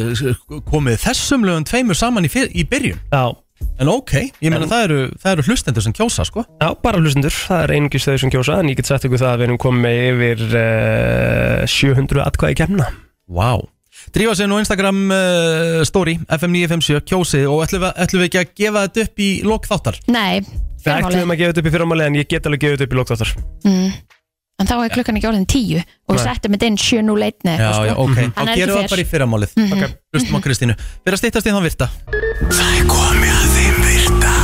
Speaker 1: komið þessum lögum tveimur saman í, fyr, í byrjun
Speaker 3: Já,
Speaker 1: en ok, ég meina það, eru, það eru hlustendur sem kjósa sko
Speaker 3: Já, bara hlustendur, það er einungis þau sem kjósa en ég get sagt ykkur það að við erum komið yfir uh, 700 atkvæði kemna
Speaker 1: vá wow. Drífa sér nú Instagram uh, story FM957 kjósið og ætlum við, ætlum við ekki að gefa þetta upp í lok þáttar
Speaker 2: nei,
Speaker 3: Það ætlum
Speaker 2: fyrirmáli
Speaker 3: að gefa þetta upp í fyrramáli en ég get alveg gefið þetta upp í lóktáttar
Speaker 2: mm. en þá er klukkan ekki orðin 10 og við
Speaker 1: Nei.
Speaker 2: settum þetta inn 7.01 eða
Speaker 1: Já,
Speaker 2: eitthvað,
Speaker 1: já,
Speaker 2: sko.
Speaker 1: ok, þá
Speaker 2: Hann er ekki
Speaker 1: gerum við það
Speaker 2: fyrr. Mhm.
Speaker 1: bara í fyrramálið Ok, hlustum á Kristínu Fyrir að stýttast í þann virta
Speaker 4: Það er komið að þeim virta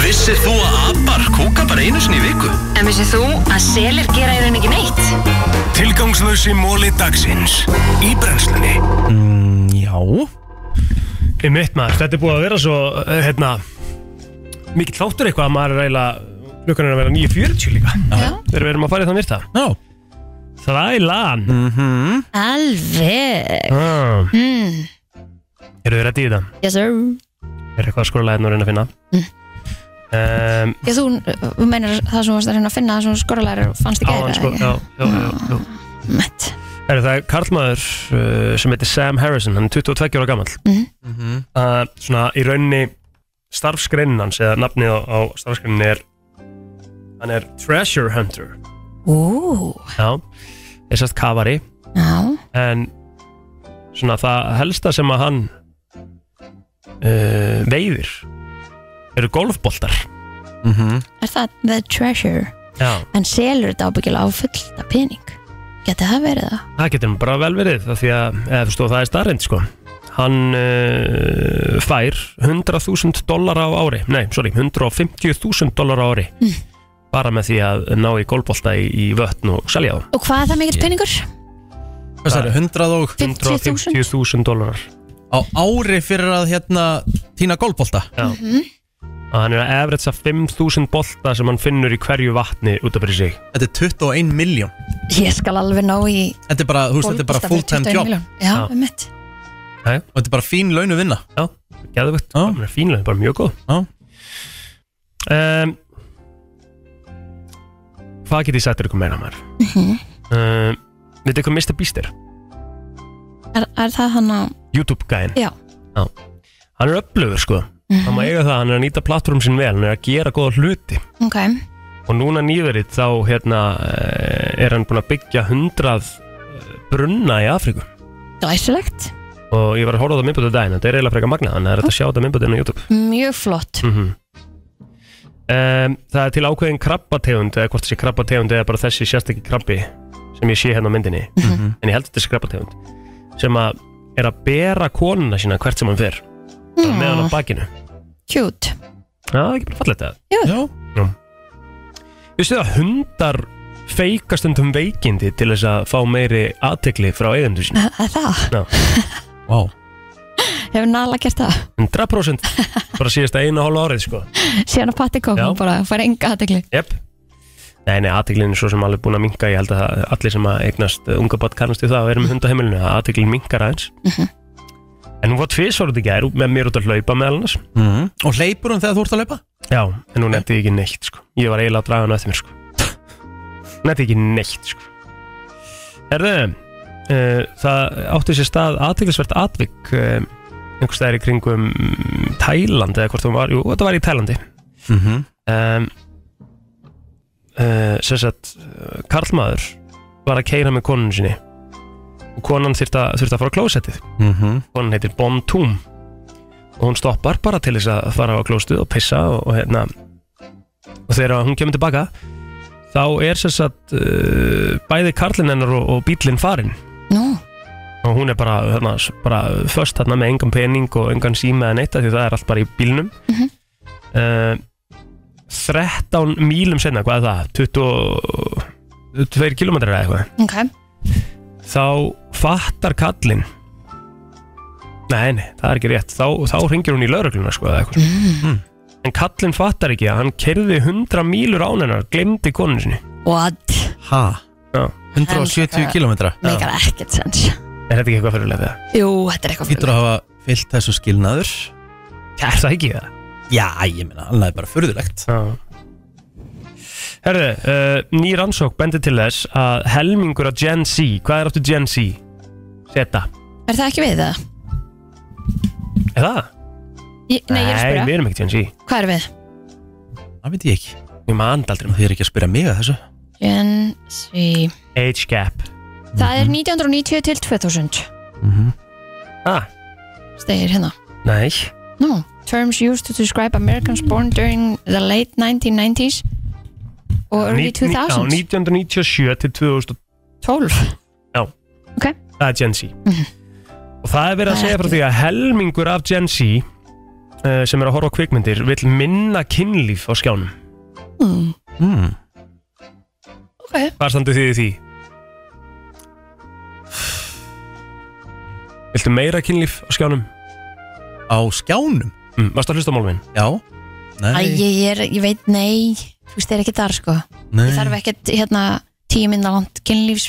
Speaker 4: Vissir þú að abar kúka bara einu sinni í viku?
Speaker 6: En vissið þú að selir gera í raun ekki neitt?
Speaker 4: Tilgangslösi móli dagsins Í brennslunni
Speaker 1: Já,
Speaker 3: Í mitt maður, þetta er búið að vera svo eh, hérna, mikill þáttur eitthvað að maður er eiginlega klukkan er að vera 9.40 líka
Speaker 2: Já.
Speaker 3: þegar við erum að fara í þann virta
Speaker 1: já,
Speaker 3: Þrælan
Speaker 2: alveg Mm.
Speaker 3: ah. Eru þið reddi í þetta?
Speaker 2: yes sir
Speaker 3: Er eitthvað að skora læðin og reyna að finna? Mm. Um,
Speaker 2: Já, þú þú meinar það sem þú varst að reyna að finna það sem skorlæri fannst ekki
Speaker 3: áðan sko, já, já, já, já.
Speaker 2: Mett.
Speaker 3: Er það er karlmaður uh, sem heitir Sam Harrison, hann er 22 ára gammal
Speaker 2: Mhm.
Speaker 3: uh, Svona í rauninni starfsgreinin hans eða nafnið á, á starfsgreinin er hann er Treasure Hunter
Speaker 2: Ú,
Speaker 3: Já, þessast kafari
Speaker 2: já,
Speaker 3: en svona það helsta sem að hann uh, veiðir eru golfboltar
Speaker 2: er það the treasure
Speaker 3: Já,
Speaker 2: en selur þetta ábyggilega á fullta pening geti það verið það?
Speaker 3: það getur bara vel verið það því að, eða þú stóð það er starrend sko hann uh, fær 100.000 dólar á ári nei, sorry, 150.000 dólar á ári bara með því að ná í golfbolta í, í vötn og selja þá
Speaker 2: Og hvað er það mikill peningur?
Speaker 1: hvað sagði, 100 og
Speaker 2: 50.000?
Speaker 3: 150.000 dólarar
Speaker 1: á ári fyrir að hérna týna golfbolta
Speaker 3: mm -hmm. og hann er að efretsa 5.000 bolta sem hann finnur í hverju vatni út af fyrir sig
Speaker 1: Þetta er 21 miljón
Speaker 2: Ég skal alveg ná í
Speaker 1: Þetta er bara, þú veist, þetta er bara
Speaker 2: golfbolta fyrir
Speaker 1: full time
Speaker 2: 21
Speaker 1: job
Speaker 2: milljón. Já,
Speaker 3: Já.
Speaker 2: um mitt
Speaker 1: og þetta er bara fín launu vinna
Speaker 3: Já, geðvögt,
Speaker 1: Já.
Speaker 3: hann er fínlega, bara mjög góð
Speaker 1: Já.
Speaker 3: um, Hvað get ég sagt þér ykkur meira maður? um, Veitu ykkur Mr. Beast er?
Speaker 2: Er, er það hann að,
Speaker 3: YouTube-gæin
Speaker 2: já,
Speaker 3: Hann er upplöfur sko Hann má eiga það, hann er að nýta plattform sín vel Hann er að gera góða hluti
Speaker 2: ok
Speaker 3: Og núna nýverið þá hérna eh, Er hann búinn að byggja hundrað eh, Brunna í Afríku
Speaker 2: Glæsilegt,
Speaker 3: Og ég var að horfa á það minnbútið daginn Þetta er eiginlega frekar magnað Þannig að þetta sjá þetta minnbútið inn á YouTube
Speaker 2: mjög
Speaker 1: Hm,
Speaker 2: flott
Speaker 3: mm Það er til ákveðin krabbategund eða hvort þessi krabbategund eða bara þessi sérstakki krabbi sem ég sé hérna á myndinni en ég held að þetta sé krabbategund sem að er að bera konuna sína hvert sem hann fer mm. með hann á bakinu
Speaker 2: Hm, Cute,
Speaker 3: Já, það er ekki bara fallið þetta
Speaker 1: Já,
Speaker 3: Vistu það að hundar feikast undum veikindi til þess að fá meiri aðtekli frá eigendur sína
Speaker 2: er það?
Speaker 1: vá
Speaker 2: Hefur Nala gert það?
Speaker 3: 100% bara síðast að einu og hálfa árið sko
Speaker 2: Síðan að patti kók,
Speaker 3: Já.
Speaker 2: hún bara fær enga aðtegli
Speaker 3: Jep Nei, nei, aðteglin er svo sem alveg búin að minka Ég held að það- allir sem að eignast uh, unga bát kannast í það að vera með hundaheimilinu að aðteglin minkar aðeins En hún var tvisvar út í gær með mér út að hlaupa meðal annars
Speaker 1: Og hleypur hún þegar þú ert að laupa?
Speaker 3: Já, en hún nefndi ekki neitt sko Ég var eiginlega að draga hann eftir mér sko Nefndi ekki neitt sko Herðu uh, Það átti sér stað aðteglisvert atvik uh, einhvers staðar í kringum mm, Tæland eða hvort hún var, jú, þetta var í Tælandi
Speaker 1: Mm -hmm.
Speaker 3: um, uh, sem sagt uh, karlmaður var að keira með konun sinni og konan þurfti að, þurfti að fara á klósettið
Speaker 1: Mm -hmm.
Speaker 3: konan heitir Bom Tum og hún stoppar bara til þess að fara á klósettið og pissa og, og hérna og þegar hún kemur tilbaka þá er sem sagt uh, bæði karlinn hennar og, og bílinn farinn
Speaker 2: Nú,
Speaker 3: og hún er bara, hérna, s- bara först hérna með engan pening og engan síma eða neitt af því það er allt bara í bílnum mm
Speaker 2: Mhm.
Speaker 3: 13 mílum senna, hvað er það? 22 kilometrar eða eitthvað
Speaker 2: ok,
Speaker 3: þá fattar kallinn nei, nei, það er ekki rétt þá, þá ringir hún í laurugluna sko, eða eitthvað mm. en kallinn fattar ekki að hann kerði 100 mílur án hennar glemdi konu sinni
Speaker 2: what?
Speaker 1: Ha?
Speaker 3: Já.
Speaker 1: 170
Speaker 2: Hann-
Speaker 1: kilometra
Speaker 2: Megar ekkert sens
Speaker 3: er þetta ekki eitthvað fyrirlega það?
Speaker 2: Jú, þetta er eitthvað
Speaker 1: Hýttur að hafa fyllt þessu skilnaður
Speaker 3: er það ekki það?
Speaker 1: Já, ég meina, annað er bara furðulegt
Speaker 3: Já. Herðu, uh, ný rannsók bendir til þess að helmingur af Gen Z, hvað er áttu Gen Z? Seta.
Speaker 2: Er það ekki við það?
Speaker 3: Er það?
Speaker 2: Ég, nei, ég er að spyrja,
Speaker 3: við erum ekki Gen Z.
Speaker 2: hvað er við?
Speaker 1: Það veit ég ekki
Speaker 3: Við maður andaldri
Speaker 1: Þið er ekki að spyrja mig að þessu
Speaker 2: Gen Z
Speaker 3: Age gap.
Speaker 2: Það er 1990 til 2000
Speaker 3: Ah,
Speaker 2: Stegir hérna
Speaker 3: nei.
Speaker 2: No, terms used to describe Americans born during the late 1990s og early
Speaker 3: Ní- ní- já,
Speaker 2: 2000s
Speaker 3: 1997 til 2000
Speaker 2: 12
Speaker 3: Já
Speaker 2: Ok.
Speaker 3: Það er Gen Z Og það er verið að
Speaker 2: Það er
Speaker 3: segja frá
Speaker 2: ekki-
Speaker 3: því að helmingur af Gen Z uh, sem er að horfa á kvikmyndir vill minna kynlíf á skjánum
Speaker 2: mm.
Speaker 1: mm.
Speaker 2: Ok,
Speaker 3: Hvað standu þið í því? Viltu meira kynlíf á skjánum?
Speaker 1: Á skjánum?
Speaker 3: Mm, varstu að hlusta á málum minn?
Speaker 1: Já
Speaker 2: Æ, ég, er, ég veit nei Þú veist, það er ekki þar sko
Speaker 1: Nei.
Speaker 2: Ég þarf ekkert hérna tíu minna langt kynlífs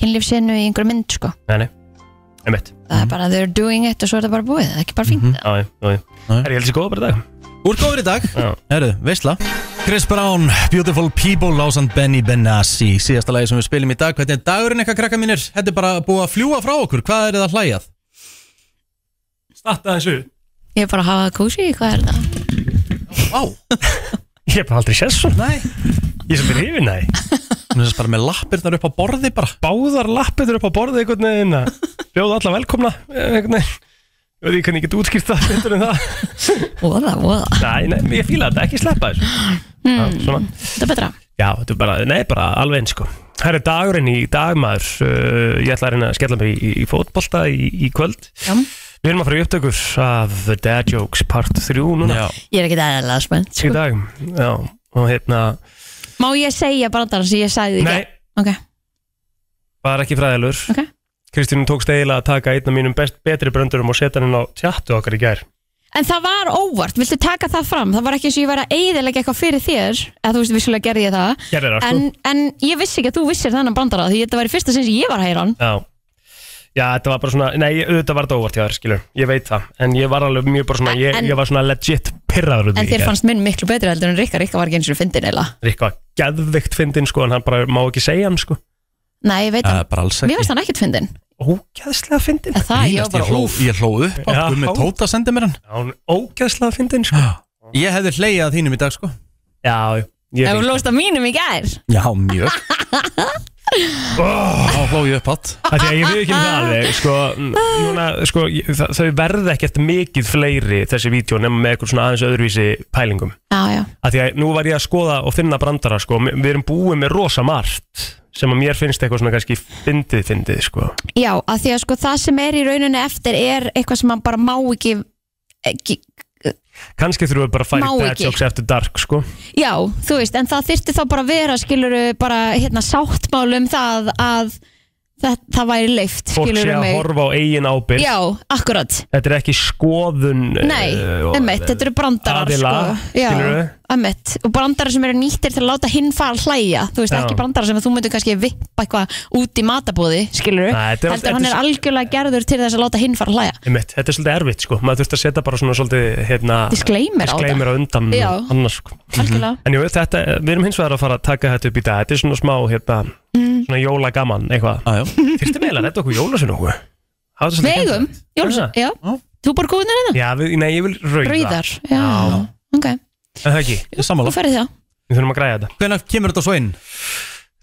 Speaker 2: kynlífsinu í einhverju mynd sko
Speaker 3: Nei, nei, einmitt
Speaker 2: Það er bara they're doing it og svo er það bara búið Það er ekki bara fínt mm
Speaker 3: Já, já, já, já.
Speaker 1: Nei.
Speaker 3: Er ég helst í góða bara í dag?
Speaker 1: Úr góður í dag
Speaker 3: Já.
Speaker 1: Herru, veistla Chris Brown, Beautiful People, Lásan Benny Benassi Síðasta lagi sem við spilum í dag Hvernig er dagurinn eitthvað krakka mínir? Þetta er bara búið að fljúa frá okkur Hvað er það að hlæjað?
Speaker 3: Statta þessu
Speaker 2: Ég er bara að hafa það kósi, hvað er það?
Speaker 1: Vá,
Speaker 3: Ég hef bara aldrei séð svo
Speaker 1: nei
Speaker 3: Ég er sem hrifin að því
Speaker 1: Hún er bara með lappirnar upp á borði bara
Speaker 3: Báðar lappirnar upp á borðið einhvern veginn að Bjóða alla velkomna eh, einhvern veginn Ég veit ekki hvernig ég get útskýrt það betur en það
Speaker 2: Voða, voða,
Speaker 3: Nei, nei, ég fíla þetta, ekki sleppa þessu mm. Svona
Speaker 2: þetta er betra
Speaker 3: Já, þetta er bara, nei, bara alveg eins sko Það er dagurinn í dagmaður uh, Ég ætla að reyna að skella mig í, í fótbolta í, í kvöld
Speaker 2: Já.
Speaker 3: Við erum að fara í upptökur af The Dad Jokes part 3 núna
Speaker 2: Ég er ekki aðeinslega spennt
Speaker 3: í
Speaker 2: sko.
Speaker 3: dag Já, og hérna
Speaker 2: Má ég segja brandarann sem ég sagði því
Speaker 3: Nei,
Speaker 2: Ok,
Speaker 3: var ekki fræðilur
Speaker 2: Ok.
Speaker 3: Kristín tókst eiginlega að taka einn af mínum best, betri bröndurum og setja hann inn á tjattu okkar í gær
Speaker 2: En það var óvart, viltu taka það fram? Það var ekki eins og ég var að eyðilega eitthvað fyrir þér eða þú veist, vissulega gerði ég það
Speaker 3: Gerðir það
Speaker 2: en,
Speaker 3: sko
Speaker 2: en ég vissi ekki að þú vissir þannan brandara því þetta var í fyrsta sinn sem ég var að heyra hann
Speaker 3: Já Já, þetta var bara svona, nei, auðvitað var þetta óvart hjá þér, skilur, ég veit það, en ég var alveg mjög bara svona, ég,
Speaker 2: En-
Speaker 3: ég var svona legit pirraður út í
Speaker 2: En þér
Speaker 3: gær.
Speaker 2: fannst minn miklu betri heldur en Rikka Rikka var ekki eins og fyndin eila
Speaker 3: Rikka var geðvikt fyndin sko en hann bara má ekki segja hann sko
Speaker 2: Nei, ég veit
Speaker 1: Það
Speaker 2: það,
Speaker 1: er bara alls
Speaker 2: mér
Speaker 1: ekki
Speaker 2: varst hann ekkert fyndin
Speaker 3: ógeðslega fyndin
Speaker 2: En það, ég
Speaker 1: Grínast, ég
Speaker 2: var bara
Speaker 1: hló,
Speaker 2: úf
Speaker 1: ég hló upp á
Speaker 3: Já.
Speaker 1: Gummi Tóta sendi mér hann
Speaker 3: hann ógeðslega fyndin sko
Speaker 1: Ég hefði hlæjað að þínum í dag sko
Speaker 3: já ég
Speaker 2: Ef þú
Speaker 3: fíl
Speaker 2: lóst að mínum í gær
Speaker 1: Já, mjög Þá hló ég upp átt
Speaker 3: það því að ég við ekki það alveg sko, n- núna, sko ég- þa- þau verða ekkert mikið fleiri þessi vídeo nema með eitthvað svona aðeins öðruvísi pælingum
Speaker 2: Já, já,
Speaker 3: að því að nú var ég að skoða og finna brandara sko M- við erum búið með rosa margt sem að mér finnst eitthvað svona kannski fyndið fyndið sko
Speaker 2: já, að því að sko það sem er í rauninni eftir er eitthvað sem maður bara má ekki, ekki
Speaker 3: kannski þurfum við bara að færi
Speaker 2: Má
Speaker 3: dad
Speaker 2: ekki.
Speaker 3: jokes eftir dark sko
Speaker 2: Já, þú veist, en það þyrfti þá bara að vera skiluru bara hérna sáttmál um það að það, það væri leift
Speaker 3: fólk sé
Speaker 2: skiluru
Speaker 3: að
Speaker 2: mig
Speaker 3: horfa á eigin ábyrg
Speaker 2: Já, akkurat
Speaker 3: þetta er ekki skoðun eh,
Speaker 2: Nei, emmitt, þetta eru brandarar
Speaker 3: aðila,
Speaker 2: sko. Já,
Speaker 3: skilurðu?
Speaker 2: emmitt Og brandarar sem eru nýttir til að láta hinn fara að hlæja Þú veist,
Speaker 3: Já.
Speaker 2: ekki brandarar sem að þú myndir kannski vippa eitthvað út í matabóði, skilur
Speaker 3: Nei, þetta er- þetta er
Speaker 2: Heldur hann er
Speaker 3: svo-
Speaker 2: algjörlega gerður til þess að láta hinn fara að hlæja
Speaker 3: Einmitt, þetta er svolítið erfitt sko, maður þurft að setja bara svona svolítið hérna,
Speaker 2: Disclaimer á það.
Speaker 3: disclaimer á undan
Speaker 2: Já.
Speaker 3: annars sko.
Speaker 2: Algjörlega
Speaker 3: En jú, þetta, við erum hins vegar að fara að taka þetta upp í dag, þetta er svona smá hérna,
Speaker 2: Mm.
Speaker 3: svona jólagaman eitthvað.
Speaker 1: ah,
Speaker 3: Fyrstu meðlega, þetta okkur jólasinu okkur. Hafa þetta svolítið
Speaker 2: Vegum,
Speaker 3: skemmtilegt.
Speaker 2: Jóls,
Speaker 3: Er það?
Speaker 2: já Þú bara góðnir hérna?
Speaker 3: Já, við, nei, ég vil rauða.
Speaker 2: Rauðar, já, ok
Speaker 3: En það ekki,
Speaker 1: Ég er
Speaker 2: Þú
Speaker 1: sammála
Speaker 2: ferði það,
Speaker 3: við þurfum að græja þetta.
Speaker 1: Hvenær kemur þetta svo inn?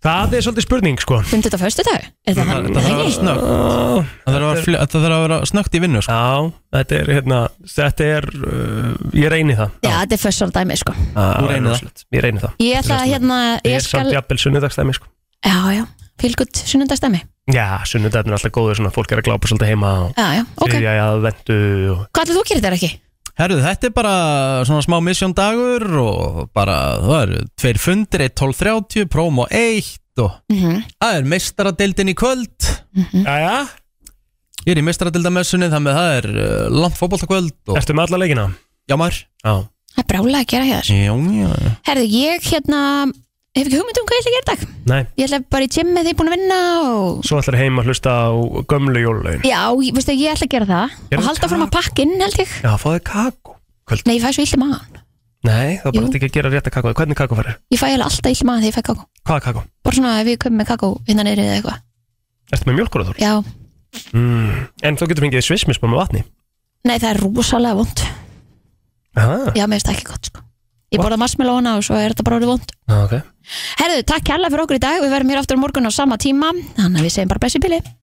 Speaker 3: Það er svolítið spurning sko.
Speaker 2: finnst þetta fyrstu dag? Er
Speaker 1: Mhm.
Speaker 2: það hann?
Speaker 1: Það þarf að vera
Speaker 2: Nei,
Speaker 1: snöggt
Speaker 3: Já,
Speaker 1: Það þarf að vera fl- þetta þarf að vera snöggt í vinnu sko.
Speaker 3: þetta er hérna, þetta er, uh, ég reyni það.
Speaker 2: já, þetta er fyrstu dæmi, sko
Speaker 3: Já,
Speaker 1: Þú reynir það.
Speaker 3: rosalegt. Ég reyni það.
Speaker 2: Ég ætla að hérna,
Speaker 3: Ég
Speaker 2: ég
Speaker 3: er samt
Speaker 2: skal
Speaker 3: jafnvel sunnudagstæmi sko.
Speaker 2: Já, já, fylgut sunnundastæmi
Speaker 3: Já, sunnudagarnir er alltaf góður svona, fólk er að glápa svolítið heima og
Speaker 2: Já, já, ok
Speaker 3: þriðja í aðventu og...
Speaker 2: Hvað ætlaðu þú að gera þetta ekki?
Speaker 1: Herru, þetta er bara svona smá mission dagur og bara það eru tveir fundir, 1 12.30, promo 1 og það er mestaradeildin í kvöld.
Speaker 3: Jæja,
Speaker 1: Ég er í mestaradeildamessunni þannig að það er uh, langt fótboltakvöld og
Speaker 3: ertu með alla leikina?
Speaker 1: já maður.
Speaker 3: Já
Speaker 2: Það er brálega að gera hér
Speaker 1: Já, já, já.
Speaker 2: Herðu, ég hérna Hef ekki hugmynd um hvað ég ætla að gera í dag
Speaker 3: Nei,
Speaker 2: Ég ætla bara í gym með því búin að vinna og
Speaker 3: svo ætlar heima að hlusta á gömlu jólaun
Speaker 2: Já, ég- veistu, ég ætla að gera það
Speaker 3: Gerðu
Speaker 2: Og halda fram að pakkinn, held ég
Speaker 3: Já, fáðu kakó Kvöld
Speaker 2: Nei, ég fæ svo illi maðan
Speaker 3: Nei, það er bara
Speaker 2: Jú.
Speaker 3: þetta ekki að gera rétt að kakó Hvernig kakó færir?
Speaker 2: Ég fæ eiginlega alltaf illi maðan þegar ég fæ kakó
Speaker 3: Hvaða kakó?
Speaker 2: Bara svona ef ég kom með kakó innan niður eða eitthvað
Speaker 3: Ertu með mjölkur á þór?
Speaker 2: Já,
Speaker 3: Mm. En þú getur fengið svismispa með vatni
Speaker 2: nei það er rosalega vond
Speaker 3: Aha.
Speaker 2: Já, mér finnst það ekki gott sko Ég borða marshmallowna og svo er þetta bara orðið vond
Speaker 3: Já, ok
Speaker 2: Herðu, takk kærlega fyrir okkur í dag Við verðum hér aftur á morgun á sama tíma Þannig að við segjum bara blessi bili